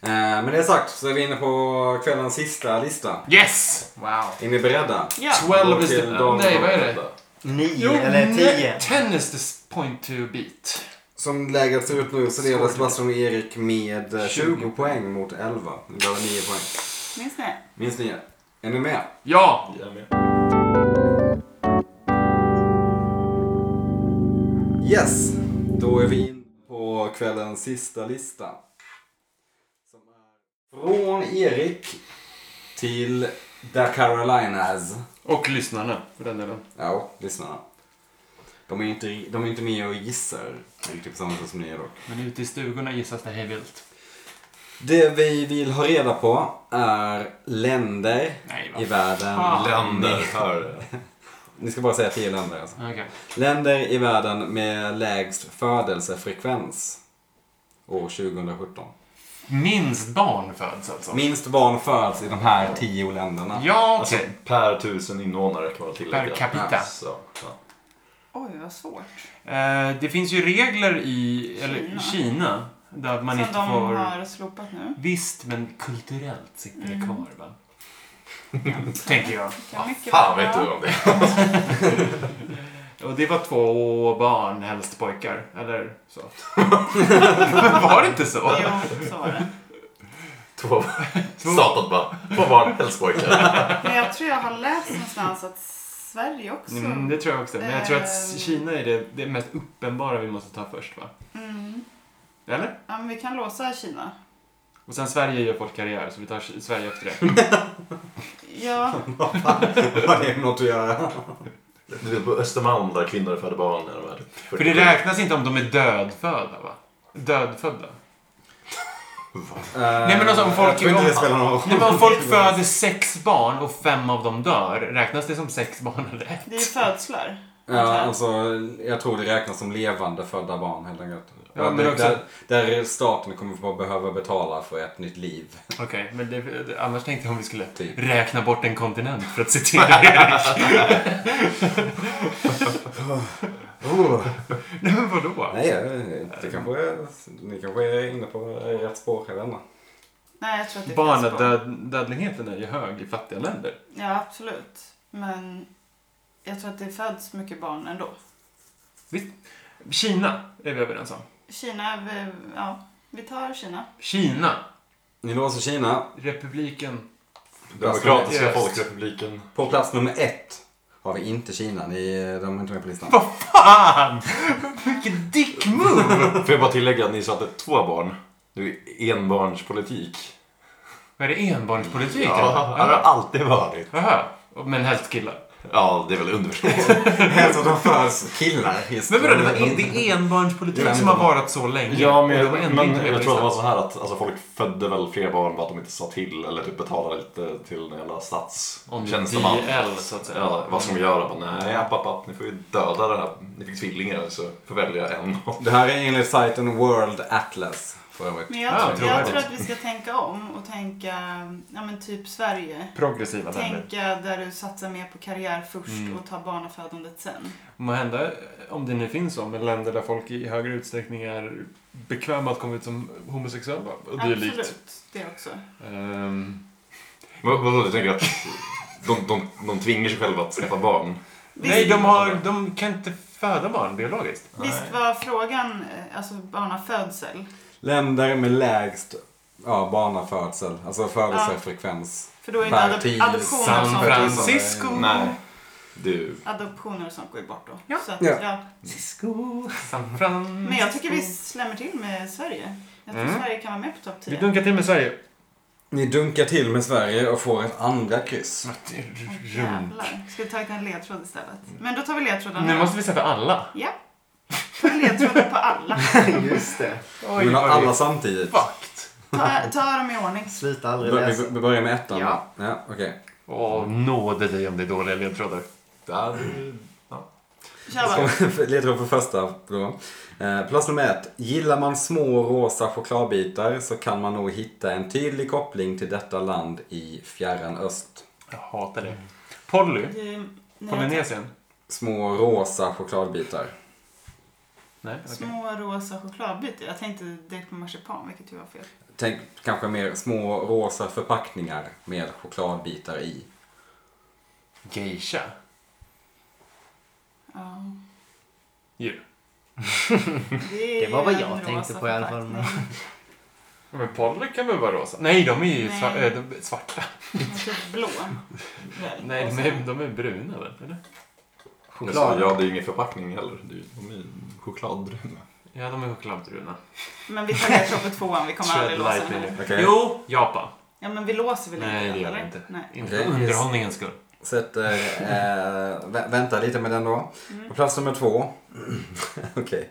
Speaker 1: Eh, men det är sagt så är vi inne på kvällens sista lista.
Speaker 2: Yes! Wow.
Speaker 1: Är ni beredda?
Speaker 3: Ja.
Speaker 2: 12 is
Speaker 1: Okej,
Speaker 2: the...
Speaker 1: då-
Speaker 2: Nej, vad är det?
Speaker 4: Nio
Speaker 2: Jo,
Speaker 4: eller
Speaker 2: ne-
Speaker 4: tio.
Speaker 2: 10 is the point to beat.
Speaker 1: Som läget ser ut nu så leder Sebastian och Erik med eh, 20 poäng mot 11. Ni behöver 9 poäng.
Speaker 3: Minns ni?
Speaker 1: Minst 9. Är ni med?
Speaker 2: Ja!
Speaker 6: Jag är med.
Speaker 1: Yes! Då är vi in på kvällens sista lista. Som är från Erik till The Carolinas.
Speaker 2: Och lyssnarna, för den delen.
Speaker 1: Ja, lyssnarna. De är ju inte, de är inte med och gissar riktigt på samma sätt som ni är dock.
Speaker 2: Men ute i stugorna gissas det hej vilt.
Speaker 1: Det vi vill ha reda på är länder
Speaker 2: Nej,
Speaker 1: i
Speaker 2: va?
Speaker 1: världen.
Speaker 2: Fan.
Speaker 5: Ah. Länder. Här.
Speaker 1: Ni ska bara säga tio länder alltså.
Speaker 2: Okej.
Speaker 1: Länder i världen med lägst födelsefrekvens år 2017.
Speaker 2: Minst barn föds alltså.
Speaker 1: Minst barn föds i de här tio länderna.
Speaker 2: Ja,
Speaker 5: Alltså,
Speaker 2: okej.
Speaker 5: per tusen invånare kan man tillägga.
Speaker 2: Per capita.
Speaker 5: Så, ja.
Speaker 3: Oj, vad svårt.
Speaker 2: Eh, det finns ju regler i eller, i
Speaker 3: Kina.
Speaker 2: Kina. Där man
Speaker 3: Som de
Speaker 2: inte får...
Speaker 3: har Mm. slopat nu.
Speaker 2: Visst, men kulturellt sitter det kvar, va? Tänker jag.
Speaker 3: Kan mycket
Speaker 5: Fan
Speaker 3: vara-
Speaker 5: vet du om det
Speaker 2: Och det var två barn, helst pojkar. Eller så. var det inte så?
Speaker 3: Jo, så var det.
Speaker 5: Två Satan bara. Två barn, helst pojkar.
Speaker 3: Men jag tror jag har läst någonstans att Sverige också...
Speaker 2: Mm, det tror jag också. Men jag tror att
Speaker 3: Ehm.
Speaker 2: Kina är det, det mest uppenbara vi måste ta först, va?
Speaker 3: Mm.
Speaker 2: Eller?
Speaker 3: Ja, men vi kan låsa Kina.
Speaker 2: Och sen Sverige gör folk karriär, så vi tar Sverige efter det.
Speaker 3: Ja,
Speaker 1: Vad det är något att göra.
Speaker 6: Du vet, på Östermalm där kvinnor föder barn. Eller vad
Speaker 2: För det räknas inte om de är dödfödda, va? Dödfödda. Nej, men alltså, om folk-
Speaker 1: Eh, Jag tror inte det spelar någon roll.
Speaker 2: Nej, men om folk föder sex barn och fem av dem dör, räknas det som sex barn eller ett?
Speaker 3: det är ju födslar.
Speaker 1: Ja, alltså jag tror det räknas som levande födda barn helt enkelt.
Speaker 2: Ja, men
Speaker 1: där,
Speaker 2: också-
Speaker 1: där staten kommer få behöva betala för ett nytt liv.
Speaker 2: Okej, men det, det, annars tänkte jag om vi skulle
Speaker 1: Typ.
Speaker 2: räkna bort en kontinent för att citera Erik. Oh. Nej, men vadå?
Speaker 1: Nej, jag- det kanske är, ni kanske är inne på rätt spår, jag vet inte.
Speaker 3: Nej, jag tror att det finns barn.
Speaker 2: Barnadödligheten är ju hög i fattiga länder.
Speaker 3: Ja, absolut. Men jag tror att det föds mycket barn ändå.
Speaker 2: Kina är vi överens om.
Speaker 3: Kina, vi, ja, vi tar Kina.
Speaker 2: Kina,
Speaker 1: Ni låser Kina.
Speaker 2: republiken.
Speaker 6: Demokratiska
Speaker 2: Yes.
Speaker 6: folkrepubliken.
Speaker 1: På plats nummer ett har vi inte Kina. Ni, eh, de är inte med på listan.
Speaker 2: Vad fan! Vilken dick move!
Speaker 6: Får jag bara tillägga att ni satte två barn. Det är ju enbarnspolitik.
Speaker 2: Vad är det enbarnspolitik?
Speaker 6: Ja, det har
Speaker 2: eller?
Speaker 6: alltid varit.
Speaker 2: Jaha. Men helst killar.
Speaker 6: Ja, det är väl underförstått.
Speaker 1: Helst att de föds killar. just-
Speaker 2: Men vadå, det, var en, det är enbarnspolitik
Speaker 1: Ja,
Speaker 2: som har varit så länge.
Speaker 6: Ja, men
Speaker 2: Och
Speaker 6: jag,
Speaker 2: det var ändå
Speaker 6: men
Speaker 2: inte med på
Speaker 6: jag tror att det var
Speaker 2: listan.
Speaker 6: så här att alltså, folk födde väl fler barn för att de inte sa till eller typ betalade lite till den jävla
Speaker 2: Om
Speaker 6: statstjänsteman.
Speaker 2: DL, så att säga.
Speaker 6: Ja, vad ska vi göra? Bara, nej, app, app, app, ni får ju döda den här. Ni fick tvillingar så får välja en.
Speaker 1: Det här är enligt sajten World Atlas. För övrigt.
Speaker 3: Men jag,
Speaker 2: Ja,
Speaker 3: tror, jag
Speaker 2: trovärdigt.
Speaker 3: tror att vi ska tänka om och tänka, ja men typ Sverige.
Speaker 2: Progressiva länder.
Speaker 3: Tänka där du satsar mer på karriär först
Speaker 2: Mm.
Speaker 3: och tar barnafödandet sen.
Speaker 2: Må hända, eh, om det nu finns så, men länder där folk i högre utsträckning är bekväma att komma ut som homosexuella och dylikt.
Speaker 3: Absolut, det också.
Speaker 2: Ehm,
Speaker 6: Vad- Vadå, du tänker att de, de, de tvingar sig själva att skaffa barn?
Speaker 3: Visst,
Speaker 2: nej, de, har, de kan inte föda barn biologiskt.
Speaker 3: visst var frågan, eh, alltså barnafödsel.
Speaker 1: Länder med lägst ja, barnafödsel, alltså födelsefrekvens.
Speaker 3: För då är inte
Speaker 1: Bertil
Speaker 3: adop- adoptioner
Speaker 2: San
Speaker 3: och sånt.
Speaker 2: Francisco.
Speaker 6: Nej. Du.
Speaker 3: Adoptioner och sånt går ju bort då.
Speaker 2: Ja.
Speaker 3: Så att,
Speaker 1: Ja.
Speaker 3: ja.
Speaker 4: Cisco.
Speaker 2: San Fran...
Speaker 3: Men jag tycker vi slämmer till med Sverige. Jag tror
Speaker 2: Mm.
Speaker 3: Sverige kan vara med på topp
Speaker 2: Vi
Speaker 3: 10.
Speaker 2: dunkar till med Sverige.
Speaker 1: Ni dunkar till med Sverige och får ett andra kryss.
Speaker 3: Åh, Jävlar. Ska vi ta en ledtråd istället?
Speaker 4: Mm.
Speaker 3: Men då tar vi ledtråden
Speaker 2: Nu
Speaker 3: här.
Speaker 2: måste vi sätta alla.
Speaker 3: Ja. Ta ledtråden på alla.
Speaker 4: Just det.
Speaker 1: Ni vill ha alla samtidigt.
Speaker 2: Fakt.
Speaker 3: Ta, ta dem i ordning.
Speaker 4: Sluta aldrig
Speaker 1: Vi-
Speaker 4: läsa.
Speaker 1: Vi vi börjar med ettan.
Speaker 3: Ja.
Speaker 1: ja okej.
Speaker 2: Åh, nåde dig om det är dåliga ledtrådar.
Speaker 6: Där.
Speaker 3: Kör bara.
Speaker 1: Så, Ledtråd för första då. Eh, Plats nummer ett. Gillar man små rosa chokladbitar så kan man nog hitta en tydlig koppling till detta land i fjärran öst.
Speaker 2: Jag hatar det. Polly,
Speaker 3: Det- Eh, nej,
Speaker 2: Polynesien.
Speaker 1: Små rosa chokladbitar.
Speaker 2: Nej, okej.
Speaker 3: Små rosa chokladbitar. Jag tänkte direkt på marsipan, vilket ju var fel.
Speaker 1: Tänk kanske mer små rosa förpackningar med chokladbitar i.
Speaker 2: Geisha.
Speaker 3: Ja.
Speaker 2: Ju.
Speaker 3: Det, är
Speaker 4: Det var vad
Speaker 3: ju
Speaker 4: jag
Speaker 3: en
Speaker 4: tänkte
Speaker 3: rosa
Speaker 4: på i alla fall.
Speaker 3: förpackning.
Speaker 2: Ja, Men Polly kan väl vara rosa? Nej, de är ju
Speaker 3: Nej.
Speaker 2: sva- äh, de är svarta.
Speaker 3: Typ blå. Väl.
Speaker 2: Nej, de är, de är bruna väl? Eller?
Speaker 6: Jag sa, Alltså, ja, det är ju ingen förpackning heller. Det är ju- De är ju chokladbruna.
Speaker 2: Ja, de är chokladbruna.
Speaker 3: Men vi tar ledtråd på tvåan, vi kommer
Speaker 2: Shred
Speaker 3: aldrig låsa den här.
Speaker 2: lightning.
Speaker 1: Okej.
Speaker 2: Jo, Japan.
Speaker 3: Ja, men vi låser väl
Speaker 2: Nej,
Speaker 3: inte
Speaker 2: det gör
Speaker 3: den,
Speaker 2: vi
Speaker 3: eller?
Speaker 2: inte.
Speaker 3: Nej.
Speaker 2: Inte
Speaker 1: Okej,
Speaker 2: för
Speaker 1: yes.
Speaker 2: underhållningens skull.
Speaker 1: Sätter, eh, vä- vänta lite med den då. På plats nummer två. Okej.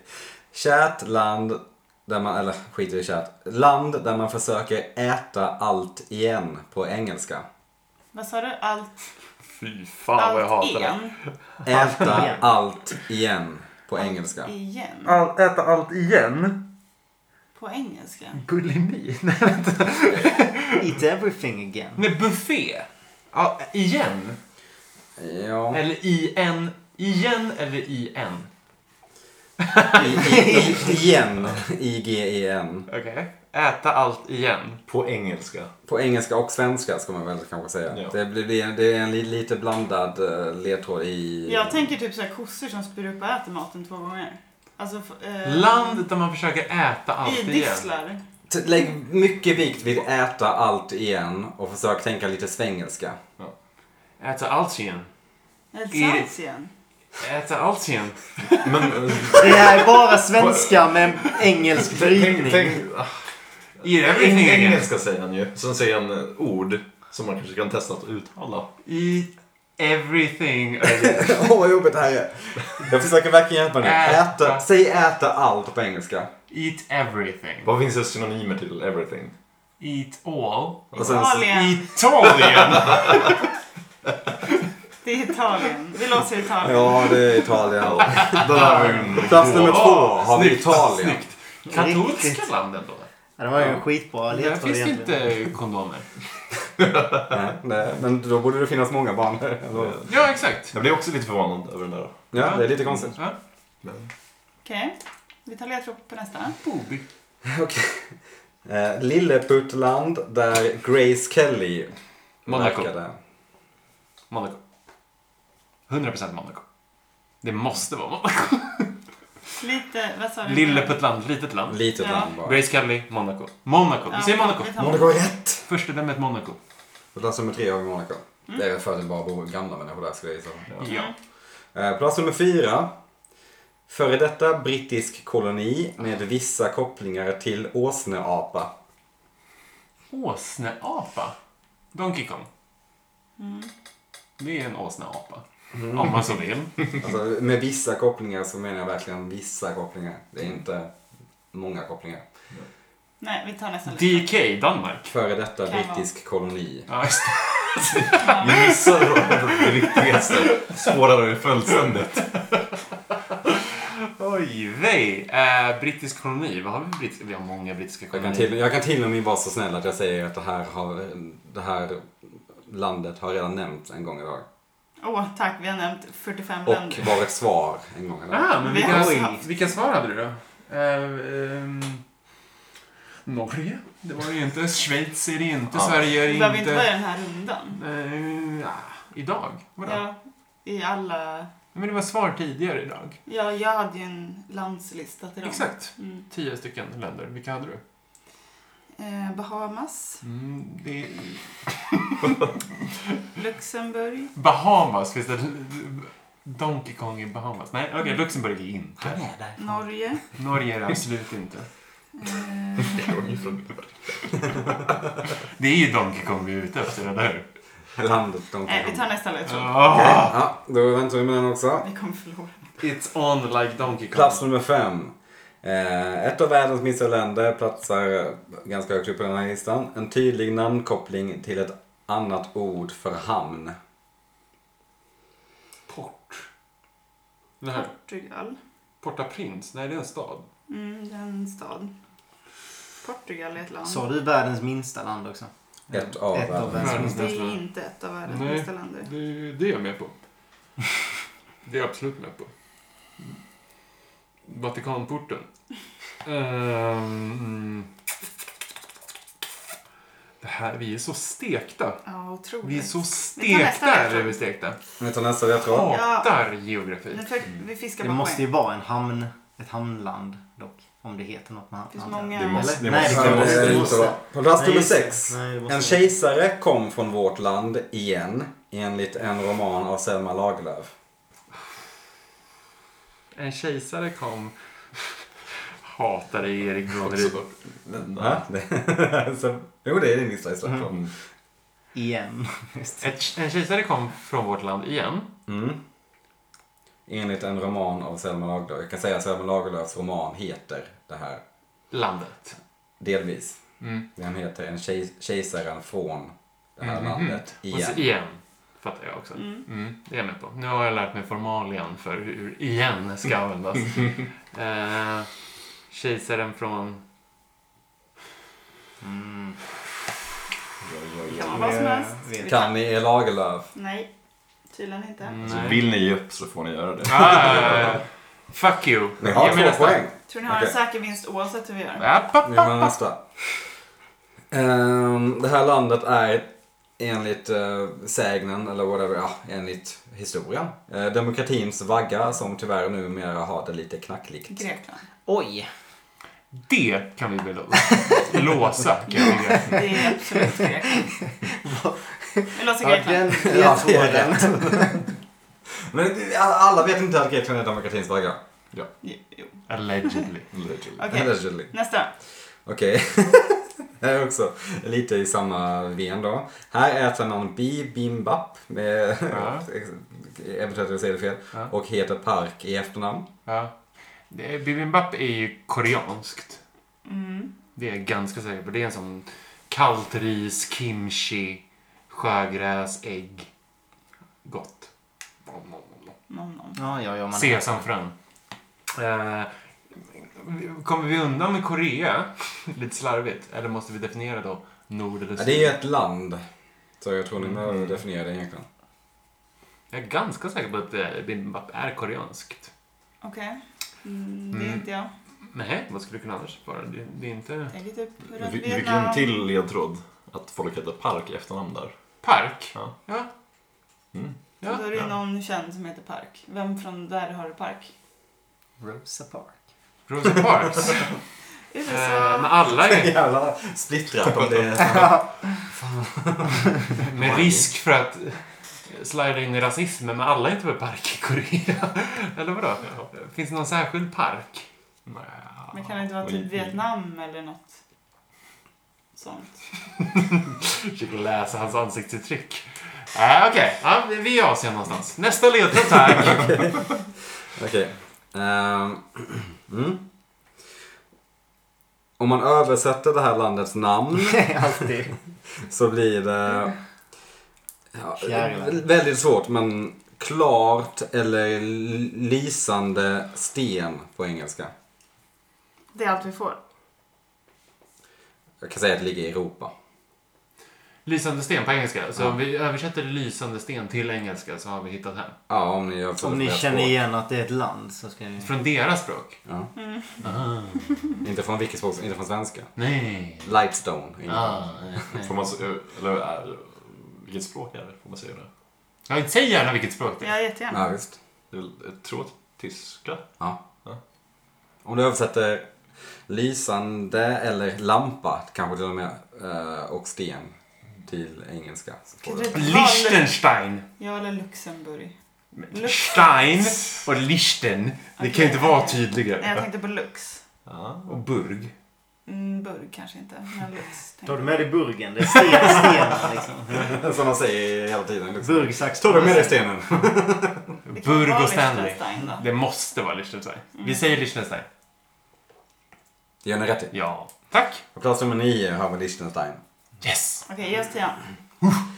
Speaker 1: Kärt land där man, eller skit i kärt. Land där man försöker äta allt igen på engelska.
Speaker 3: Vad sa du? Allt,
Speaker 2: Fy fan vad jag
Speaker 3: allt
Speaker 2: hatar det.
Speaker 3: igen?
Speaker 1: Äta
Speaker 4: igen.
Speaker 1: allt igen på engelska.
Speaker 3: Igen?
Speaker 2: All, äta allt igen?
Speaker 3: På engelska?
Speaker 2: Bulimi?
Speaker 4: Eat everything again.
Speaker 2: Nej, buffé. Ja, igen.
Speaker 1: Ja.
Speaker 2: Eller i en. Igen eller i en.
Speaker 1: I, i, i, igen. E, I-G-E-N.
Speaker 2: Okej. Äta allt igen.
Speaker 6: På engelska.
Speaker 1: På engelska och svenska ska man väl kanske säga.
Speaker 6: Ja.
Speaker 1: Det, blir, det är- det är en li, lite blandad eh, ledtråd i...
Speaker 3: Jag tänker typ såhär kossor som spyr upp och äter maten två gånger. Alltså... f- Eh,
Speaker 2: Land där man försöker äta allt igen.
Speaker 3: Idisslar.
Speaker 1: T- Lägg mycket vikt vid äta allt igen och försök tänka lite svengelska.
Speaker 2: Äta allt igen.
Speaker 3: Eller
Speaker 2: I-
Speaker 3: salts igen.
Speaker 2: Äta Altien.
Speaker 6: Men eh,
Speaker 4: Det här är bara svenska med engelsk
Speaker 6: tänk,
Speaker 4: brytning.
Speaker 6: tänk, ah,
Speaker 2: Eat
Speaker 6: eng-
Speaker 2: everything again.
Speaker 6: engelska säger han ju. Sen säger han eh, ord som man kanske kan testa att uttala.
Speaker 2: Eat everything
Speaker 1: Åh vad jobbigt det här är. Jag försöker verkligen hjälpa dig.
Speaker 2: Äta.
Speaker 1: Äta. Säg äta allt på engelska.
Speaker 2: Eat everything.
Speaker 6: Vad finns det synonymer till everything?
Speaker 2: Eat all.
Speaker 1: Och sen,
Speaker 3: Italien.
Speaker 2: Italien!
Speaker 3: Det är Italien. Vi låser Italien.
Speaker 1: ja, det är Italien.
Speaker 6: Det där var ju en
Speaker 1: Plats nummer två
Speaker 2: Mm. Åh,
Speaker 1: har vi
Speaker 2: snyggt,
Speaker 1: Italien.
Speaker 2: snyggt. Katolska
Speaker 4: Riktigt.
Speaker 2: landen då?
Speaker 4: Ja, det var ju en skitbra
Speaker 2: Där
Speaker 4: ledtråd
Speaker 2: finns det
Speaker 4: egentligen.
Speaker 2: inte kondomer.
Speaker 1: Nej, nej, men då borde det finnas många barn. Alltså,
Speaker 2: Ja, exakt.
Speaker 6: Jag blev också lite förvånad över den där.
Speaker 1: Ja, det är lite konstigt.
Speaker 2: Ja.
Speaker 3: Okej. Vi tar ledtråd på nästa.
Speaker 2: Boby.
Speaker 1: Okej. Eh, Lilleputtland där Grace Kelly
Speaker 2: Monaco.
Speaker 1: verkade.
Speaker 2: Monaco. 100% Monaco. Det måste vara Monaco.
Speaker 3: Lite, vad sa du?
Speaker 2: Lilleputtland, litet land.
Speaker 1: Litet
Speaker 3: Ja.
Speaker 1: land bara.
Speaker 2: Grace Kelly, Monaco. Monaco. Vi säger Monaco.
Speaker 3: vi tar
Speaker 1: Monaco är rätt!
Speaker 2: Första dömet Monaco.
Speaker 1: Plats nummer tre har vi Monaco.
Speaker 2: Mm.
Speaker 1: Det är väl för att det bara bor gamla människor där skulle jag gissa.
Speaker 2: Ja.
Speaker 1: Eh, Plats nummer fyra. Före detta brittisk koloni med vissa kopplingar till åsneapa.
Speaker 2: Åsneapa. Donkey Kong.
Speaker 3: Mm.
Speaker 2: Det är en åsneapa. Om man så vill.
Speaker 1: Alltså, med vissa kopplingar så menar jag verkligen vissa kopplingar. Det är inte många kopplingar.
Speaker 3: Nej, vi tar nästa ledtråd.
Speaker 2: DK, Danmark.
Speaker 1: Före detta
Speaker 3: Kan vara.
Speaker 1: brittisk koloni.
Speaker 2: Ja, just det.
Speaker 6: Jag missade då det viktigaste. Spårade det fullständigt.
Speaker 2: Oj, vej. Eh, brittisk koloni. Vad har vi för brittiska? Vi har många brittiska
Speaker 1: Jag kan,
Speaker 2: kolonier.
Speaker 1: till, jag kan till och med vara så snäll att jag säger att det här, har, det här landet har redan nämnts en gång idag.
Speaker 3: Åh, tack. Vi har nämnt 45
Speaker 1: Och
Speaker 3: länder.
Speaker 1: var ett svar en gång idag.
Speaker 2: Ah, men
Speaker 3: Vi
Speaker 2: vilka,
Speaker 3: har
Speaker 2: vilka,
Speaker 3: haft-
Speaker 2: svar hade du då? Eh, ehm, Norge? Det var ju inte. Schweiz är det inte. Sverige är
Speaker 3: Vi
Speaker 2: det
Speaker 3: behöver
Speaker 2: inte.
Speaker 3: inte vara i den här rundan.
Speaker 2: Eh, ja, idag? Vadå?
Speaker 3: Ja, I alla...
Speaker 2: Men det var svar tidigare idag.
Speaker 3: Ja, jag hade ju en landslista till dem.
Speaker 2: Exakt.
Speaker 3: Mm.
Speaker 2: Tio stycken länder. Vilka hade du?
Speaker 3: Eh, Bahamas,
Speaker 2: Mm, det är...
Speaker 3: Luxemburg.
Speaker 2: Bahamas. Finns det Donkey Kong i Bahamas? Nej, okej. Luxemburg är
Speaker 4: Han
Speaker 2: inte.
Speaker 4: är där.
Speaker 3: Norge.
Speaker 2: Norge är det absolut inte.
Speaker 3: Eh,
Speaker 2: Det är ju Donkey Kong vi är ute efter, eller hur?
Speaker 1: Landet de
Speaker 3: nej, vi tar nästa ledtråd.
Speaker 2: Ah!
Speaker 1: Ja, då väntar vi med den också.
Speaker 3: Vi kommer förlora.
Speaker 2: It's on like Donkey Kong.
Speaker 1: Plats nummer fem. Eh, ett av världens minsta länder platsar ganska högt upp på den här listan. En tydlig namnkoppling till ett annat ord för hamn.
Speaker 4: Mm.
Speaker 2: Port. Det här.
Speaker 3: Portugal.
Speaker 2: Port-au-Prince? Nej, det är en stad.
Speaker 3: Mm, det är en stad. Portugal är ett land.
Speaker 4: Sa du världens minsta land också?
Speaker 1: Ett av
Speaker 4: Ett
Speaker 1: världens.
Speaker 4: av världens.
Speaker 2: Världens
Speaker 3: Det är
Speaker 2: nästa.
Speaker 3: inte ett av världens
Speaker 2: Nej.
Speaker 3: bästa länder.
Speaker 2: Det är det är jag med på. Det är jag absolut med på. Vatikanporten. Ehm, mm. det här, vi är så stekta.
Speaker 3: Ja, otroligt.
Speaker 2: Vi är så
Speaker 3: Vi tar nästa
Speaker 2: stekta.
Speaker 3: ledtråd.
Speaker 2: Är vi stekta.
Speaker 1: Vi tar nästa ledtråd.
Speaker 2: Hatar
Speaker 3: Nu
Speaker 2: geografi.
Speaker 3: för, vi fiskar
Speaker 4: Det
Speaker 3: på
Speaker 4: måste
Speaker 3: poäng.
Speaker 4: ju vara en hamn, ett hamnland dock. Om det heter något med hamn.
Speaker 3: Det finns
Speaker 4: antar jag.
Speaker 3: många-
Speaker 6: Det måste,
Speaker 4: Eller?
Speaker 6: det
Speaker 4: Nej,
Speaker 6: måste,
Speaker 4: det
Speaker 6: det
Speaker 4: kan
Speaker 1: Nej,
Speaker 6: måste,
Speaker 1: det är
Speaker 4: vi
Speaker 1: det
Speaker 4: måste.
Speaker 1: inte va? På plats
Speaker 4: Nej,
Speaker 1: nummer
Speaker 4: just det.
Speaker 1: sex.
Speaker 4: Nej, det måste
Speaker 1: En
Speaker 4: vi.
Speaker 1: kejsare kom från vårt land igen. Enligt en roman av Selma Lagerlöf.
Speaker 2: En kejsare kom. Hatade Erik Broderud.
Speaker 4: Mm.
Speaker 1: Va? Det- Så, jo, det är din lista just det.
Speaker 6: Mm.
Speaker 4: Igen. Just det.
Speaker 2: Ett- En kejsare kom från vårt land igen.
Speaker 1: Mm. Enligt en roman av Selma Lagerlöf. Jag kan säga att Selma Lagerlöfs roman heter det här.
Speaker 2: Landet.
Speaker 1: Delvis.
Speaker 2: Mm.
Speaker 1: Den heter En kej- kejsaren från det här
Speaker 2: Mhm.
Speaker 1: landet
Speaker 2: Och så
Speaker 1: igen.
Speaker 2: igen. Fattar jag också. Mm. det är jag med på. Nu har jag lärt mig formalien för hur igen ska användas. eh, kejsaren från...
Speaker 4: Mm.
Speaker 3: Det kan vara vad som helst.
Speaker 4: Jag vet.
Speaker 3: Vi tar-
Speaker 1: Kan ni er Lagerlöf?
Speaker 3: Nej, tydligen inte.
Speaker 2: Mm.
Speaker 1: Alltså,
Speaker 6: Så vill ni ge upp så får ni göra det.
Speaker 2: Ah, fuck you.
Speaker 1: Ni har
Speaker 2: Ge mig
Speaker 1: två
Speaker 2: nästa.
Speaker 1: poäng.
Speaker 3: Tror ni har en
Speaker 1: Okej.
Speaker 3: säker vinst oavsett hur vi gör?
Speaker 2: App, app,
Speaker 1: Nu
Speaker 2: app.
Speaker 1: är nästa. Ehm, det här landet är enligt eh, sägnen, eller whatever, ja, enligt historien. eh, demokratins vagga som tyvärr numera har det lite knackligt.
Speaker 3: Grekland.
Speaker 4: Oj!
Speaker 2: Det kan vi väl låsa. Kan jag tycka.
Speaker 3: Det är absolut Grekland. Vi låser
Speaker 4: Ja,
Speaker 3: Grekland.
Speaker 4: den
Speaker 1: Ja, det är
Speaker 4: ledtråden.
Speaker 1: Men det- alla vet inte att Grekland är demokratins vagga.
Speaker 3: Jo.
Speaker 2: Allegedly.
Speaker 5: Allegedly.
Speaker 3: Okej,
Speaker 1: Allegedly.
Speaker 3: nästa.
Speaker 1: Okej. Det här är också lite i samma ven då. Här äter man bibimbap, med,
Speaker 2: Ja.
Speaker 1: eventuellt jag säger det fel,
Speaker 2: Ja.
Speaker 1: och heter Park i efternamn.
Speaker 2: Ja. Det är, bibimbap är ju koreanskt.
Speaker 3: Mm.
Speaker 2: Det är jag ganska säker på. Det är en sån kallt ris, kimchi, sjögräs, ägg. Gott. Nom, nom, nom, nom.
Speaker 3: Nom, nom.
Speaker 4: Ja, ja, ja. Man...
Speaker 2: Sesamfrön. Eh, kommer vi undan med Korea? Lite slarvigt. Eller måste vi definiera då nord eller
Speaker 1: Ja,
Speaker 2: syd?
Speaker 1: det är ett land. Så jag tror
Speaker 2: Mm.
Speaker 1: ni behöver definiera det egentligen.
Speaker 2: Jag är ganska säker på att eh, bibimbap är koreanskt.
Speaker 3: Okej. Mm, det är
Speaker 2: Mm.
Speaker 3: inte jag.
Speaker 2: Nej, vad skulle det kunna annars vara? Det, det är inte...
Speaker 3: Tänker typ
Speaker 6: Vi vi fick ju en till ledtråd. Att folk heter Park i efternamn där.
Speaker 2: Park?
Speaker 6: Ja.
Speaker 2: Ja.
Speaker 6: Mm.
Speaker 3: Ja,
Speaker 2: Ja.
Speaker 3: då är det ju någon känd som heter Park. Vem från där har du Park?
Speaker 4: Rosa Park.
Speaker 2: Rosa Parks. Eh, Men
Speaker 3: USA.
Speaker 2: alla är
Speaker 1: Jävla splittrat om det.
Speaker 2: med risk för att slida in i rasismen, men alla är inte med park i Korea. Eller vadå? Finns det någon särskild park?
Speaker 3: Men kan det inte vara typ Vietnam eller något sånt?
Speaker 2: Försöker läsa hans ansiktsuttryck. Äh, Okej, ja, vi är i Asien någonstans. Nästa ledtråd tack.
Speaker 1: Okej. Ehm, mm. Om man översätter det här landets namn
Speaker 4: Alltid.
Speaker 1: så blir det ja,
Speaker 4: Fjärilar.
Speaker 1: väldigt svårt men klart eller lysande sten på engelska.
Speaker 3: Det är allt vi får.
Speaker 1: Jag kan säga att det ligger i Europa.
Speaker 2: Lysande sten på engelska. Så om vi översätter lysande sten till engelska så har vi hittat hem.
Speaker 1: Ja, om ni översätter
Speaker 4: Om ni
Speaker 1: flera
Speaker 4: känner
Speaker 1: språk.
Speaker 4: igen att det är ett land så ska ni...
Speaker 2: Från deras språk?
Speaker 1: Ja.
Speaker 2: Ah,
Speaker 1: Inte från vilket språk, som- inte från svenska.
Speaker 2: nej.
Speaker 1: Lightstone. ingen.
Speaker 2: Ah, nej.
Speaker 6: Får man, s- eller, är- vilket språk är det? Får man säga det?
Speaker 2: Ja, säg gärna vilket språk det är.
Speaker 3: Ja, jättegärna.
Speaker 1: Ja, visst.
Speaker 6: det är väl, jag tror att tyska.
Speaker 1: Om du översätter lysande eller lampa, kanske till och med, eh, och sten till engelska. Så får
Speaker 3: Kan
Speaker 1: du.
Speaker 3: du-
Speaker 2: Liechtenstein.
Speaker 3: Ja, eller Luxemburg.
Speaker 2: Men
Speaker 3: Lux.
Speaker 2: Stein och Lichten. Det kan ju inte vara
Speaker 3: Nej, jag
Speaker 2: tydligare.
Speaker 3: tänkte på Lux.
Speaker 6: Ja.
Speaker 2: Och Burg.
Speaker 3: Mm, burg kanske inte, men Lux. tänkte
Speaker 4: Tar du
Speaker 3: jag.
Speaker 4: med dig burgen? Det är sten, sten liksom.
Speaker 1: Som man säger hela tiden. Liksom.
Speaker 4: Burg, sax,
Speaker 1: Tar du med dig stenen?
Speaker 3: Det kan
Speaker 2: Burg
Speaker 3: vara
Speaker 2: och Stanley.
Speaker 3: Liechtenstein Mm. då.
Speaker 2: Det måste vara Liechtenstein. Vi säger Liechtenstein.
Speaker 1: Det gör ni rätt i.
Speaker 2: Ja. Tack.
Speaker 1: På plats nummer nio har vi Liechtenstein.
Speaker 2: Yes.
Speaker 3: Okej, ge oss tian.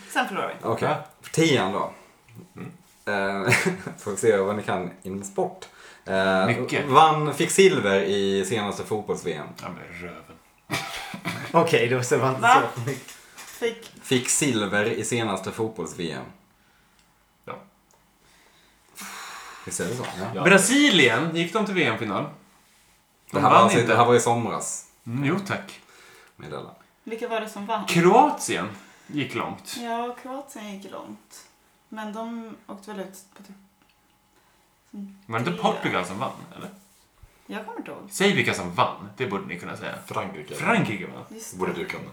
Speaker 3: Sen förlorar vi.
Speaker 1: Okej,
Speaker 2: Ja.
Speaker 1: tian då.
Speaker 2: Mm.
Speaker 1: Eh, Får vi se vad ni kan inom sport. Eh,
Speaker 2: Mycket.
Speaker 1: Vann, fick silver i senaste fotbolls-VM.
Speaker 2: Ja, men röven.
Speaker 4: Okej, då så var det
Speaker 3: Va?
Speaker 4: inte så mycket.
Speaker 3: Fick...
Speaker 1: Fick silver i senaste fotbolls-VM.
Speaker 2: Ja.
Speaker 1: Visst är det så? Ja.
Speaker 2: Brasilien, gick de till VM-final?
Speaker 1: Det,
Speaker 2: De
Speaker 1: här var
Speaker 2: vann
Speaker 1: alltså, det här
Speaker 2: inte.
Speaker 1: var i somras.
Speaker 2: Mm, jo, tack.
Speaker 1: Meddela.
Speaker 3: Vilka var det som vann?
Speaker 2: Kroatien gick långt.
Speaker 3: Ja, Kroatien gick långt. Men de åkte väl ut på typ...
Speaker 2: Var det inte Portugal som vann? Eller?
Speaker 3: Jag kommer inte ihåg.
Speaker 2: Säg vilka som vann. Det borde ni kunna säga.
Speaker 6: Frankrike.
Speaker 2: Frankrike vann.
Speaker 3: Just
Speaker 6: Borde
Speaker 3: det.
Speaker 6: du kunna.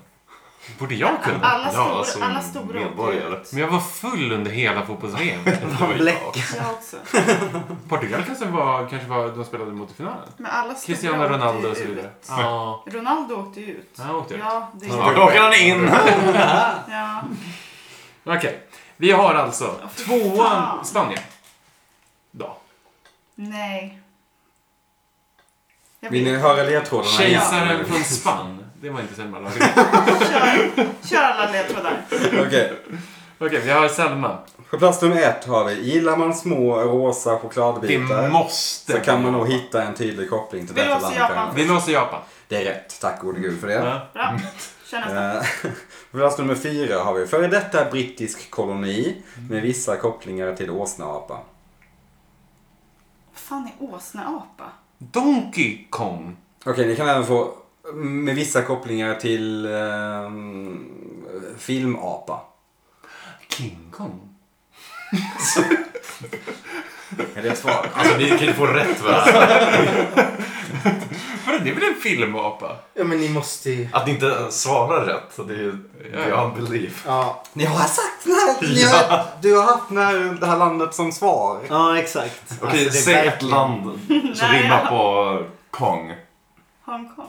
Speaker 2: Borde jag kunna?
Speaker 3: Alla,
Speaker 6: Ja,
Speaker 3: stor,
Speaker 6: alltså,
Speaker 3: alla stora
Speaker 6: medborgare.
Speaker 3: åkte
Speaker 2: Men jag
Speaker 3: ut.
Speaker 2: var full under hela fotbolls-VM.
Speaker 6: Oj, ja.
Speaker 4: Bläck.
Speaker 3: Jag också.
Speaker 2: Portugal kanske var, kanske var de spelade mot i finalen.
Speaker 3: Men alla stora
Speaker 2: Cristiano
Speaker 3: åkte
Speaker 2: Ronaldo
Speaker 3: ju
Speaker 2: och så vidare.
Speaker 3: ut.
Speaker 2: Ja,
Speaker 3: Ronaldo åkte ju ut.
Speaker 2: han åkte ut.
Speaker 3: Ja, det
Speaker 6: Snart typ. åker han in!
Speaker 3: Ja.
Speaker 2: Okej, vi har alltså
Speaker 3: fy
Speaker 2: tvåan
Speaker 3: fan.
Speaker 2: Spanien. Då.
Speaker 3: Nej. Jag
Speaker 1: Vill ni
Speaker 3: vet.
Speaker 1: höra ledtrådarna
Speaker 2: Kejsaren
Speaker 1: igen?
Speaker 2: från Spann. Det var inte Selma Lagerlöf.
Speaker 3: Kör, kör alla ledtrådar.
Speaker 1: Okej.
Speaker 2: Okej, vi har Selma.
Speaker 1: På plats nummer ett har vi gillar man små rosa
Speaker 2: Det
Speaker 1: chokladbitar
Speaker 2: måste
Speaker 1: så kan man
Speaker 2: vara
Speaker 1: nog
Speaker 2: Japan.
Speaker 1: hitta en tydlig koppling till
Speaker 3: Vi
Speaker 1: detta
Speaker 3: låser
Speaker 1: land.
Speaker 3: Japan.
Speaker 1: kanske.
Speaker 2: Vi låser Japan.
Speaker 1: Det är rätt, tack gode gud för det.
Speaker 2: Ja.
Speaker 6: Mm.
Speaker 3: Bra. Kör nästa.
Speaker 1: Eh, På plats nummer fyra har vi före detta brittisk koloni med vissa kopplingar till åsneapa.
Speaker 3: Vad fan är åsneapa?
Speaker 2: Donkey Kong.
Speaker 1: Okej, ni kan även få mm, med vissa kopplingar till ehm, filmapa.
Speaker 2: King Kong.
Speaker 1: Är det ett svar?
Speaker 6: Alltså ni kan ju få rätt va?
Speaker 2: Vadå, det är väl en filmapa?
Speaker 4: Ja, men ni måste ju...
Speaker 6: Att ni inte svarar rätt, det är ju beyond belief.
Speaker 4: Ja,
Speaker 1: Ni har sagt när, ni har, du har haft när, det här landet som svar.
Speaker 4: ja exakt.
Speaker 6: Okej,
Speaker 4: Alltså, det är
Speaker 6: säg ett
Speaker 4: verkligen-
Speaker 6: land som
Speaker 3: Nej,
Speaker 6: rimmar
Speaker 3: jag-
Speaker 6: på Kong.
Speaker 3: Hongkong.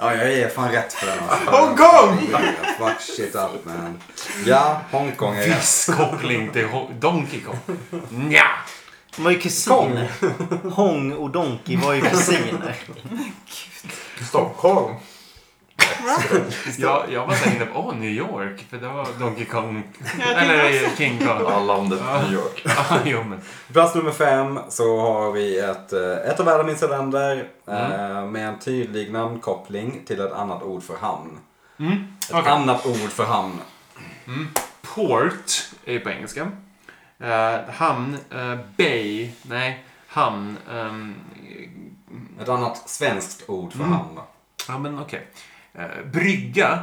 Speaker 1: Ja, jag är fan rätt för den. Alltså.
Speaker 2: Hongkong!
Speaker 1: Yeah, Fuck shit up man. Ja, Hongkong är rätt.
Speaker 2: Viss koppling till Ho- Donkey Kong. Nja!
Speaker 4: De var ju kusiner. Hong och Donkey var ju kusiner.
Speaker 5: Stockholm.
Speaker 2: Jag, jag var såhär inne på åh, New York, för det var Donkey Kong.
Speaker 3: Jag
Speaker 2: Eller
Speaker 3: tänkte
Speaker 2: eh, King Kong.
Speaker 6: Ja, landet
Speaker 2: Ja.
Speaker 6: New York.
Speaker 2: Ja, jo, men.
Speaker 1: Plats nummer fem så har vi ett, eh, ett av världens minsta länder
Speaker 2: Mm.
Speaker 1: eh, med en tydlig namnkoppling till ett annat ord för hamn.
Speaker 2: Mm.
Speaker 1: Ett
Speaker 2: okej.
Speaker 1: annat ord för hamn.
Speaker 2: Port är ju på engelska. Eh, hamn, eh, bay, nej, hamn. ehm,
Speaker 1: Ett annat svenskt ord
Speaker 2: Mm.
Speaker 1: för hamn.
Speaker 2: ja, men okej. Eh, brygga.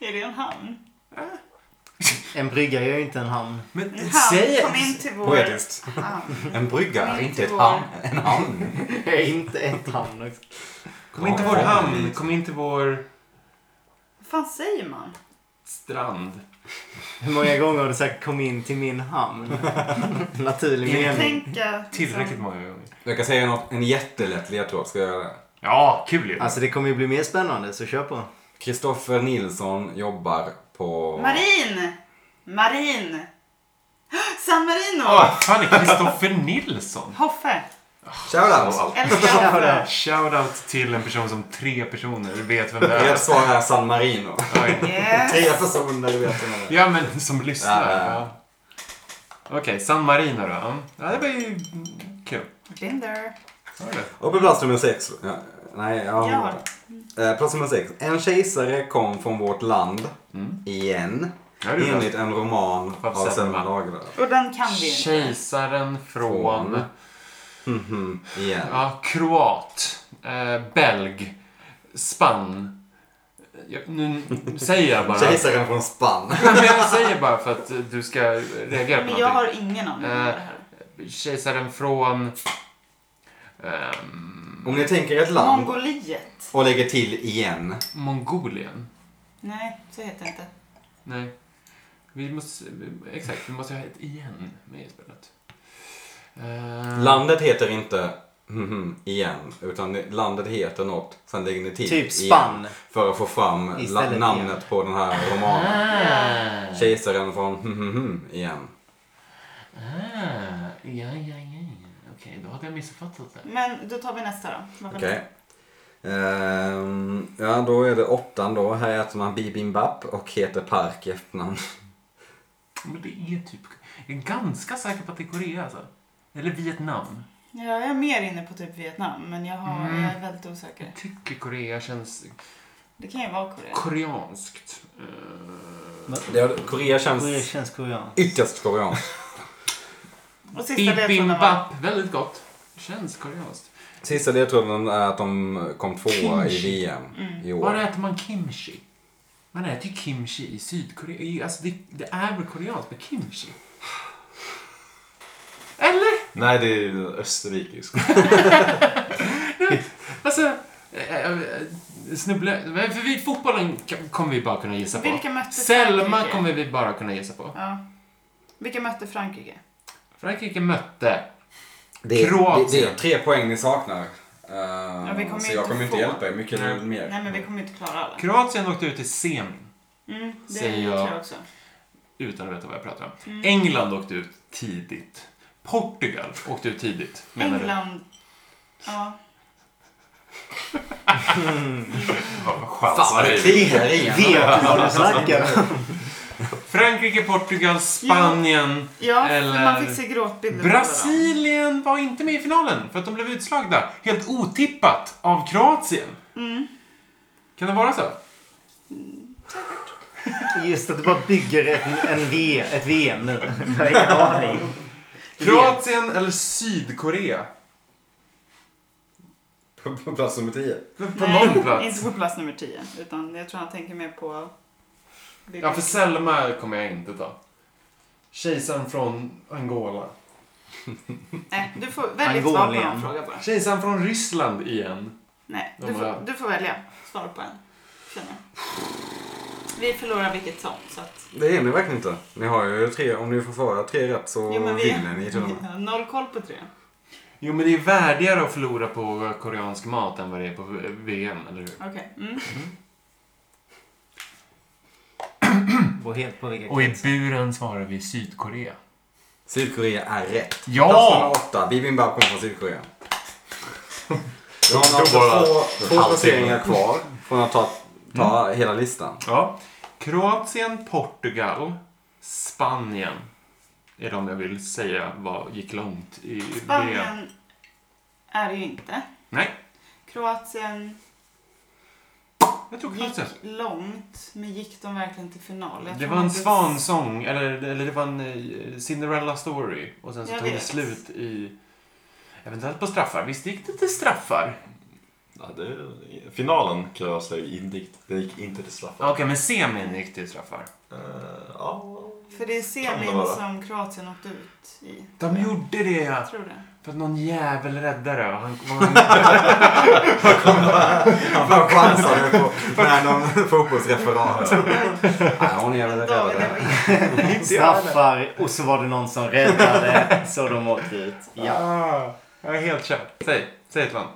Speaker 3: Är det en hamn?
Speaker 4: En brygga gör ju inte en hamn.
Speaker 2: Men
Speaker 3: En hamn.
Speaker 2: säg...
Speaker 3: Kom in till vår
Speaker 1: Poetiskt.
Speaker 3: hamn.
Speaker 1: En brygga är
Speaker 3: Mitt i
Speaker 1: inte ett
Speaker 3: vår.
Speaker 1: hamn, en hamn.
Speaker 4: Jag är inte ett hamn också.
Speaker 2: Kom in till vår hamn, kom in till vår
Speaker 3: Vad fan säger man?
Speaker 2: strand.
Speaker 4: Hur många gånger har du sagt kom in till min hamn? Naturlig mening.
Speaker 3: Tänka.
Speaker 2: Tillräckligt många gånger.
Speaker 1: Jag kan säga något, en jättelätt ledtråd. Ska jag göra det?
Speaker 2: Ja, kul ju.
Speaker 4: Alltså det kommer ju bli mer spännande, så kör på.
Speaker 1: Kristoffer Nilsson jobbar på...
Speaker 3: Marin! Marin! San Marino!
Speaker 2: Åh, fan, det är Kristoffer Nilsson.
Speaker 3: Hoffe!
Speaker 1: Shoutout!
Speaker 3: Älskar Hoffe!
Speaker 2: Shoutout till en person som tre personer vet vem det är.
Speaker 1: Rätt svar är San Marino.
Speaker 2: Oj.
Speaker 3: Yes.
Speaker 1: Tre personer vet vem det är.
Speaker 2: Ja, men som lyssnar.
Speaker 1: Ja, ja,
Speaker 2: Ja. Okej, San Marino då. Ja, Ja, det var ju kul.
Speaker 3: Been there.
Speaker 2: Hör du?
Speaker 1: Och på plats nummer sex. Ja, nej, ja.
Speaker 3: Ja.
Speaker 1: Eh, plats nummer sex. En kejsare kom från vårt land. Igen.
Speaker 2: Ja, det är
Speaker 1: Enligt en roman
Speaker 2: Av
Speaker 1: av Selma
Speaker 2: Selma.
Speaker 1: Lagerlöf.
Speaker 3: Och den kan vi inte.
Speaker 2: Kejsaren från...
Speaker 1: Mhm, Igen.
Speaker 2: Ja, kroat. Eh, belg. Spann. Ja, nu säger jag bara.
Speaker 1: Kejsaren från Spann.
Speaker 2: Men jag säger bara för att du ska reagera på
Speaker 3: Men jag
Speaker 2: någonting.
Speaker 3: har ingen aning om det här.
Speaker 2: Eh, Kejsaren från... ehm,
Speaker 1: Om ni tänker ett land
Speaker 3: Mongoliet.
Speaker 1: och lägger till igen.
Speaker 2: Mm. Mongolien.
Speaker 3: Nej, så heter det inte.
Speaker 2: Nej. Vi måste... Exakt, vi måste ha ett igen med i spelet. Eh,
Speaker 1: Landet heter inte mhm, igen, utan landet heter något, sen lägger ni till
Speaker 4: Typ
Speaker 1: igen
Speaker 4: spann.
Speaker 1: För att få fram la-
Speaker 4: Istället
Speaker 1: namnet
Speaker 4: igen.
Speaker 1: på den här romanen.
Speaker 2: Ah.
Speaker 1: Kejsaren från mhm, igen.
Speaker 2: Ah. Ja, ja, ja. ja. Okej, då hade jag missuppfattat det.
Speaker 3: Men då tar vi nästa då. Vad var
Speaker 1: Okej.
Speaker 3: det?
Speaker 1: Ehm, ja, då är det åttan då. Här äter man bibimbap och heter Park i efternamn.
Speaker 2: Men det är typ... Jag är ganska säker på att det är Korea alltså. Eller Vietnam.
Speaker 3: Ja, jag är mer inne på typ Vietnam, men jag, har,
Speaker 2: Mm.
Speaker 3: jag är väldigt osäker.
Speaker 2: Jag tycker Korea känns
Speaker 3: Det kan ju vara Korea.
Speaker 2: koreanskt. Eh,
Speaker 1: Det- Korea
Speaker 4: Korea
Speaker 1: känns
Speaker 4: känns koreanskt.
Speaker 1: ytterst koreanskt.
Speaker 3: Och sista ledtråden var...
Speaker 2: Bibimbap, väldigt gott. Känns koreanskt.
Speaker 1: Sista ledtråden är att de kom tvåa i VM
Speaker 3: Mm.
Speaker 1: i
Speaker 2: Var
Speaker 1: år.
Speaker 2: äter man kimchi? Man äter ju kimchi i Sydkorea. I- Alltså det, det är väl koreanskt med kimchi? Eller?
Speaker 6: Nej, det är ju österrikisk.
Speaker 2: Alltså, eh, eh, snubbla... men För vi, fotbollen kan- kommer vi bara kunna gissa på.
Speaker 3: Vilka mötte
Speaker 2: Selma
Speaker 3: Frankrike?
Speaker 2: kommer vi bara kunna gissa på.
Speaker 3: Ja. Vilka mötte Frankrike?
Speaker 2: Frankrike mötte...
Speaker 1: Det är, det,
Speaker 2: Kroatien.
Speaker 1: det är tre poäng ni saknar. Ehm,
Speaker 3: vi kommer
Speaker 1: så
Speaker 3: ju
Speaker 1: jag
Speaker 3: inte
Speaker 1: kommer inte
Speaker 3: få-
Speaker 1: hjälpa er mycket
Speaker 2: Nej.
Speaker 1: mer.
Speaker 3: Nej, men vi kommer ju inte klara alla.
Speaker 2: Kroatien åkte ut i semin.
Speaker 3: Mm, det
Speaker 2: Säger
Speaker 3: tror
Speaker 2: jag.
Speaker 3: jag också.
Speaker 2: Utan att veta vad jag pratar om.
Speaker 3: Mm.
Speaker 2: England åkte ut tidigt. Portugal åkte ut tidigt. menar du?
Speaker 3: England. Ja.
Speaker 1: Fan vad det klirrar i en.
Speaker 4: Vet du vad du snackar om?
Speaker 2: Frankrike, Portugal, Spanien.
Speaker 3: Ja,
Speaker 2: Eller-
Speaker 3: för man fick se gråtbilder på varandra.
Speaker 2: Brasilien var inte med i finalen för att de blev utslagna. Helt otippat av Kroatien.
Speaker 3: Mm.
Speaker 2: Kan det vara så?
Speaker 4: Just att du bara bygger ett, en v, ett VM nu. Jag har ingen aning.
Speaker 2: Kroatien eller Sydkorea?
Speaker 1: På- På plats nummer tio.
Speaker 2: På någon plats.
Speaker 3: inte på plats nummer 10. Utan jag tror han tänker mer på...
Speaker 2: Ja, för Selma kommer jag inte ta. Kejsaren från Angola.
Speaker 3: Nej, du får välja svar på
Speaker 4: Angolien.
Speaker 3: någon fråga bara.
Speaker 2: Kejsaren från Ryssland igen.
Speaker 3: Nej,
Speaker 2: De
Speaker 3: du
Speaker 2: har-
Speaker 3: får, du får välja svar på en. Känner jag. Vi förlorar vilket som. Så att,
Speaker 1: Det är ni verkligen inte. Ni har ju tre, om ni får svara tre rätt så
Speaker 3: jo, men vi
Speaker 1: vinner ni till och med.
Speaker 3: har noll koll på tre.
Speaker 2: Jo, men det är värdigare att förlora på koreansk mat än vad det är på VM, eller hur?
Speaker 3: Okej. Mm.
Speaker 4: Beror helt på vilka
Speaker 2: Och i buren svarar vi Sydkorea.
Speaker 1: Sydkorea är rätt.
Speaker 2: Ja!
Speaker 1: 2008, Bibimbap kom från Sydkorea. Då
Speaker 5: Då
Speaker 1: har man
Speaker 5: bara
Speaker 1: alltså två, två
Speaker 5: halvtimme.
Speaker 1: placeringar kvar från att ta, ta hela listan.
Speaker 2: ja. Kroatien, Portugal, Spanien är de jag vill säga var, gick långt i VM.
Speaker 3: Spanien är det ju inte.
Speaker 2: Nej,
Speaker 3: Kroatien
Speaker 2: jag tror Kroatien.
Speaker 3: gick långt, men gick de verkligen till final? Jag
Speaker 2: Det
Speaker 3: tror
Speaker 2: var en
Speaker 3: inte-
Speaker 2: svansång, eller, eller det var en eh, Cinderella story. Och sen så
Speaker 3: Jag
Speaker 2: tog det
Speaker 3: vet.
Speaker 2: slut i... Eventuellt på straffar. Visst gick det till straffar?
Speaker 5: Ja, det, finalen kan jag säga inte gick, det gick inte till
Speaker 2: Ja, Okej,
Speaker 5: straffar.
Speaker 2: men semin gick till straffar.
Speaker 5: Eh, ja.
Speaker 3: För det är
Speaker 5: Kan det
Speaker 3: semin
Speaker 5: vara?
Speaker 3: som Kroatien åkte ut i.
Speaker 2: De gjorde det ja!
Speaker 3: Jag tror det.
Speaker 2: För att någon jävel räddade det. och Han, han,
Speaker 1: Man chansade på när någon fotbollsreferat. Nej, hon är väl
Speaker 3: David
Speaker 1: räddare.
Speaker 3: Levin.
Speaker 4: straffar och så var det någon som räddade så de åkte ut. Ja.
Speaker 2: ah, jag är helt körd. Säg, säg ett land.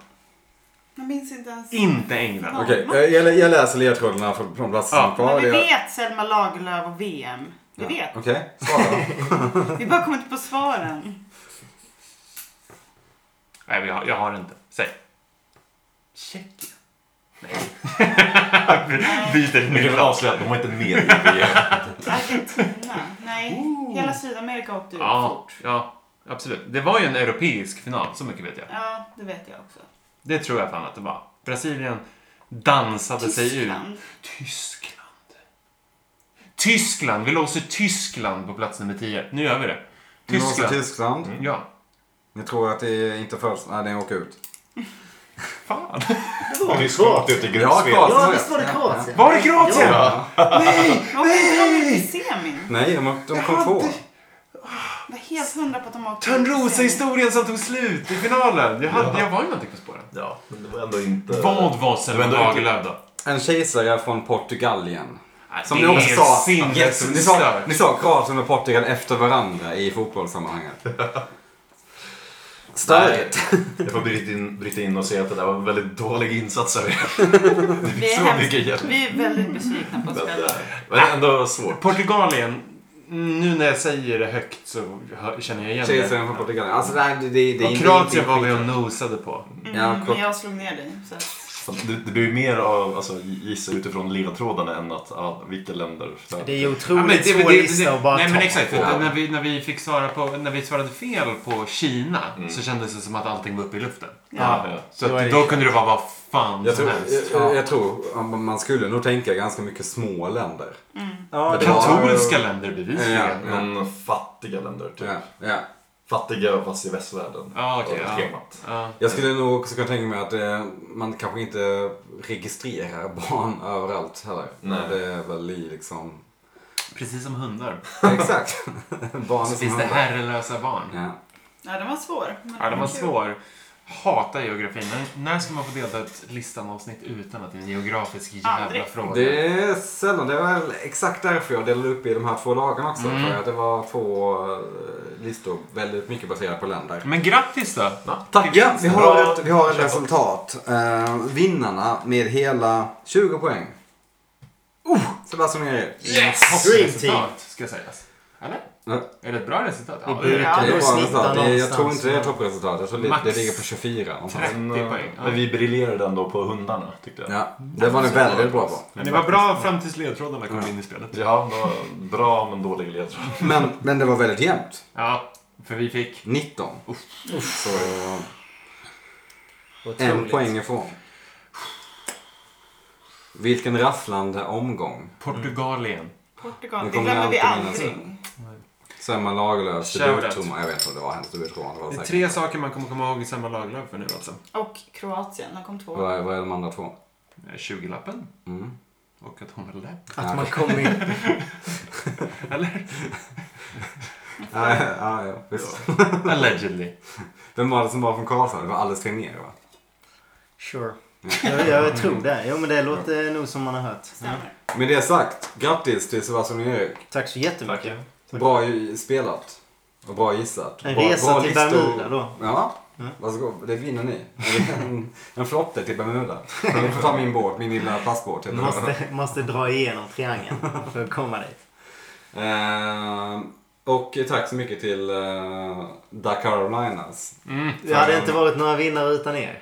Speaker 3: Jag minns inte ens.
Speaker 2: Inte England.
Speaker 1: Okej, eh, jag, lä- jag läser ledtrådarna för de platser som
Speaker 2: Ja.
Speaker 1: är kvar.
Speaker 3: Men vi
Speaker 1: Det-
Speaker 3: vet Selma Lagerlöf och VM. Vi
Speaker 1: Ja,
Speaker 3: vet.
Speaker 1: Okej, svara.
Speaker 3: Vi bara kommer inte på svaren.
Speaker 2: Nej, vi har- jag har inte. Säg. Tjeckien. Nej. Byter
Speaker 5: Vi
Speaker 2: till
Speaker 5: kan väl avslöja att de var inte med i VM.
Speaker 3: Argentina. Nej. Hela Sydamerika åkte ut
Speaker 2: Ja,
Speaker 3: fort.
Speaker 2: ja, absolut. Det var ju en europeisk final, så mycket vet jag.
Speaker 3: Ja, det vet jag också.
Speaker 2: Det tror jag fan att det var. Brasilien dansade sig ur.
Speaker 3: Tyskland.
Speaker 2: Tyskland. Tyskland! Vi låser Tyskland på plats nummer 10. Nu gör vi det.
Speaker 1: Ni låser
Speaker 2: Tyskland. Mm.
Speaker 1: Tyskland.
Speaker 2: Ja.
Speaker 1: Ni tror att det är inte först... Nej, den åker ut.
Speaker 2: Fan.
Speaker 5: Har ni svarat ut i
Speaker 1: Ja,
Speaker 5: gruppspel?
Speaker 1: klart.
Speaker 4: Ja, visst alltså- var det Kroatien?
Speaker 2: Var är Kroatien?
Speaker 3: Åkte inte de ut i semin?
Speaker 1: Nej, de, de kom två.
Speaker 3: Jag var helt hundra på att de åkte ut i semin.
Speaker 2: Törnrosa-historien som tog slut i finalen. Jag, hade, jag var ju någonting på spåren.
Speaker 5: Ja, men det var ändå inte...
Speaker 2: Vad var Selma
Speaker 5: ändå inte-
Speaker 2: Lagerlöf då?
Speaker 1: En kejsare från Portugalien. Som
Speaker 2: Det
Speaker 1: ni också
Speaker 2: är
Speaker 1: sa. Yes, ni sa,
Speaker 2: sinnesstört.
Speaker 1: ni sa Kroatien och Portugal efter varandra i fotbollssammanhanget. Störigt.
Speaker 5: Jag får bryta in, bryta in och säga att det där var en väldigt dålig insats av er.
Speaker 3: Vi är,
Speaker 5: Så mycket
Speaker 3: hemskt,
Speaker 5: hjälp.
Speaker 3: vi är väldigt besvikna på oss själva.
Speaker 5: Men ändå svårt.
Speaker 2: Portugalien. mm, Nu när jag säger det högt så hör- känner jag igen det.
Speaker 1: Kejsaren från Portugalien. Alltså, nej, det, det, det är
Speaker 2: Och
Speaker 1: inte-
Speaker 2: Kroatien
Speaker 1: det är
Speaker 2: var
Speaker 1: inte-
Speaker 2: vi och nosade på.
Speaker 1: Ja,
Speaker 3: Mm,
Speaker 1: kort-
Speaker 3: men jag slog ner dig. Så att,
Speaker 5: Det, det blir mer av alltså, gissa utifrån ledtrådarna än att ja, vilka länder. Så här.
Speaker 4: Det är ju
Speaker 2: Ja, men det-
Speaker 4: otroligt
Speaker 2: det-
Speaker 4: svår
Speaker 2: det-
Speaker 4: lista att bara
Speaker 2: Nej men
Speaker 4: ta.
Speaker 2: exakt.
Speaker 5: på.
Speaker 2: När vi, när, vi fick svara på, när vi svarade fel på Kina så kändes det som att allting var uppe i luften.
Speaker 3: ja.
Speaker 5: Ja.
Speaker 2: Så
Speaker 4: Då
Speaker 2: att,
Speaker 4: är
Speaker 2: då
Speaker 4: det-
Speaker 2: kunde det vara vad fan
Speaker 1: Jag
Speaker 2: som
Speaker 1: tror,
Speaker 2: helst.
Speaker 1: jag, jag, jag tror man- man skulle nog tänka ganska mycket små länder.
Speaker 3: Mm.
Speaker 4: Ja, det
Speaker 1: Kan-
Speaker 4: var...
Speaker 2: Katolska länder bevisligen.
Speaker 1: Ja.
Speaker 5: Men fattiga länder, typ.
Speaker 1: Ja, ja.
Speaker 5: Fattiga fast i västvärlden.
Speaker 2: Ja, okej,
Speaker 5: Och
Speaker 2: ja.
Speaker 5: temat.
Speaker 2: Ja.
Speaker 1: Jag skulle nog också kunna tänka mig att eh, man kanske inte registrerar barn överallt heller.
Speaker 5: Nej.
Speaker 1: Det är väl i liksom...
Speaker 2: Precis som hundar.
Speaker 1: Exakt. barn
Speaker 2: Så
Speaker 1: som
Speaker 2: finns det
Speaker 1: handlar.
Speaker 2: herrelösa barn.
Speaker 1: Ja.
Speaker 3: ja, den var svår. men
Speaker 2: Ja, den var
Speaker 3: kul.
Speaker 2: svår. Hatar geografin. När, när ska man få delta i ett listan-avsnitt utan att det är en geografisk jävla
Speaker 3: Aldrig.
Speaker 2: fråga?
Speaker 1: Det är sällan. Det är väl exakt därför jag delade upp i de här två lagarna också.
Speaker 2: Mm.
Speaker 1: För att det var två eh, listor väldigt mycket baserade på länder.
Speaker 2: Men grattis då!
Speaker 1: Tack! Ja, vi har
Speaker 5: Bra
Speaker 1: ett, vi har ett
Speaker 5: kämpat.
Speaker 1: resultat. Eh, vinnarna med hela 20 poäng. Oh! Sebastian Neri.
Speaker 2: Yes!
Speaker 4: Dream
Speaker 2: Resultat, ska sägas. Eller?
Speaker 1: Ja.
Speaker 2: Är det ett bra resultat? Ja,
Speaker 4: Buren
Speaker 1: Det är
Speaker 4: låg
Speaker 1: ett bra resultat. Det- Jag
Speaker 4: någonstans.
Speaker 1: tror inte det är toppresultatet. Jag tror det,
Speaker 2: Max.
Speaker 1: det ligger på 24 någonstans.
Speaker 2: Trettio
Speaker 5: Men, eh,
Speaker 2: poäng, ja.
Speaker 5: Men vi briljerade ändå på hundarna, tyckte jag.
Speaker 1: Ja, det var ni väldigt bra på.
Speaker 2: Men det var bra fram tills ledtrådarna kom
Speaker 1: Ja.
Speaker 2: in i spelet.
Speaker 5: Ja, det var bra men dålig ledtråd.
Speaker 1: Men, men det var väldigt jämnt.
Speaker 2: Ja, för vi fick...
Speaker 1: 19. Så en
Speaker 4: Otroligt.
Speaker 1: poäng ifrån. Vilken rafflande omgång.
Speaker 2: Portugalien.
Speaker 3: Portugal,
Speaker 1: Nu
Speaker 3: det
Speaker 1: kommer
Speaker 3: glömmer
Speaker 1: jag
Speaker 3: vi
Speaker 1: alltid
Speaker 3: aldrig.
Speaker 1: Selma Lagerlöfs
Speaker 2: Shoutout.
Speaker 1: debuttrumma. Jag vet inte vad det var hennes debuttrumma. Det var
Speaker 2: Det är
Speaker 1: säkert.
Speaker 2: tre saker man kommer komma ihåg i samma laglag för nu alltså.
Speaker 3: Och Kroatien, de kom två.
Speaker 1: Vad är, vad är de andra två?
Speaker 2: Eh, 20-lappen
Speaker 1: Mm.
Speaker 2: och att hon var läpp.
Speaker 4: Att man kommer in.
Speaker 2: Eller?
Speaker 1: ja, ja, ja, visst.
Speaker 2: Allegedly.
Speaker 1: Vem var det som var från Karlstad? Det var Alice Tegnér va?
Speaker 4: Sure. Jag, jag tror det. Jo men det låter nog som man har hört.
Speaker 3: Stämmer.
Speaker 1: Med det sagt, grattis till Sebastian och Erik.
Speaker 4: Tack så jättemycket.
Speaker 1: Bra ju- spelat. Och bra gissat.
Speaker 4: En
Speaker 1: bra,
Speaker 4: resa
Speaker 1: bra
Speaker 4: till
Speaker 1: listor.
Speaker 4: Bermuda då.
Speaker 1: Ja.
Speaker 4: Mm.
Speaker 1: Varsågod, det vinner ni. En, en flotte till Bermuda. Jag får ta min båt, min lilla plastbåt. heter det.
Speaker 4: Måste, måste dra igenom triangeln för att komma dit.
Speaker 1: Ehm, och tack så mycket till eh, Da Carolinas.
Speaker 4: Det hade inte varit några vinnare utan er.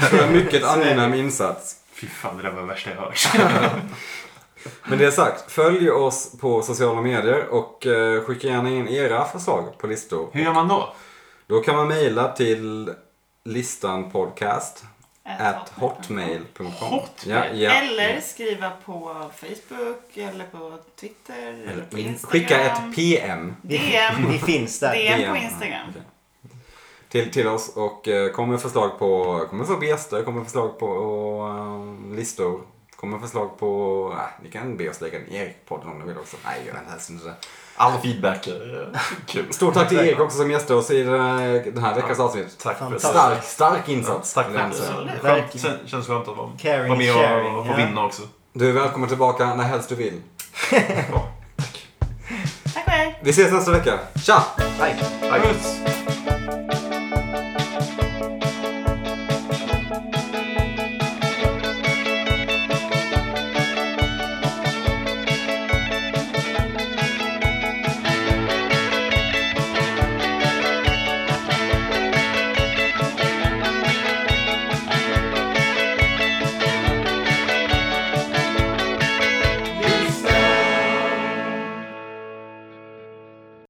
Speaker 1: För en mycket anonym insats.
Speaker 2: Fy fan, det där var det värsta jag hört.
Speaker 1: Men det sagt, följ oss på sociala medier och eh, skicka gärna in era förslag på listor.
Speaker 2: Hur gör man då?
Speaker 1: Då kan man mejla till listanpodcast at hotmail.com. Ja, ja.
Speaker 3: Eller skriva på Facebook eller på Twitter eller,
Speaker 1: Eller
Speaker 3: på
Speaker 1: in-
Speaker 3: Instagram.
Speaker 1: Mm. Skicka ett PM.
Speaker 3: DM.
Speaker 4: Vi finns där.
Speaker 3: DM på Instagram.
Speaker 1: Okej. Till, till oss och eh, kom med förslag på, kom med förslag på gäster, kom med förslag på eh, listor. Kom med förslag på, eh, ni kan be oss lägga ner podden om ni vill också. Nej, jag helst inte det.
Speaker 6: All feedback är eh, kul.
Speaker 1: Stort tack till Erik också som gäster oss i den här, den här veckans avsnitt.
Speaker 6: Tack för
Speaker 4: Fantastiskt.
Speaker 1: Stark, stark insats.
Speaker 6: Tack
Speaker 1: vill jag
Speaker 6: för
Speaker 1: säga.
Speaker 6: det. Skönt,
Speaker 4: Verkligen.
Speaker 6: sen- känns skönt att vara
Speaker 4: Caring
Speaker 6: vara med och,
Speaker 4: sharing,
Speaker 6: och
Speaker 4: ja.
Speaker 6: få vinna också.
Speaker 1: Du är välkommen tillbaka när helst du vill.
Speaker 3: Tack och hej.
Speaker 1: Vi ses nästa vecka. Tja!
Speaker 4: Bye.
Speaker 6: Tack.
Speaker 2: Puss!